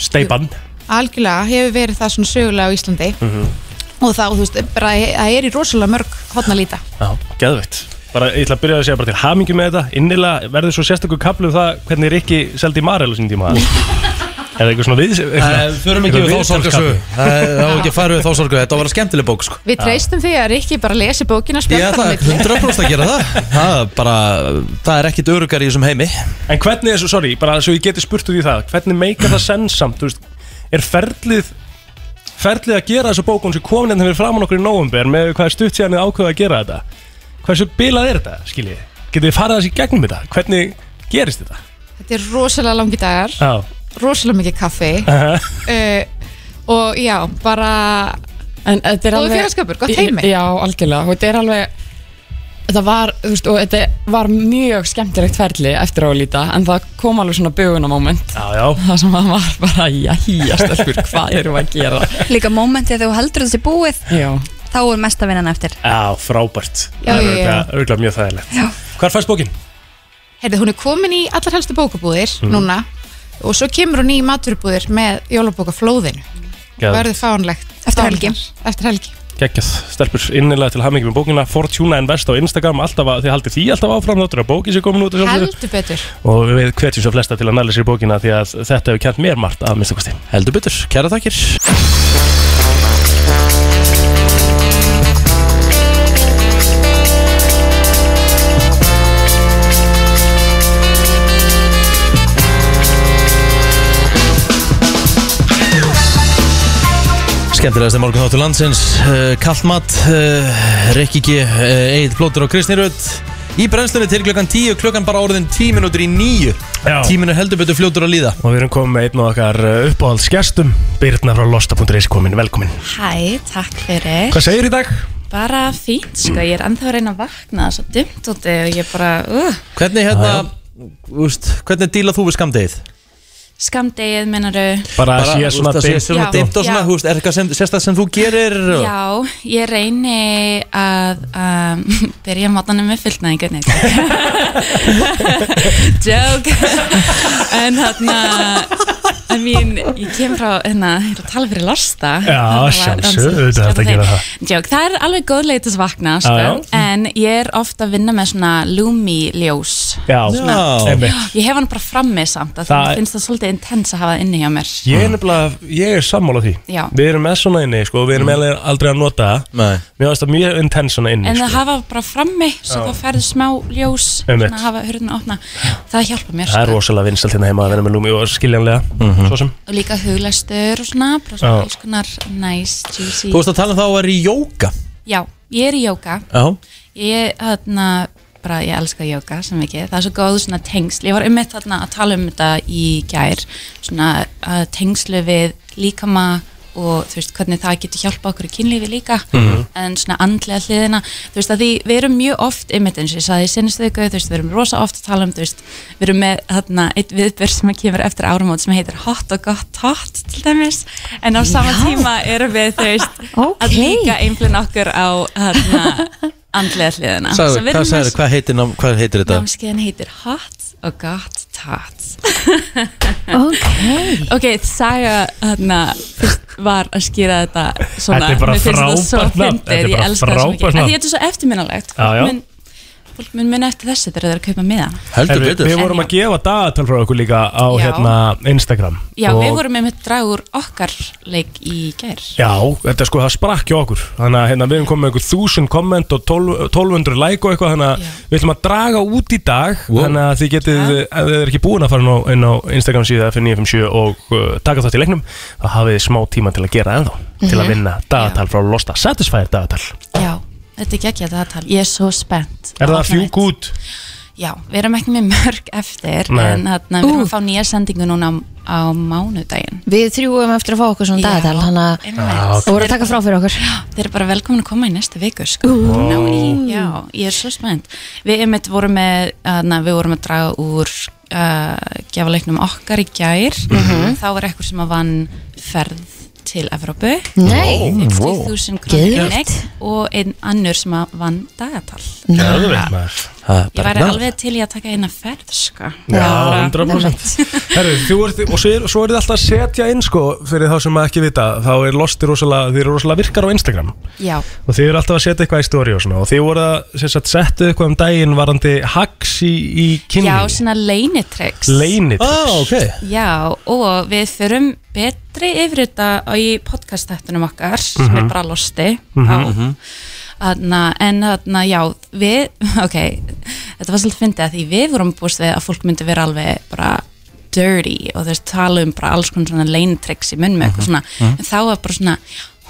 [SPEAKER 4] Steipan
[SPEAKER 9] algjörlega hefur verið það svona sögulega á Íslandi
[SPEAKER 2] Mhm.
[SPEAKER 9] og þá, þú veist, bara það er í rosalega mörg hotna líta
[SPEAKER 4] Já, geðveitt Bara, ég ætla að byrja að segja bara til hamingi með þetta Innilega verður svo sérstakur kaplu um það hvernig Rikki seldi Marel á sín tíma Er það eitthvað svona við
[SPEAKER 2] Nei, förum ekki við þá sorgarsögu Það er- það á ekki að fara við þá sorgarsögu Þetta var skemmtileg bók sko
[SPEAKER 9] Við treystum því að Rikki bara lesi bókina
[SPEAKER 2] Ég ætla
[SPEAKER 9] spjaldar á milli.
[SPEAKER 2] 100% að gera það Það er bara, það er ekkit örugar í þessum heimi
[SPEAKER 4] En hvernig er svo, sorry, bara svo ég geti spurt út í það Hvernig meika það sensamt, þú veist Er ferlið ferlið að gera þessu bókun sem komin hérna fyrir framann okkur í nóvumber með hvað er stutt síðan þið ákveða að gera þetta hversu bilað er þetta, skiljið? Getið þið farið þessi gegnum þetta? Hvernig gerist þetta?
[SPEAKER 9] Þetta er rosalega langi dagar
[SPEAKER 4] Já,
[SPEAKER 9] rosalega mikið kaffi
[SPEAKER 4] Aha.
[SPEAKER 9] uh, og já, bara
[SPEAKER 10] en þetta er
[SPEAKER 9] Góður
[SPEAKER 10] alveg
[SPEAKER 9] félagsskapur, gott heimi.
[SPEAKER 10] já, algjörlega, og þetta er alveg þetta var, þú veist, og þetta var mjög skemmtilegt ferli eftir á að líta en það kom alveg svona bugunamoment
[SPEAKER 4] já, já.
[SPEAKER 10] það sem að maður bara, já, hýja stelpur hvað erum við að gera
[SPEAKER 11] Líka mómenti þegar þú heldur þessi búið
[SPEAKER 10] já.
[SPEAKER 11] Þá er mesta vinnan eftir
[SPEAKER 4] já frábært
[SPEAKER 9] Já,
[SPEAKER 4] Það er
[SPEAKER 9] já, já.
[SPEAKER 4] örugglega- örugglega mjög þægilegt já. Hvar fæst bókin?
[SPEAKER 9] Heyrðu, hún er komin í allar helstu bókabúðir
[SPEAKER 2] Mhm.
[SPEAKER 4] Mm.
[SPEAKER 9] núna og svo kemur hún í maturubúðir með jólabókaflóðinu
[SPEAKER 4] Geðveikt.
[SPEAKER 9] verður fánlegt eftir helgi, eftir helgi.
[SPEAKER 4] Gekkjað, stelpur innilega til hamingi með bókina Fortuna Invest á Instagram, alltaf að þið haldið því alltaf áfram þáttur að bóki sem komin út að sjálfsögðu.
[SPEAKER 9] heldur betur
[SPEAKER 4] og við hvetjum svo flesta til að næla sér bókina því að þetta hefur kænt mér margt að minnsta kosti Heldur byttur, kæra takkir
[SPEAKER 2] Skemmtilegast er morgun þáttur landsins uh, Kallmat, uh, Rikki G, uh, Eid Blóttur og Kristni Rödd Í brennslunni til klukkan 10, klukkan bara orðin 10 minútur í 9 Tíminu heldur betur fljótur að líða
[SPEAKER 4] Og við erum komið með einn og okkar eh, uppáhaldsgestum Birna frá losta.is komin, velkomin
[SPEAKER 12] Hæ, takk fyrir
[SPEAKER 4] Hvað segir í dag?
[SPEAKER 12] Bara fínt, sko, ég er ennþá að reyna að vakna þess að dimt úti og ég bara uh,
[SPEAKER 2] Hvernig hérna, úst, hvernig díla þú við skamdegið?
[SPEAKER 12] Skamdegið, meinaru
[SPEAKER 4] Bara að sé
[SPEAKER 2] úst,
[SPEAKER 4] svona
[SPEAKER 2] að sé
[SPEAKER 4] dimmt. sko.
[SPEAKER 2] svona
[SPEAKER 12] Já.
[SPEAKER 2] dimmt og svona,
[SPEAKER 12] Já.
[SPEAKER 2] húst, er eitthvað sem, sérstætt sem þú gerir? og-
[SPEAKER 12] Já, ég reyni að um, byrja mátanum með fullnæðingu Nei, joke En þarna I mean, ég kem frá, hérna, ég er að tala fyrir losta
[SPEAKER 4] Já, sjálfsögðu, auðvitað er þetta að gera það.
[SPEAKER 12] Jók, það er alveg góð leið til þess að vakna sko.
[SPEAKER 4] Já, Mm. já.
[SPEAKER 12] En ég er ofta að vinna með svona Lumi ljós
[SPEAKER 4] Já,
[SPEAKER 12] Svona-
[SPEAKER 4] einmitt.
[SPEAKER 12] Ég hef hann bara frammi samt að
[SPEAKER 4] Það-
[SPEAKER 12] Það finnst það svolítið intens að hafa það inni hjá mér
[SPEAKER 2] Mm.
[SPEAKER 4] Ég er nefnilega, ég er sammála því
[SPEAKER 12] Já.
[SPEAKER 4] Við erum með svona inni, sko, við erum mm. aldrei að nota það
[SPEAKER 2] Nei.
[SPEAKER 4] Mér finnst það mjög intens svona inni
[SPEAKER 12] En
[SPEAKER 4] sko.
[SPEAKER 12] að hafa bara frammi Svo
[SPEAKER 4] Já.
[SPEAKER 12] það ferðu smá ljós Svona
[SPEAKER 4] Einmitt.
[SPEAKER 12] að hafa hurðin að opna Það hjálpa mér sko.
[SPEAKER 4] Það er rosalega vinsalt hérna heima að vera með lúmi og skiljanlega
[SPEAKER 2] Mhm.
[SPEAKER 4] Svo sem
[SPEAKER 12] Og líka huglæstur og svona Bara svona
[SPEAKER 4] Já.
[SPEAKER 12] alls konar nice, juicy
[SPEAKER 2] Þú veist að tala um það að vera í jóka
[SPEAKER 12] Já, ég er í jóka
[SPEAKER 2] Já,
[SPEAKER 12] Ég, þarna, bara, ég elska jóka sem ekki, það er svo góð svona tengsl ég var um mitt þarna að tala um þetta í gær svona uh, tengslu við líkama og þú veist hvernig það getur hjálpa okkur í kynlífi líka
[SPEAKER 13] Mhm.
[SPEAKER 12] en svona andlega hliðina þú veist að því við erum mjög oft einmitt eins og ég saði í sinnistu viku, þú veist við erum rosa oft að tala um þú veist, við erum með þarna eitt viðbjörn sem kemur eftir áramót sem heitir hot og gott hot til dæmis en á sama
[SPEAKER 13] Já.
[SPEAKER 12] tíma erum við þú veist að líka einblinn okkur á þarna andlega hliðina
[SPEAKER 2] sagði,
[SPEAKER 12] Svo við
[SPEAKER 2] hvað,
[SPEAKER 12] erum með
[SPEAKER 2] sagði, hvað, heitir, nám- hvað heitir þetta?
[SPEAKER 12] Námskeiðin heitir Hot og Got Tots
[SPEAKER 3] Ok
[SPEAKER 12] Ok, Saga þarna fyrst var að skýra þetta svona
[SPEAKER 4] Þetta er bara
[SPEAKER 12] Mér finnst þetta svo
[SPEAKER 4] frábært nafn.
[SPEAKER 12] fyndið,
[SPEAKER 4] Þetta er
[SPEAKER 12] ég
[SPEAKER 4] bara
[SPEAKER 12] elska það svo
[SPEAKER 4] frábært
[SPEAKER 12] mikið. Af
[SPEAKER 4] nafn.
[SPEAKER 12] Því þetta er svo eftirminnalegt
[SPEAKER 4] Já, já.
[SPEAKER 12] Fólk mun mun eftir þessu þegar það er að kaupa miða
[SPEAKER 4] Heldur við, við vorum að gefa dagatal frá okkur líka á
[SPEAKER 12] Já.
[SPEAKER 4] hérna Instagram
[SPEAKER 12] Já,
[SPEAKER 4] Og-
[SPEAKER 12] við vorum með mitt dragur okkar leik í gær
[SPEAKER 4] Já, þetta sko, það sprakk hjá okkur Þannig að hérna, við erum komið með einhver þúsund komment og 12 1200 like og eitthvað Þannig að við ætlum að draga út í dag Þannig að þið getið, ef þið er ekki búin að fara inn á, inn á Instagram síða F957 og uh, taka þátt í leiknum þá hafið þið smá tíma til að gera það ennþá til
[SPEAKER 12] Mhm.
[SPEAKER 4] að vinna dagatal frá Losta Satisfyer dagatal
[SPEAKER 12] Já, þetta er ekki að það tal Ég er svo spennt
[SPEAKER 4] Er það fjúk út?
[SPEAKER 12] Já, við erum ekki með mörg eftir
[SPEAKER 4] Nei.
[SPEAKER 12] en þarna, við erum að fá nýja sendingu núna á, á mánudaginn
[SPEAKER 3] Við þrjúum eftir að fá okkur svona dagatal Þannig að
[SPEAKER 12] einmitt.
[SPEAKER 3] þú voru að taka frá fyrir okkur
[SPEAKER 12] Þeir eru bara velkomin að koma í næsta viku sko. Ná í, já, ég er svo spennt Við einmitt vorum með uh, na, við vorum að draga úr uh, gefaleiknum okkar í gær
[SPEAKER 3] Mhm.
[SPEAKER 12] þá var eitthvað sem að vann ferð til Evrópu
[SPEAKER 3] Nei.
[SPEAKER 12] Upp til
[SPEAKER 3] Wow. Geðveikt.
[SPEAKER 12] 1000 krónir í leik og einn annur sem að vann dagatal
[SPEAKER 4] Geðveikt, maður.
[SPEAKER 12] Ég væri alveg til í að taka eina ferð sko.
[SPEAKER 4] Já, 100% Herru, þú ert, og svo, er, svo er þið alltaf að setja inn sko, fyrir þá sem að ekki vita þá er losti rosalega, þið eru rosalega virkar á Instagram
[SPEAKER 12] Já,
[SPEAKER 4] og þið eru alltaf að setja eitthvað í stóri og svona og þið voru að sem sagt, setja eitthvað um daginn varandi hacks í, í
[SPEAKER 12] já
[SPEAKER 4] kynni
[SPEAKER 12] svona leinitryggs
[SPEAKER 4] leinit
[SPEAKER 2] Ah,
[SPEAKER 4] okay.
[SPEAKER 12] Já, og við förum betri yfir þetta á í podcast-þættunum okkar sem er
[SPEAKER 13] Mhm.
[SPEAKER 12] bara losti mm
[SPEAKER 13] Mhm.
[SPEAKER 12] Þarna, en þarna, já, við, ok, þetta var svolítið fyndið að því við vorum búist við að fólk myndi vera alveg bara dirty og þú veist tala um bara alls konar svona leintreks í munn með eitthvað svona
[SPEAKER 13] mhm.
[SPEAKER 12] en þá var bara svona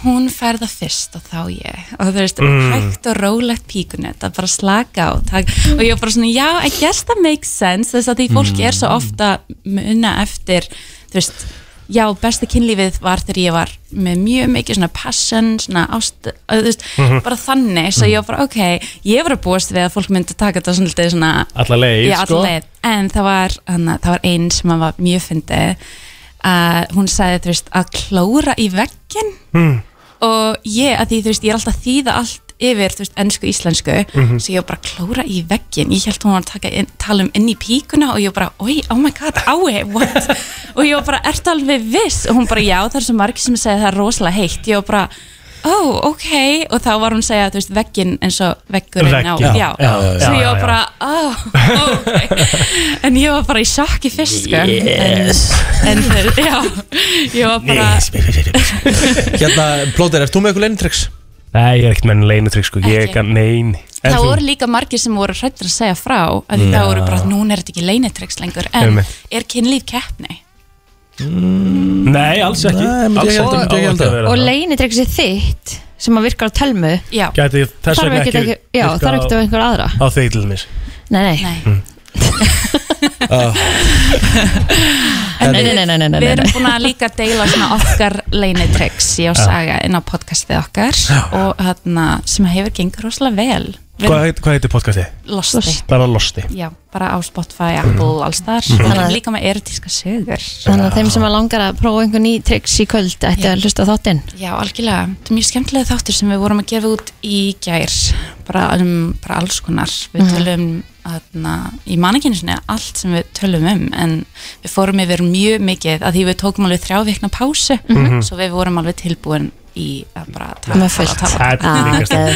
[SPEAKER 12] hún fær það fyrst og þá ég og þú veist
[SPEAKER 4] Mhm.
[SPEAKER 13] Mm.
[SPEAKER 12] hægt og rólegt píkunett að bara slaka á tak, og ég var bara svona já I guess that makes sense þess að því fólki
[SPEAKER 13] Mm.
[SPEAKER 12] er svo ofta munna eftir þú veist Já, besta kynlífið var þegar ég var með mjög mikið svona passion, svona ást, að, þú veist,
[SPEAKER 4] Mhm.
[SPEAKER 12] bara þannig, svo ég var bara, ok, ég var að búast við að fólk myndi taka þetta svona, lítið svona
[SPEAKER 4] Alla leið,
[SPEAKER 12] Já, alla
[SPEAKER 4] sko.
[SPEAKER 12] leið. En það var, hana, það var einn sem var mjög fyndið að hún sagði, þú veist, að klóra í veggin
[SPEAKER 4] Mhm.
[SPEAKER 13] Hmm.
[SPEAKER 12] og ég, að því, þú veist, ég er alltaf að þýða allt yfir, þú veist, ennsku, íslensku
[SPEAKER 13] Mhm.
[SPEAKER 12] svo ég var bara klóra í veggin ég held hún var að taka inn, tala um inn í píkuna og ég var bara, oi, oh my god, ái, what og ég var bara, ertu alveg viss og hún bara, já, það er svo margir sem segja það er rosalega heitt ég var bara, ó, ok og þá var hún að segja, þú veist, veggin eins og veggurinn á,
[SPEAKER 13] Vegg, já,
[SPEAKER 12] já,
[SPEAKER 13] já, já,
[SPEAKER 12] svo
[SPEAKER 13] já,
[SPEAKER 12] ég var
[SPEAKER 13] já.
[SPEAKER 12] bara, ó, en ég var bara í sjokki fyrst sko.
[SPEAKER 2] Yes.
[SPEAKER 12] en, en já, ég var bara
[SPEAKER 2] Hérna, Plóter, ert þú með eitthvað leinitryks?
[SPEAKER 4] Nei, ég er ekkert með leinutrygg sko, ég
[SPEAKER 12] Ekki.
[SPEAKER 4] kann, nein En
[SPEAKER 12] það
[SPEAKER 4] þú-
[SPEAKER 12] voru líka margir sem voru hrættir að segja frá að
[SPEAKER 4] Já.
[SPEAKER 12] það voru bara, núna er þetta ekki leinitrex lengur en
[SPEAKER 4] Einmitt.
[SPEAKER 12] er kynlíf keppni
[SPEAKER 4] Nei, alls ekki
[SPEAKER 2] Nei, myndi ég
[SPEAKER 4] Alls
[SPEAKER 2] held-
[SPEAKER 4] ekki,
[SPEAKER 2] myndi ég held
[SPEAKER 4] á ekki að
[SPEAKER 2] að.
[SPEAKER 4] vera
[SPEAKER 3] og
[SPEAKER 4] það.
[SPEAKER 3] leinitreksi þitt sem að virkar á telmu
[SPEAKER 12] já,
[SPEAKER 4] Gæti þess
[SPEAKER 3] Þarf
[SPEAKER 4] vegna
[SPEAKER 3] ekkert
[SPEAKER 4] ekki
[SPEAKER 3] ekki- já,
[SPEAKER 4] virkað
[SPEAKER 3] þarf ekkert á einhver aðra.
[SPEAKER 4] Á þig til dæmis Mm. Ah.
[SPEAKER 3] nei, nei, nei.
[SPEAKER 12] En
[SPEAKER 3] Nei,
[SPEAKER 12] við-
[SPEAKER 3] nei, nei, nei, nei,
[SPEAKER 12] við erum
[SPEAKER 3] nei.
[SPEAKER 12] búin að líka deila svona okkar leinitrex ég og
[SPEAKER 4] Já.
[SPEAKER 12] Saga inn á podcastið okkar og þarna sem hefur gengur rosalega vel Við
[SPEAKER 4] Hvað
[SPEAKER 12] erum
[SPEAKER 4] heit- hvað heitir podcastið?
[SPEAKER 12] Losti
[SPEAKER 4] Bara Losti
[SPEAKER 12] Já, bara á Spotify, Apple, alls þar
[SPEAKER 4] Mhm.
[SPEAKER 12] Þannig að líka með erotíska sögur
[SPEAKER 3] þannig að þeim sem að langar að prófa einhver ný triks í kvöld ætti að hlusta á þáttinn
[SPEAKER 12] Já, algjörlega. Þetta er mjög skemmtilega þáttur sem við vorum að gefa út í gær, bara, um, bara alls konar. Við
[SPEAKER 3] Mhm.
[SPEAKER 12] tölum aðna, í manninginu sinni allt sem við tölum um, en við fórum yfir mjög mikið að því við tókum alveg þrjá vikna pásu,
[SPEAKER 4] Mhm.
[SPEAKER 12] svo við vorum alveg tilbúin í að bara tala,
[SPEAKER 3] Með fullt. Ah,
[SPEAKER 12] tala, tala.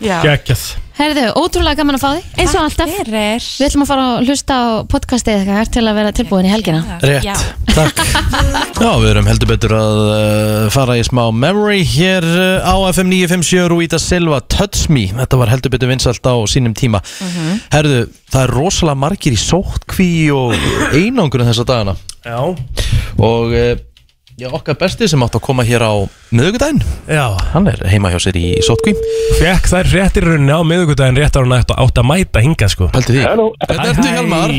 [SPEAKER 12] Já.
[SPEAKER 4] Gækjað
[SPEAKER 3] Herðu, ótrúlega gaman að fá þig eins og alltaf
[SPEAKER 12] við
[SPEAKER 3] ætlum að fara að hlusta á podcastið eitthvað til að vera tilbúin í helgina
[SPEAKER 2] Rétt, takk Já, við erum heldur betur að uh, fara í smá memory hér uh, á FM 957 Rúita Silva Touch Me, þetta var heldur betur vinsalt á sínum tíma
[SPEAKER 4] Mhm.
[SPEAKER 2] Herðu, það er rosalega margir í sóttkví og einangur þessa dagana
[SPEAKER 4] Já
[SPEAKER 2] Og uh, já, okkar besti sem átt að koma hér á miðugudaginn
[SPEAKER 4] Já
[SPEAKER 2] Hann er heima hjá sér í sóttkví
[SPEAKER 4] Fekk þær réttir rauninni á miðugudaginn rétt ára nætt og átt að mæta hingað sko
[SPEAKER 2] Haldi því
[SPEAKER 14] Halló.
[SPEAKER 2] Þetta ertu Hjalmar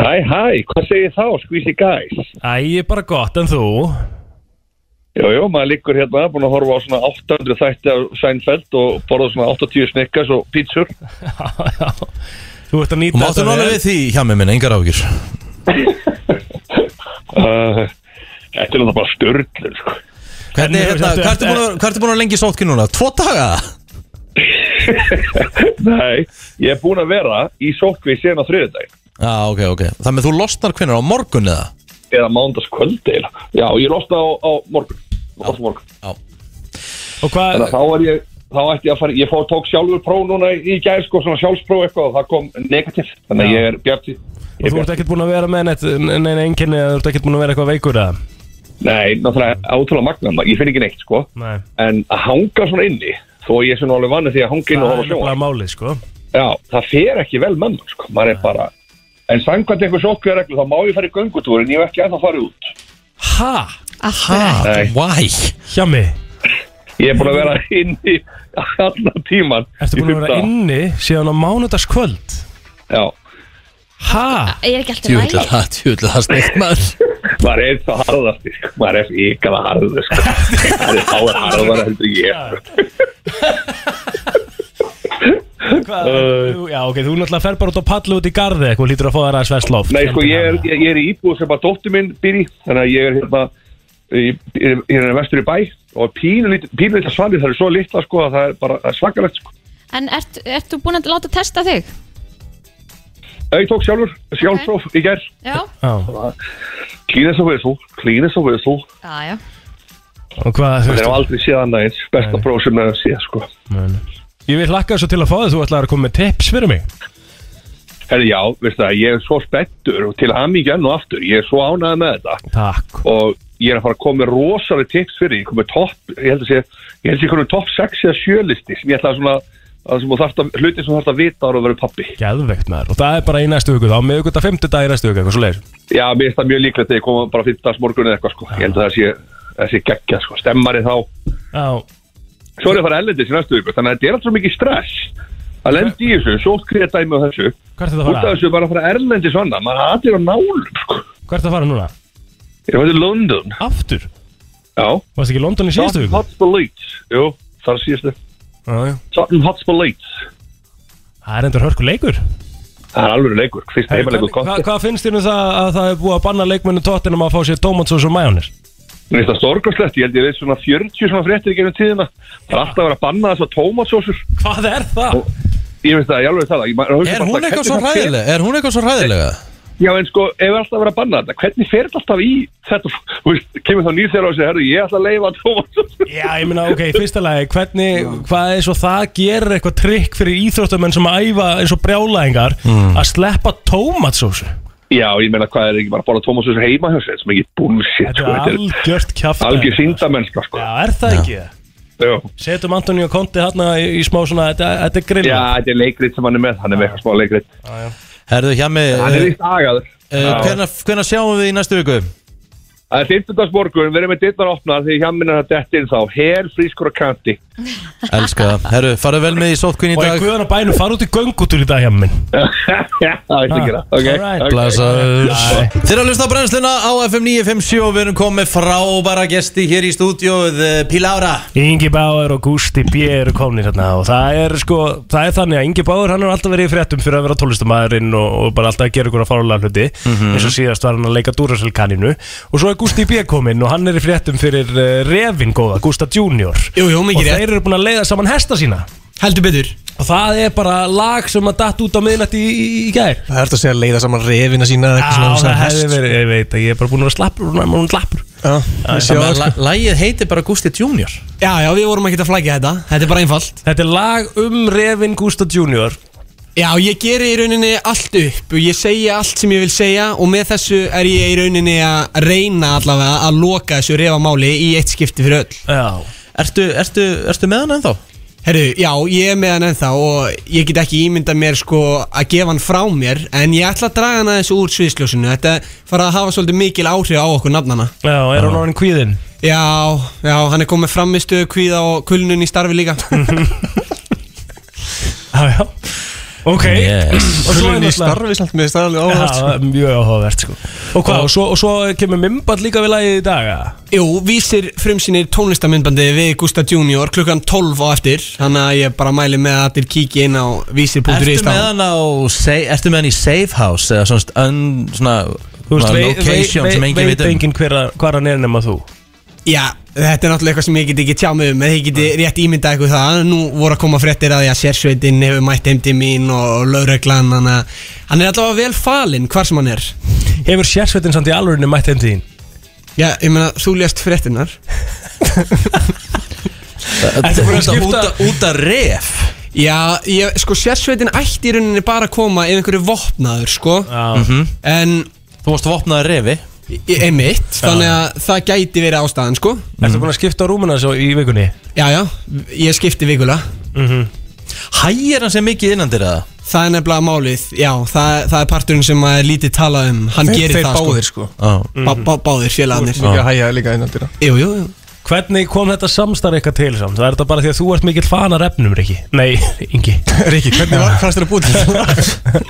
[SPEAKER 14] Hæ, hæ, hvað segir þá, skvísi gæs?
[SPEAKER 4] Æ, bara gott, en þú?
[SPEAKER 14] Jó, jó, maður liggur hérna, búin að horfa á svona 800 þætti af Seinfeld og borða svona 80 snikkars og pítsur.
[SPEAKER 4] Þú ert að
[SPEAKER 2] Og
[SPEAKER 4] nýta
[SPEAKER 2] máttu nála við því hjá mér minn, engar áhyggjur
[SPEAKER 14] Uh, þetta er náttúrulega bara störtlur, sko.
[SPEAKER 2] Hvernig, hérna, hvað ertu búin að- hvað ertu búin að lengi í sóttkví núna? Tvo daga?
[SPEAKER 14] Nei, ég er búin að vera í sótkvi síðan á þriðudag,
[SPEAKER 2] Já, ok, ok Það með þú losnar hvenær á morgun eða?
[SPEAKER 14] eða mándaskvöldi, eða. Já, ég losna á, á morgun, á morgun.
[SPEAKER 2] Já.
[SPEAKER 4] Og hvað?
[SPEAKER 14] Þannig að þá er ég, þá ætti ég að fara, ég fór tók sjálfur próf núna í gæð, sko, svona sjálfspró eitthvað og það kom negativ, þannig að ég er bjart
[SPEAKER 4] Og þú ert ekkert búin að vera með neitt, neina einkenni eða þú ert ekkert búin að vera eitthvað veikur eða?
[SPEAKER 14] Nei, náttúrulega átrúlega magnaðna, ég finn ekki neitt sko
[SPEAKER 4] Nei.
[SPEAKER 14] En að hanga svona inni, þó að ég er svona alveg vanið því að hanga inn og
[SPEAKER 4] Það
[SPEAKER 14] horfa
[SPEAKER 4] er
[SPEAKER 14] á sjóa
[SPEAKER 4] bara málið sko
[SPEAKER 14] Já, það fer ekki vel með mér sko, maður er bara En samkvæmt einhver sótkveðarreglu, þá má ég fara í göngutúr en ég hef ekki ennþá farið út
[SPEAKER 4] Ha?
[SPEAKER 14] Ha?
[SPEAKER 2] Why?
[SPEAKER 4] Hjá mig
[SPEAKER 14] Ég er búin að vera inni allan tíman
[SPEAKER 4] Ertu búin að vera inni síðan á mánudagskvöld?
[SPEAKER 14] Já
[SPEAKER 4] Ha?
[SPEAKER 3] er ekki alltaf
[SPEAKER 2] Djúvill er það, djúvill er það snyggt maður
[SPEAKER 14] Maður er svo harðasti, sko, maður er ykkaða harður sko Maður er þá er harðar heldur en ég sko.
[SPEAKER 4] Hvað? Þú- Já, ok, þú náttúrulega fer bara út og palla út í garði eitthvað, lítur að fá þær aðeins verst loft
[SPEAKER 14] Nei, sko, ég er, ég, ég er í íbúð sem að dóttir minn býr í, þannig að ég er hérna í- í- hérna vestur í bæ og pínulítið svanir, það er svo litla sko að það er bara það er svakalegt sko.
[SPEAKER 3] En ert, ert þú búin að láta testa þig?
[SPEAKER 14] Ég tók sjálfur, sjálfsróf í gerð.
[SPEAKER 3] Já
[SPEAKER 14] Clean as a whistle, clean as a whistle.
[SPEAKER 3] Já, já
[SPEAKER 4] Og hvað, þú
[SPEAKER 14] Það er
[SPEAKER 4] veist
[SPEAKER 14] aldrei séð annað eins, besta próf sem það séð sko.
[SPEAKER 4] Ég vil hlakka svo til að fá þig, þú ætlaði að koma með tips fyrir mig
[SPEAKER 14] Herri, já, veistu það, ég er svo spettur og til hamingju enn og aftur, ég er svo ánægð með þetta.
[SPEAKER 4] Takk
[SPEAKER 14] Og ég er að fara að koma með rosalega tips fyrir, því. ég kom með topp, ég held að sé, ég held að sé komin með topp 6 eða 7 listi sem ég ætla að svona Það sem þú þarft að, hlutin sem þú þarft að vita ára að vera pappi
[SPEAKER 4] Geðveikt maður Og það er bara í næstu viku Þá miðugut að fymtu dag í næstu viku Eitthvað svo
[SPEAKER 14] Já, mér finnst það mjög líklegt þegar ég koma bara fyrtast morgun eða eitthvað sko Ég held að það sé, það sé geggja sko, stemmari þá
[SPEAKER 4] Já
[SPEAKER 14] Svo er ég að fara ellendis í næstu viku, þannig að þetta er alltaf mikið stress Að lendi í þessu, svo kreða dæmi á þessu
[SPEAKER 4] Hvert er það að
[SPEAKER 14] Út af
[SPEAKER 4] fara?
[SPEAKER 14] þessu bara að fara erlendis og annað, maður er allir á nálum sko
[SPEAKER 4] Hvert er það að fara núna?
[SPEAKER 14] Ég var til London
[SPEAKER 4] Aftur?
[SPEAKER 14] Já
[SPEAKER 4] Varst ekki í London í síðustu viku?
[SPEAKER 14] Hotspur Leeds, jú, það er síðustu
[SPEAKER 4] Já, já
[SPEAKER 14] Tottenham Hotspur Leeds
[SPEAKER 4] Það er endur hörku leikur
[SPEAKER 14] Það er alveg leikur, fyrst heimaleikur
[SPEAKER 4] Hvað
[SPEAKER 14] Conte.
[SPEAKER 4] hvað finnst þér um það að það er búið að banna leikmennu tóttinum að fá sér tómatsós og majónis?
[SPEAKER 14] Mér finnst það sorgast ég held ég veit svona 40 svona fréttir í gegnum tíðina Það er alltaf að vera að banna þessar tómatsósur
[SPEAKER 4] Hvað er það?
[SPEAKER 14] ég veist það, ég alveg það ég bara- hugsa
[SPEAKER 2] Er
[SPEAKER 14] bara
[SPEAKER 2] hún
[SPEAKER 14] alltaf,
[SPEAKER 2] eitthvað
[SPEAKER 14] hvernig
[SPEAKER 2] svo
[SPEAKER 14] það fer-
[SPEAKER 2] hræðilega? Er hún eitthvað svo hræðilega?
[SPEAKER 14] Já, en sko, ef alltaf að vera að banna þetta Hvernig fer þetta alltaf í þetta Þú veist, Kemur þá nýr þeirra og segir, herru, ég ætla að leifa tómatsósur
[SPEAKER 4] Já, ég meina, ok, í fyrsta lagi, hvernig, hvað er svo það gerir eitthvað trikk fyrir íþróttamenn sem að æfa eins og brjálæðingar að sleppa tómatsósu?
[SPEAKER 14] Já, ég meina, hvað er ekki bara að borða tómatsósur heima hjá sér sem ekki bullshit sko.
[SPEAKER 4] Þetta er algjört kjafta.
[SPEAKER 14] Algjör síndamennska, sko
[SPEAKER 4] Já, er það ekki það?
[SPEAKER 14] Já.
[SPEAKER 4] Setjum Antoni og Konti hérna í, í smá svona, þetta, þetta er grill.
[SPEAKER 14] Já, þetta er leikrit sem hann er með Hann er með eitthvað smá leikrit
[SPEAKER 2] Herðu eh, hjá mig
[SPEAKER 14] Hann er víst agaður Já.
[SPEAKER 2] Hvernig sjáum við í næstu viku?
[SPEAKER 14] Það er 15. morgun, við erum með dittnar opnar því hjá minn er að detti inn þá, her, frískur og kanti.
[SPEAKER 2] Elska það Herru, farðu vel með í sótkvinn í
[SPEAKER 4] Og
[SPEAKER 2] dag
[SPEAKER 4] í guðan og bænum, fara út í göngutúr í dag hjá minn. Ah,
[SPEAKER 14] Já, það veistu ekki það. Ok, ok.
[SPEAKER 2] Blessaður
[SPEAKER 14] Nei.
[SPEAKER 2] Þeir eru að hlusta á brennsluna á FM 957 og við erum komið frábæra gesti hér í stúdíóð eh, Pilára
[SPEAKER 4] Ingi Báður og Gústi B. eru komnir hérna og það er sko, það er þannig að Ingi Báður hann er alltaf verið í fréttum fyrir að vera tónlistamæðurinn og, og bara alltaf að gera ykkur að fálega hluti
[SPEAKER 2] Mhm.
[SPEAKER 4] eins og síðast var hann að leika Duracell kaninu og svo er Gústi B. kominn og hann er í fréttum fyrir uh, Revin góða, Gústa Junior
[SPEAKER 13] Jú, jú, mikið
[SPEAKER 4] og
[SPEAKER 13] rétt.
[SPEAKER 4] þeir eru búin að leiða saman hesta sína
[SPEAKER 13] Heldur betur
[SPEAKER 4] og það er bara lag sem að datt út á miðnætti í, í, í gær
[SPEAKER 13] Það ert að segja að leiða saman refina sína
[SPEAKER 4] Já, það hefði verið, ég veit að ég er bara búin að vera slappur og hún er slappur
[SPEAKER 13] ég sé það, sko.
[SPEAKER 2] Lægið heitir bara Gusti Junior
[SPEAKER 13] Já, já, við vorum ekkert að flækja þetta Þetta er bara einfalt
[SPEAKER 4] Þetta er lag um refin Gústa Junior
[SPEAKER 13] Já, ég geri í rauninni allt upp og ég segja allt sem ég vil segja og með þessu er ég í rauninni að reyna allavega að loka þessu refamáli í eitt skipti fyrir öll
[SPEAKER 4] Já
[SPEAKER 13] Ertu, ertu, ertu með hann ennþá? Herru, já, ég er með hann ennþá og ég get ekki ímynda mér sko að gefa hann frá mér en ég ætla að draga hann aðeins úr sviðsljósinu Þetta fara að hafa svolítið mikil áhrif á okkur nafnana
[SPEAKER 4] Já, er hann orðin kvíðinn?
[SPEAKER 13] Já, já, hann er komið fram í stöðu kvíða og kulnun í starfi líka
[SPEAKER 4] Já, já Ok, og svo er
[SPEAKER 13] Kulnun í
[SPEAKER 4] náttúrulega
[SPEAKER 13] starfi samt með starfi sko. áhvert
[SPEAKER 4] Já, mjög áhugavert sko Og hvað, og svo, og svo kemur Mimbad líka við lagið í dag eða?
[SPEAKER 13] Jú, vísir frumsýnir tónlistamindbandi við Gústa Junior klukkan 12 á eftir Þannig að ég bara mæli með að allir kíki inn á vísir.is
[SPEAKER 2] Ertu með
[SPEAKER 13] þá.
[SPEAKER 2] hann á sa- Ertu með hann í safe house eða svona, un, svona, svona
[SPEAKER 4] vei-
[SPEAKER 2] location
[SPEAKER 4] vei-
[SPEAKER 2] sem enginn
[SPEAKER 4] vei-
[SPEAKER 2] veit um
[SPEAKER 4] enginn hver, að- hvar hann er nema þú
[SPEAKER 13] Já, þetta er náttúrulega eitthvað sem ég get ekki tjá mig um En ég geti
[SPEAKER 4] Mm.
[SPEAKER 13] rétt ímyndað eitthvað það Nú voru að koma fréttir að ég að sérsveitin hefur mætt heim til mín og lögreglan Þannig að hann er allavega vel falinn hvar sem hann er
[SPEAKER 4] Hefur sérsveitin samt í alvörinu mætt heim til þín?
[SPEAKER 13] Já, ég meina, þú lést fréttinar
[SPEAKER 2] Ertu búin að Út að- skipta- út að- út að ref?
[SPEAKER 13] Já, ég, sko sérsveitin ætti í rauninni bara að koma ef einhverju vopnaður, sko
[SPEAKER 2] Mhm.
[SPEAKER 13] En
[SPEAKER 2] Þú varst vopnaður refi
[SPEAKER 13] Emitt,
[SPEAKER 4] Já.
[SPEAKER 13] þannig að það gæti verið ástæðan, sko
[SPEAKER 2] Mhm.
[SPEAKER 4] Ertu búin að skipta á rúmuna svo í vikunni?
[SPEAKER 13] Já, já, ég skipti vikula
[SPEAKER 4] mm -hmm.
[SPEAKER 2] Hægir hann sem mikið innan þér eða?
[SPEAKER 13] Það er nefnilega málið, já, það, það er parturinn sem maður er lítið talað um Hann
[SPEAKER 2] Þeir-
[SPEAKER 13] gerir
[SPEAKER 2] þeir
[SPEAKER 13] það,
[SPEAKER 2] báðir, sko.
[SPEAKER 13] sko,
[SPEAKER 4] Mhm.
[SPEAKER 13] sko. Bá, bá, Báðir félagarnir
[SPEAKER 4] Þú ert líka að
[SPEAKER 13] hægjaði líka innan dýra Jú, jú, jú
[SPEAKER 4] Hvernig kom þetta samstarf eitthvað til samt? Það er þetta bara því að þú ert mikill fanar efnum, Riki Nei, Ingi
[SPEAKER 13] Riki,
[SPEAKER 4] hvernig
[SPEAKER 13] var-
[SPEAKER 4] fannst
[SPEAKER 13] þér að búið
[SPEAKER 4] til?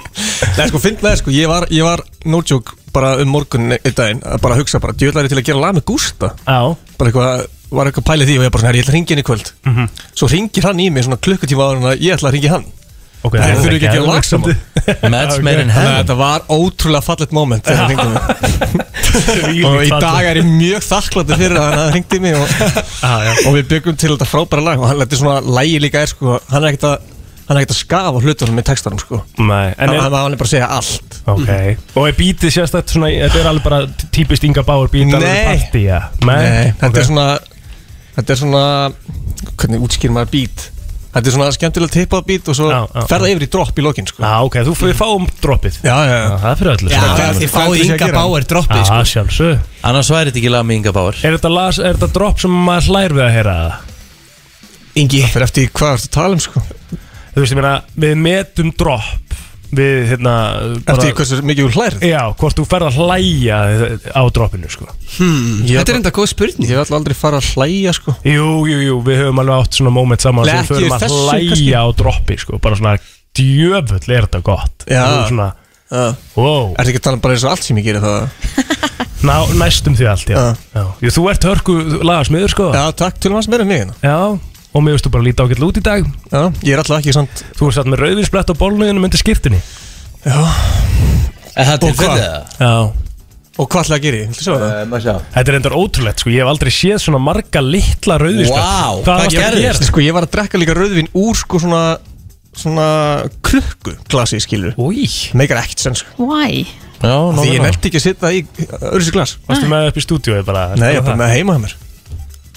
[SPEAKER 13] Nei,
[SPEAKER 4] sko,
[SPEAKER 13] finn með,
[SPEAKER 4] sko, ég
[SPEAKER 13] var,
[SPEAKER 4] ég var
[SPEAKER 13] no joke,
[SPEAKER 4] bara
[SPEAKER 13] um morgun einn daginn að bara hugsa bara, djöðlæri til að gera lag með Gústa
[SPEAKER 4] Já
[SPEAKER 13] Bara eitthvað, var eitthvað pælið því og ég bara svona, "Herri, ég ætla að ringi henni í kvöld
[SPEAKER 4] Mhm.
[SPEAKER 13] Svo ringir hann í mig svona klukkutíma áður en að ég ætla að ringi hann
[SPEAKER 4] Ok,
[SPEAKER 13] Það
[SPEAKER 4] það er
[SPEAKER 13] þurfi ekki að gera
[SPEAKER 4] geðveikt
[SPEAKER 13] lag saman
[SPEAKER 4] Match Ok. made in heaven.
[SPEAKER 13] Þannig að Þetta var ótrúlega fallet moment þegar hann ringdi mig Og í dag er ég mjög þakkláttur fyrir að hann ringdi mig og,
[SPEAKER 4] Ah,
[SPEAKER 13] og við byggum til þetta frábæra lag Og hann leti svona lægi líka er sko Hann er ekkert að, hann er ekkert að skafa hlutunum í textanum sko
[SPEAKER 4] Nei, en er-
[SPEAKER 13] Hann hann- hann er bara að segja allt Mhm.
[SPEAKER 4] Ok, og er bítið sérstætt svona, þetta er alveg bara típist Inga Bauer bít alveg
[SPEAKER 13] Nei.
[SPEAKER 4] partí, ja.
[SPEAKER 13] Nei, þetta er svona Þetta er svona Hvernig útskýr maður beat Þetta er svona skemmtilega tippað beat Og svo
[SPEAKER 4] já,
[SPEAKER 13] fer það yfir í dropp í lokin sko.
[SPEAKER 4] Já, ok, þú fyrir fáum droppið
[SPEAKER 13] Já, já, já
[SPEAKER 4] Það er fyrir öllu
[SPEAKER 13] Já, já, þið fáið Inga Bauer droppið,
[SPEAKER 4] sko. Já, sjálfsög
[SPEAKER 2] Annars væri þetta ekki lag með Inga Bauer
[SPEAKER 4] Er þetta, las, er þetta dropp sem maður hlær við að heyra það?
[SPEAKER 13] Ingi Það fyrir eftir hvað ertu að tala um sko
[SPEAKER 4] þú veist, ég meina, við metum drop við, hérna
[SPEAKER 13] Eftir því hversu mikið þú hlærð?
[SPEAKER 4] Já, hvort þú ferð að hlæja á droppinu, sko
[SPEAKER 13] hmm,
[SPEAKER 4] Ég
[SPEAKER 13] Þetta
[SPEAKER 4] bara-
[SPEAKER 13] er enda góð spurning Ég ætla aldrei að fara að hlæja sko
[SPEAKER 4] Jú, jú, jú, við höfum alveg átt svona moment saman
[SPEAKER 13] Nei,
[SPEAKER 4] sem
[SPEAKER 13] ekki
[SPEAKER 4] förum að
[SPEAKER 13] þessu,
[SPEAKER 4] hlæja
[SPEAKER 13] kannski.
[SPEAKER 4] á droppi, sko bara svona, djöfull er þetta gott
[SPEAKER 13] Já.
[SPEAKER 4] Þú svona, wow
[SPEAKER 13] Er þetta ekki að tala um bara eins og allt sem ég gerir það
[SPEAKER 4] Ná, næstum því allt, já, já. Jú, Þú ert hörku lagasmiður, sko
[SPEAKER 13] Já, takk, tölum hans meira um mig hérna
[SPEAKER 4] Já, og mér veistu bara líta ágætlega út í dag
[SPEAKER 13] Já, ég er alltaf ekki samt
[SPEAKER 4] Þú ert satt með rauðvísblett á bólnuðinu myndi skýrtinni
[SPEAKER 13] Já
[SPEAKER 2] Er það
[SPEAKER 13] Og hvað?
[SPEAKER 4] tilfellið eða? Já
[SPEAKER 13] Og hvað ætlaði að gera ég? Viltu sjá það?
[SPEAKER 4] Þetta er endur ótrúlegt, sko, ég hef aldrei séð svona marga litla rauðvísblett
[SPEAKER 13] Vá, hvað gerðist? Sko, ég var að drekka líka rauðvin úr sko svona svona krukku glasi skilur
[SPEAKER 4] Új
[SPEAKER 13] Meikar ekkert sens sko
[SPEAKER 3] Why?
[SPEAKER 13] Já,
[SPEAKER 4] nákvæmlega.
[SPEAKER 13] Því ég nefndi ekki að sitta í öðru sér glas
[SPEAKER 4] Varstu með upp í stúdíói bara?
[SPEAKER 13] Nei, ég er bara með heima hjá mér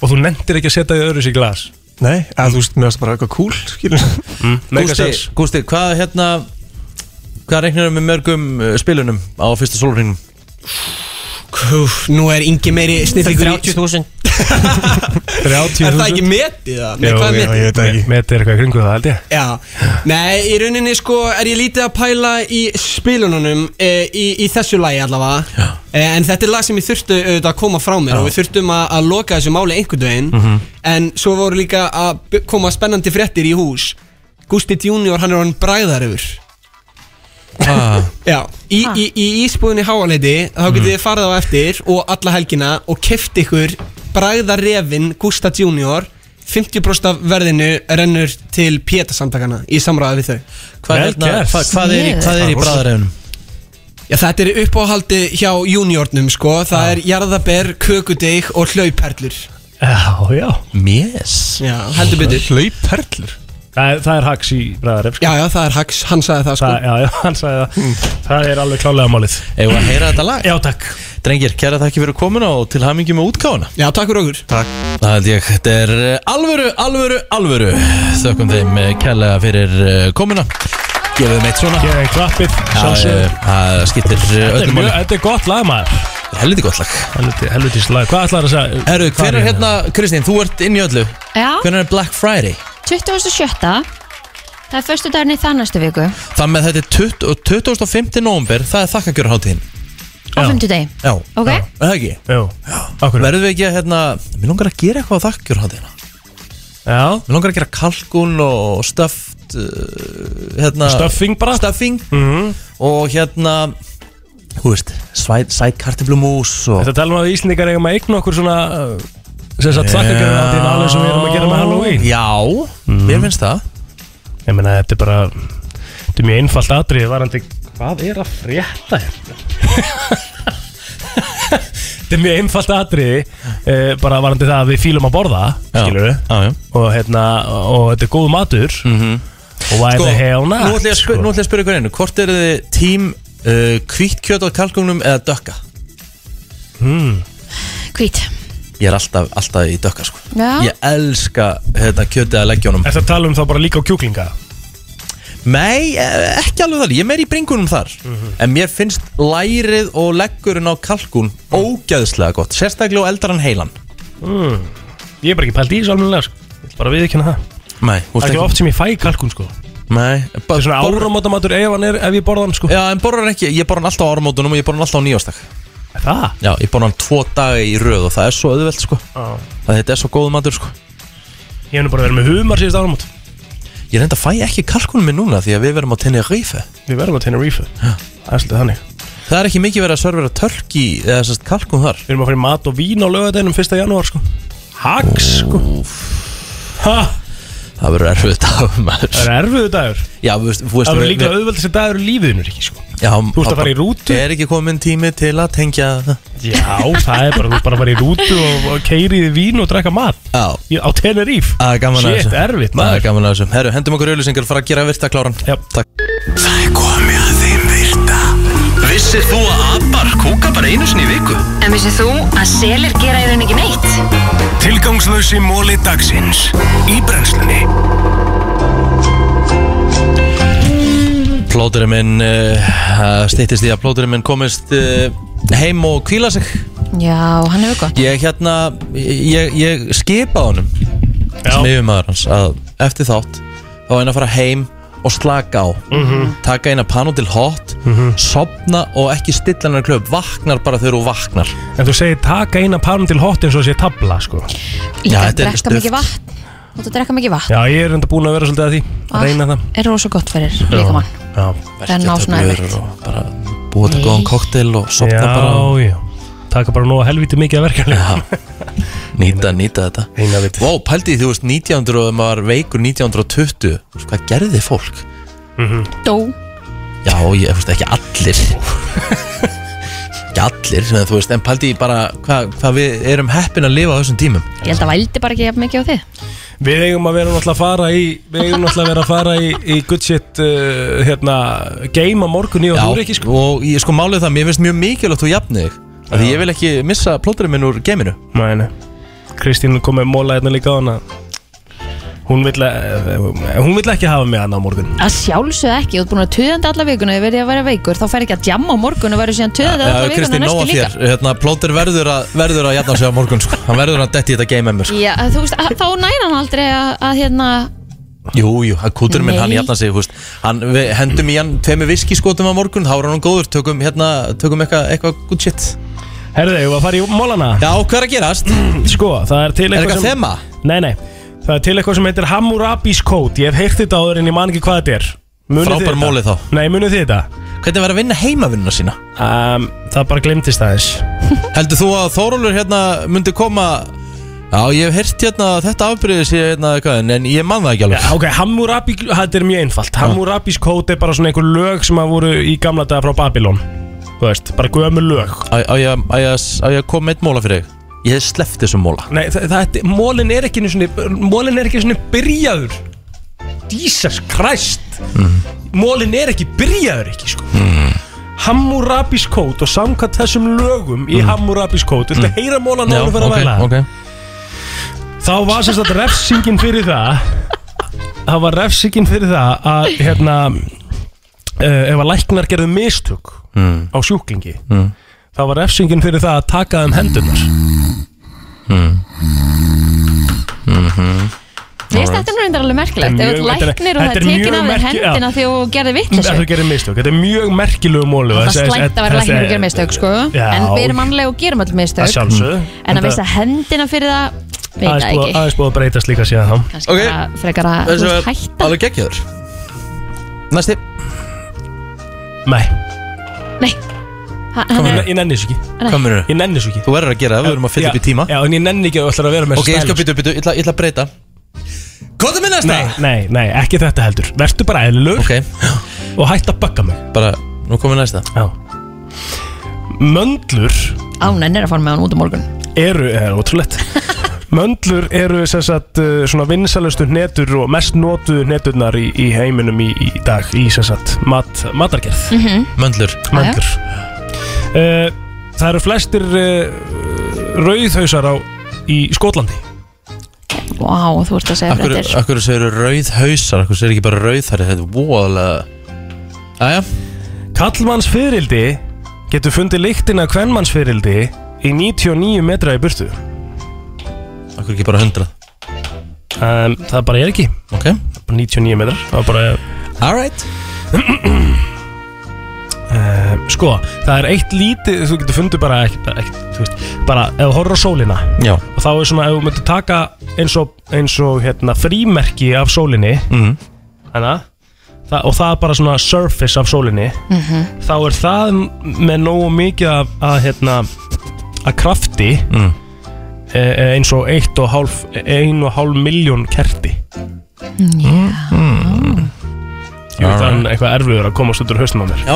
[SPEAKER 4] Og þú nefndir ekki að setja því öðru sér glas?
[SPEAKER 13] Nei, eða þú veist, mér varst bara eitthvað cool skilur
[SPEAKER 4] Mega
[SPEAKER 2] Gústi,
[SPEAKER 4] sens.
[SPEAKER 2] Gústi, hvað hérna Hvað reiknir með mörgum uh, spilunum á fyrsta sólurinnum?
[SPEAKER 15] Úff, Nú er yngi meiri snillingur í-
[SPEAKER 13] 30.000
[SPEAKER 4] 30.000
[SPEAKER 15] Er það ekki metið það? Nei,
[SPEAKER 4] Jú,
[SPEAKER 15] hvað er
[SPEAKER 4] jú,
[SPEAKER 15] metið?
[SPEAKER 4] ég veit það ekki Metið er eitthvað í kringu það held ég
[SPEAKER 15] Já, nei, í rauninni sko er ég lítið að pæla í spilununum e, í, í þessu lagi allavega e, En þetta er lag sem ég þurfti auðvitað að koma frá mér
[SPEAKER 4] Já.
[SPEAKER 15] og við þurftum að, að loka þessu máli einhvern veginn
[SPEAKER 4] Mhm.
[SPEAKER 15] En svo voru líka að b- koma spennandi fréttir í hús Gusti Junior, hann er hann bræðar yfir
[SPEAKER 2] Ah. Mm.
[SPEAKER 15] Já, í, í, í ísbúðinni háaleiti þá getið þið farið á eftir og alla helgina og keft ykkur bræðarefin Gústa Junior 50% af verðinu rennur til pétasamtakana í samræði við þau
[SPEAKER 2] Hvað er Vel hérna- gert. hvað- hvað er í- hvað er í bragðarefinum?
[SPEAKER 15] Já, þetta er uppáhaldi hjá juniornum sko,
[SPEAKER 2] Ah.
[SPEAKER 15] það er jarðaber, kökudeig og hlauperlur
[SPEAKER 4] Já, já
[SPEAKER 2] Mjess
[SPEAKER 15] Já, heldur betur
[SPEAKER 13] Hlauperlur
[SPEAKER 4] Það, er- það er hax í bræðaref sko.
[SPEAKER 15] Já, já, það er hax, hann sagði það sko Mm.
[SPEAKER 4] það, Já, já, hann sagði það Það er alveg klálega málið
[SPEAKER 2] Eða að heyra þetta lag?
[SPEAKER 4] Já, takk
[SPEAKER 2] Drengir, kæra takk fyrir komuna og til hamingi með útkáfuna
[SPEAKER 15] Já, takk fyrir okkur
[SPEAKER 13] Takk
[SPEAKER 2] Það held ég, þetta er eh, alvöru, alvöru, alvöru Þökkum þeim kælega fyrir eh, komuna Gefum þeim eitt svona eh,
[SPEAKER 4] Gefum þeim klappið, sjálfsögðu.
[SPEAKER 2] Það skiptir eh,
[SPEAKER 4] Þetta er
[SPEAKER 2] öllu
[SPEAKER 4] mjög-
[SPEAKER 2] máli
[SPEAKER 4] Þetta er gott lag maður
[SPEAKER 2] Helviti gott lag
[SPEAKER 4] Helviti, helviti slag Hvað ætlar það að segja?
[SPEAKER 2] Herru,
[SPEAKER 4] Hvað
[SPEAKER 2] hver er hérna, Kristín, þú ert inn í öllu
[SPEAKER 3] Já.
[SPEAKER 2] Hvernig er Black Friday?
[SPEAKER 3] 27. Það er förstu dagurinn í það næstu viku á
[SPEAKER 2] Það með þetta er 20 og 25. november, það er þakkagjörhátíðin
[SPEAKER 3] fymtudegi
[SPEAKER 2] Já,
[SPEAKER 3] Ok.
[SPEAKER 2] já. Er það ekki?
[SPEAKER 4] Jú
[SPEAKER 2] Verðum við ekki að, hérna, mér langar að gera eitthvað á þakkagjörhátíðina
[SPEAKER 4] Já
[SPEAKER 2] Mér langar að gera kalkun og stöft uh, hérna,
[SPEAKER 4] Stuffing bara?
[SPEAKER 2] Stuffing
[SPEAKER 4] Mhm.
[SPEAKER 2] Og hérna, hú veist, svæ- sæt kartiblumús og
[SPEAKER 4] Þetta talum við að Íslendingar eigum að eigna okkur svona uh, sem sagt þakkagjörðin á þín alveg sem við erum að gera með Halloween Mm.
[SPEAKER 2] Já, mér finnst það
[SPEAKER 4] Ég meina, þetta er bara þetta er mjög einfalt atrið varandi Hvað er að frétta hérna? þetta er mjög einfalt atriði eh, bara varandi það að við fílum að borða skilur
[SPEAKER 2] við
[SPEAKER 4] og, hérna, og þetta er góð matur og hvað er
[SPEAKER 2] Sko,
[SPEAKER 4] sko.
[SPEAKER 2] Nú
[SPEAKER 4] það hefna
[SPEAKER 2] ætlum ég að sp- nú ætla ég að spyrja ykkur einu Hvort eru þið tím uh, kvítkjöt á kalkunum eða dökka?
[SPEAKER 4] Hmm.
[SPEAKER 3] Hvít
[SPEAKER 2] Ég er alltaf, alltaf í dökka sko
[SPEAKER 3] Já.
[SPEAKER 2] Ég elska hérna, kjötið að leggjónum
[SPEAKER 4] Er það að tala um það bara líka á kjúklinga?
[SPEAKER 2] Nei, eh, ekki alveg það Ég er meir í bringunum þar
[SPEAKER 4] Mhm.
[SPEAKER 2] En mér finnst lærið og leggurinn á kalkun Ógæðslega gott Sérstaklega á eldaran heilan
[SPEAKER 4] mm. Ég er bara ekki pælt í þessu alveg sko. Ég ætla bara við ekki hana það
[SPEAKER 2] Nei, þú
[SPEAKER 4] Það
[SPEAKER 2] veist
[SPEAKER 4] er ekki
[SPEAKER 2] ekki-
[SPEAKER 4] oft sem ég fæ kalkun sko
[SPEAKER 2] Nei
[SPEAKER 4] Það er svona áramótamatur ef, hann er, ef ég borða hann sko
[SPEAKER 2] Já, en borðar ekki, ég borðar hann alltaf á áramótunum og ég borðar hann alltaf á nýjástak
[SPEAKER 4] Það?
[SPEAKER 2] Já, ég borðar hann tvo daga í röð og það er svo auðvelt sko
[SPEAKER 4] Já.
[SPEAKER 2] Það þetta er svo góð matur sko
[SPEAKER 4] Ég hef nú bara verið með humar síðust áramót
[SPEAKER 2] Ég reynda að fæ ekki kalkunum minn núna því að við verðum á Tenerife
[SPEAKER 4] Við verðum á Tenerife Það er svolítið þannig
[SPEAKER 2] Það er ekki mikið verið að servera tölk í eða sérst kalkun þar
[SPEAKER 4] Við erum að fara í mat og vín á lögadeginum 1. janúar sko Hags sko Ha?
[SPEAKER 2] Það verður erfið dagur maður
[SPEAKER 4] Það er erfiðu dagur
[SPEAKER 2] Já, þú veist, þú veist
[SPEAKER 4] Það verður
[SPEAKER 2] við-
[SPEAKER 4] líka
[SPEAKER 2] við-
[SPEAKER 4] auðveld þessi dagur í lífiðinu ekki sko
[SPEAKER 2] Já,
[SPEAKER 4] Þú ert að fara í rútu
[SPEAKER 2] Er ekki komin tími til að tengja
[SPEAKER 4] Já, það er bara, þú ert bara að fara í rútu og, og keiri þið vín og drekka mat
[SPEAKER 2] Já
[SPEAKER 4] Í- Á Tenerife
[SPEAKER 2] Það er gaman að
[SPEAKER 4] Shit, erfitt, maður.
[SPEAKER 2] Það er gaman að þessu Herru, hendum okkur auðlýsingar Fara að gera virta kláran
[SPEAKER 4] Já
[SPEAKER 2] Takk
[SPEAKER 1] Það er komið að þeim virta Vissir þú að abar kúka bara einu sinni í viku?
[SPEAKER 8] En vissið þú að selir gera í rauninni ekki neitt?
[SPEAKER 1] Tilgangslösi móli dagsins Í brennslunni
[SPEAKER 2] Plóturinn minn uh, Stýttist í að plóturinn minn komist uh, heim og kvíla sig
[SPEAKER 3] Já, hann hefur gott
[SPEAKER 2] Ég hérna Ég, ég skipaði honum sem yfirmaður hans að eftir þátt þá eina að fara heim og slaka á
[SPEAKER 1] Mhm.
[SPEAKER 2] taka eina panu til hot
[SPEAKER 4] Mhm.
[SPEAKER 2] sopna og ekki stilla hennar klöp vaknar bara þegar þú vaknar
[SPEAKER 4] En þú segir taka eina palm til hot eins og sé tabla sko
[SPEAKER 3] Líka að drekka mikið vatn Þú ert að drekka mikið vatn
[SPEAKER 4] Já, ég er enda búin að vera svolítið að því að reyna það
[SPEAKER 3] er rosa gott fyrir Ah. líka mann
[SPEAKER 4] Já,
[SPEAKER 3] Það er ná svona erfitt.
[SPEAKER 2] og bara búa til
[SPEAKER 3] Nei.
[SPEAKER 2] góðan koktel og sopna
[SPEAKER 4] já,
[SPEAKER 2] bara
[SPEAKER 4] Já, taka bara nú að helviti mikið að verka
[SPEAKER 2] nýta, nýta þetta
[SPEAKER 4] eina viti
[SPEAKER 2] Vá, pældi því, þú veist 1900 og ef maður var veikur 1920 þú veist, hvað gerði fólk?
[SPEAKER 4] Mhm.
[SPEAKER 3] Dó
[SPEAKER 2] Já, ég þú veist ekki allir ekki allir, sem þú veist en pældi því bara hvað hva við erum heppin að lifa á þessum tímum
[SPEAKER 3] Ég held að vældi bara ekki jafn mikið á þig
[SPEAKER 4] Við eigum að vera náttúrulega að fara í Við eigum náttúrulega að vera að fara í, í good shit uh, hérna, game á morgun í og þú er ekki
[SPEAKER 2] sko Og ég sko málið það, mér finnst mjög mikilvægt þú jafnið þig Af Því ég vil ekki missa plóturinn minn úr geiminu
[SPEAKER 4] Nei, nei Kristín kom með móla hérna líka á hana Hún vill, eh, hún vill ekki hafa mig hann á morgun
[SPEAKER 3] Að sjálfsögðu ekki, þú ert búin að töðandi alla vikuna Ég verði að vera veikur, þá fær ekki að jamma á morgun og verður síðan töðandi alla vikuna
[SPEAKER 2] Kristín, nóa
[SPEAKER 3] næstu líka
[SPEAKER 2] þér hérna, Plótur verður að, verður að jafna sig á morgun sko. Hann verður að detti í þetta game emmer sko.
[SPEAKER 3] Já, þú veist, að, þá næra hann aldrei að, að hérna
[SPEAKER 2] Jú, jú, að kúturinn minn, hann
[SPEAKER 3] Nei.
[SPEAKER 2] jafna sig þú veist. hann, Við hendum í hann tveimu viskiskotum á morgun Þá er hann góður, tökum, hérna, tökum eitthvað eitthva good shit
[SPEAKER 4] Herðu, ég var að fara í mólana
[SPEAKER 2] Já, hvað er að gerast?
[SPEAKER 4] Sko, það er til
[SPEAKER 2] Er eitthvað þema?
[SPEAKER 4] Nei, nei, það er til eitthvað sem heitir Hammurabis Code Ég hef heyrt þetta áður en ég man ekki hvað þetta er Munið þið
[SPEAKER 2] Frábær
[SPEAKER 4] þetta?
[SPEAKER 2] móli þá
[SPEAKER 4] Nei, munið þið þetta?
[SPEAKER 2] Hvernig var að vinna heimavinnuna sína?
[SPEAKER 4] Um, það bara glemtist aðeins
[SPEAKER 2] Heldur þú að Þórólur hérna myndi koma Já, ég hef heyrt hérna að þetta afbyrðið sé hérna eitthvað en- En ég man það ekki alveg
[SPEAKER 4] Já, ok, Hammurabi, þetta er mjög
[SPEAKER 2] Ah.
[SPEAKER 4] einfalt Hammurabis kóti er bara svona einhver lög sem að voru í gamla daga frá Babylon Þú veist, bara gömur lög
[SPEAKER 2] Á á ég á ég að á ég að koma með eitt móla fyrir þig? Ég hef sleppt þessum móla
[SPEAKER 4] Nei, það, það, mólin er ekki einu svona, mólin er ekki einu svona byrjaður Jesus Christ Mólin er ekki byrjaður ekki, sko Hammurabis kót og samkvæmt þessum lögum í Hammurabis kót Viltu heyra mólan áður fyrir að væla?
[SPEAKER 2] okay.
[SPEAKER 4] Þá var sem sagt refsingin fyrir það Það var refsingin fyrir það að hérna uh, ef að læknar gerðu mistök
[SPEAKER 1] Mm.
[SPEAKER 4] á sjúklingi
[SPEAKER 1] Mm.
[SPEAKER 4] þá var refsingin fyrir það að taka þeim hendunar Mhm.
[SPEAKER 3] Ég veist, þetta er nú reyndar alveg merkilegt
[SPEAKER 4] Þetta er
[SPEAKER 3] Ef þú
[SPEAKER 4] mjög- þetta er-
[SPEAKER 3] læknir og það
[SPEAKER 4] þetta
[SPEAKER 3] er
[SPEAKER 4] er mjög
[SPEAKER 3] tekin af þér
[SPEAKER 4] merki- já.
[SPEAKER 3] hendina því þú gerði vitt
[SPEAKER 4] Ef þú gerir mistök, þetta er mjög merkilegu mólu
[SPEAKER 3] Það er slæmt að vera læknir og gera mistök sko
[SPEAKER 4] Já.
[SPEAKER 3] En við erum mannlega og gerum öll mistök
[SPEAKER 4] Að sjálfsögðu.
[SPEAKER 3] En
[SPEAKER 4] Þetta-
[SPEAKER 3] að missa hendina fyrir það Veit það
[SPEAKER 4] Aðeins búið-
[SPEAKER 3] ekki
[SPEAKER 4] aðeins búið að breytast líka síðan þá
[SPEAKER 3] Kannski bara frekar að þú veist, hætta
[SPEAKER 2] Alveg geggjöður Næsti
[SPEAKER 4] Nei
[SPEAKER 3] Nei Ha- hann
[SPEAKER 4] Ég
[SPEAKER 3] er-
[SPEAKER 4] ég nenni þessu ekki
[SPEAKER 3] Nei. Hvað
[SPEAKER 2] meinarðu?
[SPEAKER 4] Ég nenni þessu ekki
[SPEAKER 2] Þú verður að gera það, við erum að fylla upp í tíma
[SPEAKER 4] Já, en ég nenni ekki að þú ætlar að vera með
[SPEAKER 2] Ok, ég skal byttu, byttu, ég ætla- ég ætla að breyta Kóta minn næsta
[SPEAKER 4] Nei, nei, nei, ekki þetta heldur Vertu bara eðlur
[SPEAKER 2] okay.
[SPEAKER 4] Og hætt að bugga mig
[SPEAKER 2] Bara, nú komum við næsta
[SPEAKER 4] Já Möndlur
[SPEAKER 3] Á, hún ennir að fara með hann út á morgun
[SPEAKER 4] eru, það er ótrúlegt Möndlur eru sem sagt uh, svona vinsalustu hnetur og mest notuðu hneturnar í, í heiminum í, í dag í sem sagt mat, matargerð
[SPEAKER 1] Mhm.
[SPEAKER 2] Möndlur
[SPEAKER 4] Möndlur uh, Það eru flestir uh, rauðhausar á í Skotlandi
[SPEAKER 3] Vá, þú ert að segja
[SPEAKER 2] Akkur,
[SPEAKER 3] fréttir
[SPEAKER 2] akkur segir rauð hausar, akkur segir ekki bara rauð þar Þetta er voðalega Æja
[SPEAKER 4] Kallmanns fyrildi getur fundið lyktina kvenmanns fyrildi í 99 metra í burtu
[SPEAKER 2] Akkur ekki bara 100
[SPEAKER 4] um, Það bara er ekki
[SPEAKER 2] Ok
[SPEAKER 4] Bara 99 metrar Það er bara
[SPEAKER 2] Alright
[SPEAKER 4] um, Sko, það er eitt lítið Þú getur fundið bara ekki, bara, ekki þú veist, bara ef þú horfir á sólina
[SPEAKER 2] Já.
[SPEAKER 4] Og þá er svona, ef þú myndir taka eins og, eins og hérna, frímerki af sólinni
[SPEAKER 2] mm.
[SPEAKER 4] Þannig Það, og það er bara svona surface af sólinni
[SPEAKER 1] Mhm.
[SPEAKER 4] þá er það m- með nógu mikið að, að, hérna, að krafti e-,
[SPEAKER 2] mm.
[SPEAKER 4] eins og e-, 1,5 miljón kerti
[SPEAKER 1] Mm.
[SPEAKER 4] Ég veit að hann eitthvað erfiður að komast út úr haustum á mér
[SPEAKER 2] Já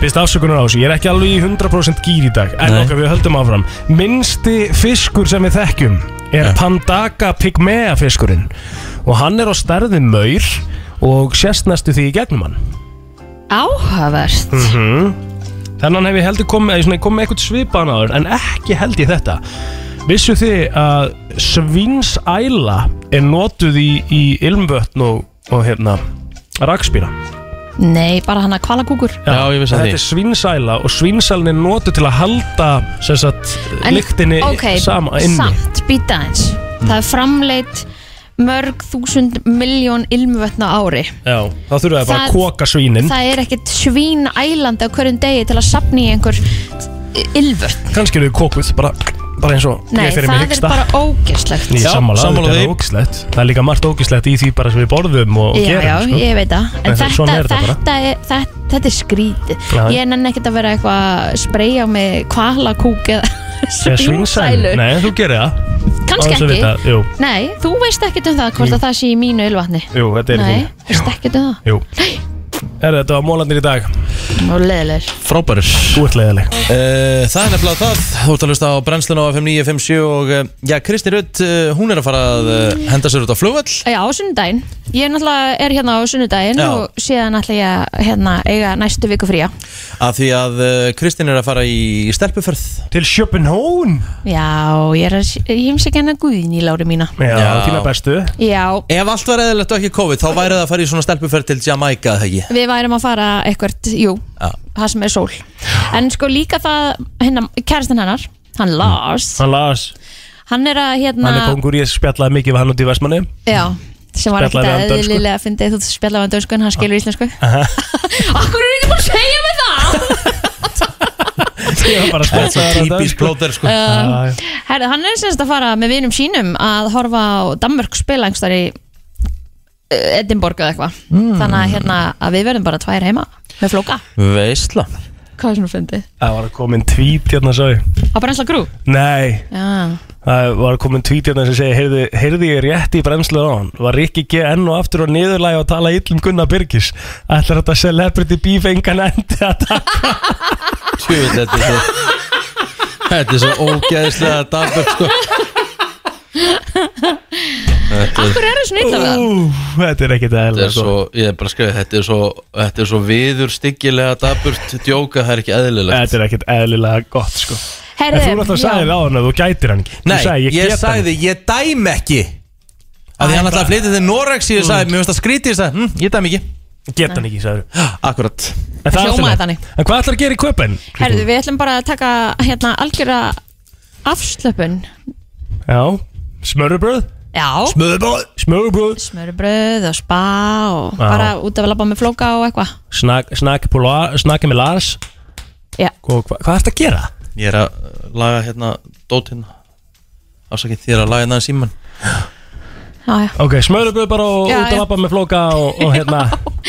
[SPEAKER 4] Fyrst afsökunar á þessu, ég er ekki alveg í 100% gýr í dag En
[SPEAKER 1] Nei.
[SPEAKER 4] okkar við höldum áfram Minnsti fiskur sem við þekkjum Er Pandaka Pygmea fiskurinn Og hann er á stærði maur Og sérst næstu því í gegnum hann
[SPEAKER 3] Áhavert
[SPEAKER 4] mm Þannig hef ég heldur komið svona, Ég kom með eitthvað svipaðan áður En ekki held ég þetta Vissu þið að svinsæla Er notuð í, í ilmvötn Og, og hérna Rakspýra
[SPEAKER 3] Nei, bara hann að kvala kúkur
[SPEAKER 4] Já, ég
[SPEAKER 2] vissi að því.
[SPEAKER 4] Þetta er svinsæla og svinsælin er notu til að halda sem sagt, lyktinni
[SPEAKER 3] ok,
[SPEAKER 4] sama inni Mm.
[SPEAKER 3] Samt, býta eins Það er framleitt mörg þúsund miljón ilmvötna á ári
[SPEAKER 4] Já, þá þurfum við bara að
[SPEAKER 3] Það-
[SPEAKER 4] koka svínin
[SPEAKER 3] Það er ekkit svín ælandi á hverjum degi til að sapna í einhver ilvötn
[SPEAKER 4] Kannski eru við kokuð, bara, bara eins og
[SPEAKER 3] Nei,
[SPEAKER 4] ég fyrir mig
[SPEAKER 3] það er
[SPEAKER 4] hyggsta.
[SPEAKER 3] bara ógeslegt
[SPEAKER 4] Ég er sammála, þetta er ógislegt Það er líka margt ógislegt í því bara sem við borðum og
[SPEAKER 3] Já,
[SPEAKER 4] gerum
[SPEAKER 3] já,
[SPEAKER 4] sko.
[SPEAKER 3] ég veit það En
[SPEAKER 4] En það-
[SPEAKER 3] þetta,
[SPEAKER 4] svona er
[SPEAKER 3] þetta,
[SPEAKER 4] þetta bara.
[SPEAKER 3] er, þetta, þetta er skrítið
[SPEAKER 4] Já, já.
[SPEAKER 3] Ég nenni ekkert að vera eitthvað að spreyja með kvalakúk eða
[SPEAKER 4] Eða svínsælu.
[SPEAKER 3] svínsælu
[SPEAKER 4] Nei, þú gerir það Án
[SPEAKER 3] Kannski
[SPEAKER 4] þess að
[SPEAKER 3] ekki
[SPEAKER 4] vita, Jú,
[SPEAKER 3] Nei, þú veist ekkert um það hvort að það sé í mínu ylvatni
[SPEAKER 4] jú, þetta er í
[SPEAKER 3] Nei,
[SPEAKER 4] þínu.
[SPEAKER 3] veist ekkert um
[SPEAKER 4] Jú Herra, þetta var mólandir í dag
[SPEAKER 3] það Og leðilegur
[SPEAKER 2] Frábærir
[SPEAKER 4] Þú ert leiðileg
[SPEAKER 2] Uh, það er nefnilega það, þú ert að hlusta á brennslun á FM 957 og uh, já, Kristi Rutt, uh, hún er að fara að uh, henda sér út á flugvall
[SPEAKER 3] Já, á sunnudaginn Ég náttúrulega er hérna á sunnudaginn
[SPEAKER 2] Já.
[SPEAKER 3] og síðan ætla ég að hérna, eiga næstu viku fría
[SPEAKER 2] af því að uh, Kristin er að fara í stelpuferð
[SPEAKER 4] Til Sjöpenhón
[SPEAKER 3] Já, ég er að ég heimsækja hennar guðin í lári mína
[SPEAKER 4] Já, þína bestu
[SPEAKER 3] Já,
[SPEAKER 2] Ef allt var eðalegt og ekki COVID, þá væri það að fara í svona stelpuferð til Jamaica, eða ekki?
[SPEAKER 3] við værum að fara eitthvert, jú,
[SPEAKER 2] Já.
[SPEAKER 3] það sem er sól En sko líka það, hérna, kærastan hennar, hann Lars
[SPEAKER 4] Hann las,
[SPEAKER 3] Hann er að hérna
[SPEAKER 4] Mm. hann er kongur, ég spjallaði mikið við hann út í Vestmanni
[SPEAKER 3] Já, sem var ekki
[SPEAKER 4] Spjallaði við sko.
[SPEAKER 3] að
[SPEAKER 4] hann dönsku.
[SPEAKER 3] eðlilega fyndið þú spjallaði hann dönsku sko, en hann skilur íslensku Akkur er ekki búin að segja mig það
[SPEAKER 4] Ég var bara að
[SPEAKER 2] Þetta er
[SPEAKER 4] spjalla
[SPEAKER 2] típist plóter, sko
[SPEAKER 3] Já, Herðu, hann er semst að fara með vinum sínum að horfa á Danmörk spila einhvers þar í eh, Edinborg eða eitthvað
[SPEAKER 4] Mm.
[SPEAKER 3] Þannig að, hérna, að við verðum bara tvær heima með flóka
[SPEAKER 2] Veistla
[SPEAKER 3] Hvað er svona fyndið?
[SPEAKER 4] Það var að komin tvít hérna, sagði
[SPEAKER 3] Á Brensla Grú?
[SPEAKER 4] Nei,
[SPEAKER 3] Já
[SPEAKER 4] það var komin tvít hérna sem segi heyrði, heyrði ég rétt í bremslu á hann Var Rikki G enn og aftur á niðurlægi og tala illum Gunnar Byrgis Ætlar þetta celebrity beef engan endi að taka
[SPEAKER 2] Tjöfull, þetta er svo Þetta er svo ógæðislega dagbjörn, sko Þetta
[SPEAKER 3] Akkur er það svona illa við hann?
[SPEAKER 4] Þetta er ekkit
[SPEAKER 2] Þetta er
[SPEAKER 4] eðlilega
[SPEAKER 2] svo, ég er bara að skrifa, þetta er svo, þetta er svo viður styggilega daburt djóka, það er ekki eðlilegt
[SPEAKER 4] Þetta er ekkit eðlilega gott sko
[SPEAKER 3] Herðu,
[SPEAKER 4] En þú náttúrulega
[SPEAKER 3] já.
[SPEAKER 4] sagði á hann að þú gætir hann ekki Þú
[SPEAKER 2] Nei,
[SPEAKER 4] sagðir,
[SPEAKER 2] ég,
[SPEAKER 4] get hann
[SPEAKER 2] sagði, ég dæm ekki Af því hann ætlaði að flytja til Norex Ég sagði, mér finnst það skrítið, ég sagði, hm, ég dæm ekki
[SPEAKER 4] Get hann ekki, sagði
[SPEAKER 2] Akkurat
[SPEAKER 4] En það er
[SPEAKER 3] Hljómaði
[SPEAKER 4] alltaf
[SPEAKER 3] þannig.
[SPEAKER 4] leið. En hvað ætlar að gera í köpen?
[SPEAKER 3] Herðu, við ætlum bara að taka hérna algjöra afslöpun
[SPEAKER 4] Já, smörurbröð
[SPEAKER 3] Já
[SPEAKER 4] Smörurbröð Smörurbröð
[SPEAKER 3] Smörbröð og spa og
[SPEAKER 4] Já.
[SPEAKER 3] bara út af að labba með flóka og eitthvað
[SPEAKER 4] Snakki snak, snak með Lars
[SPEAKER 3] Já.
[SPEAKER 4] Hva, hva, Hvað ætlar að gera?
[SPEAKER 2] Ég er að laga hérna dót hérna Ásakið þér að laga hérna síman
[SPEAKER 3] Já, já
[SPEAKER 4] Ok, smörurbröð bara og
[SPEAKER 3] Já,
[SPEAKER 4] út að
[SPEAKER 3] já.
[SPEAKER 4] lappa með flóka og, og hérna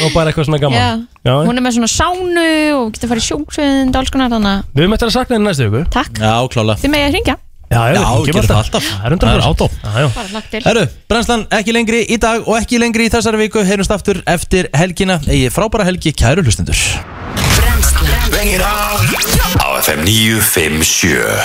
[SPEAKER 4] Og bara eitthvað svona gaman
[SPEAKER 3] Já.
[SPEAKER 4] Já.
[SPEAKER 3] Hún er með svona sánu og getur farið sjóksvind og alls konar þannig að
[SPEAKER 4] Við erum eftir að sakna henni næstu ykkur
[SPEAKER 3] Takk.
[SPEAKER 2] Já, klála
[SPEAKER 3] þið megið að hringja
[SPEAKER 4] Já,
[SPEAKER 2] Já,
[SPEAKER 4] já, við
[SPEAKER 2] gerum
[SPEAKER 4] gerum
[SPEAKER 2] það
[SPEAKER 4] alltaf Það er undan
[SPEAKER 2] Það er
[SPEAKER 4] átó Já, já
[SPEAKER 3] Bara lagt til
[SPEAKER 2] Herru, brennslan ekki lengri í dag og ekki lengri í þessari viku Heyrjumst aftur eftir helgina Egið frábæra helgi, kæru hlustendur
[SPEAKER 1] Á FM 957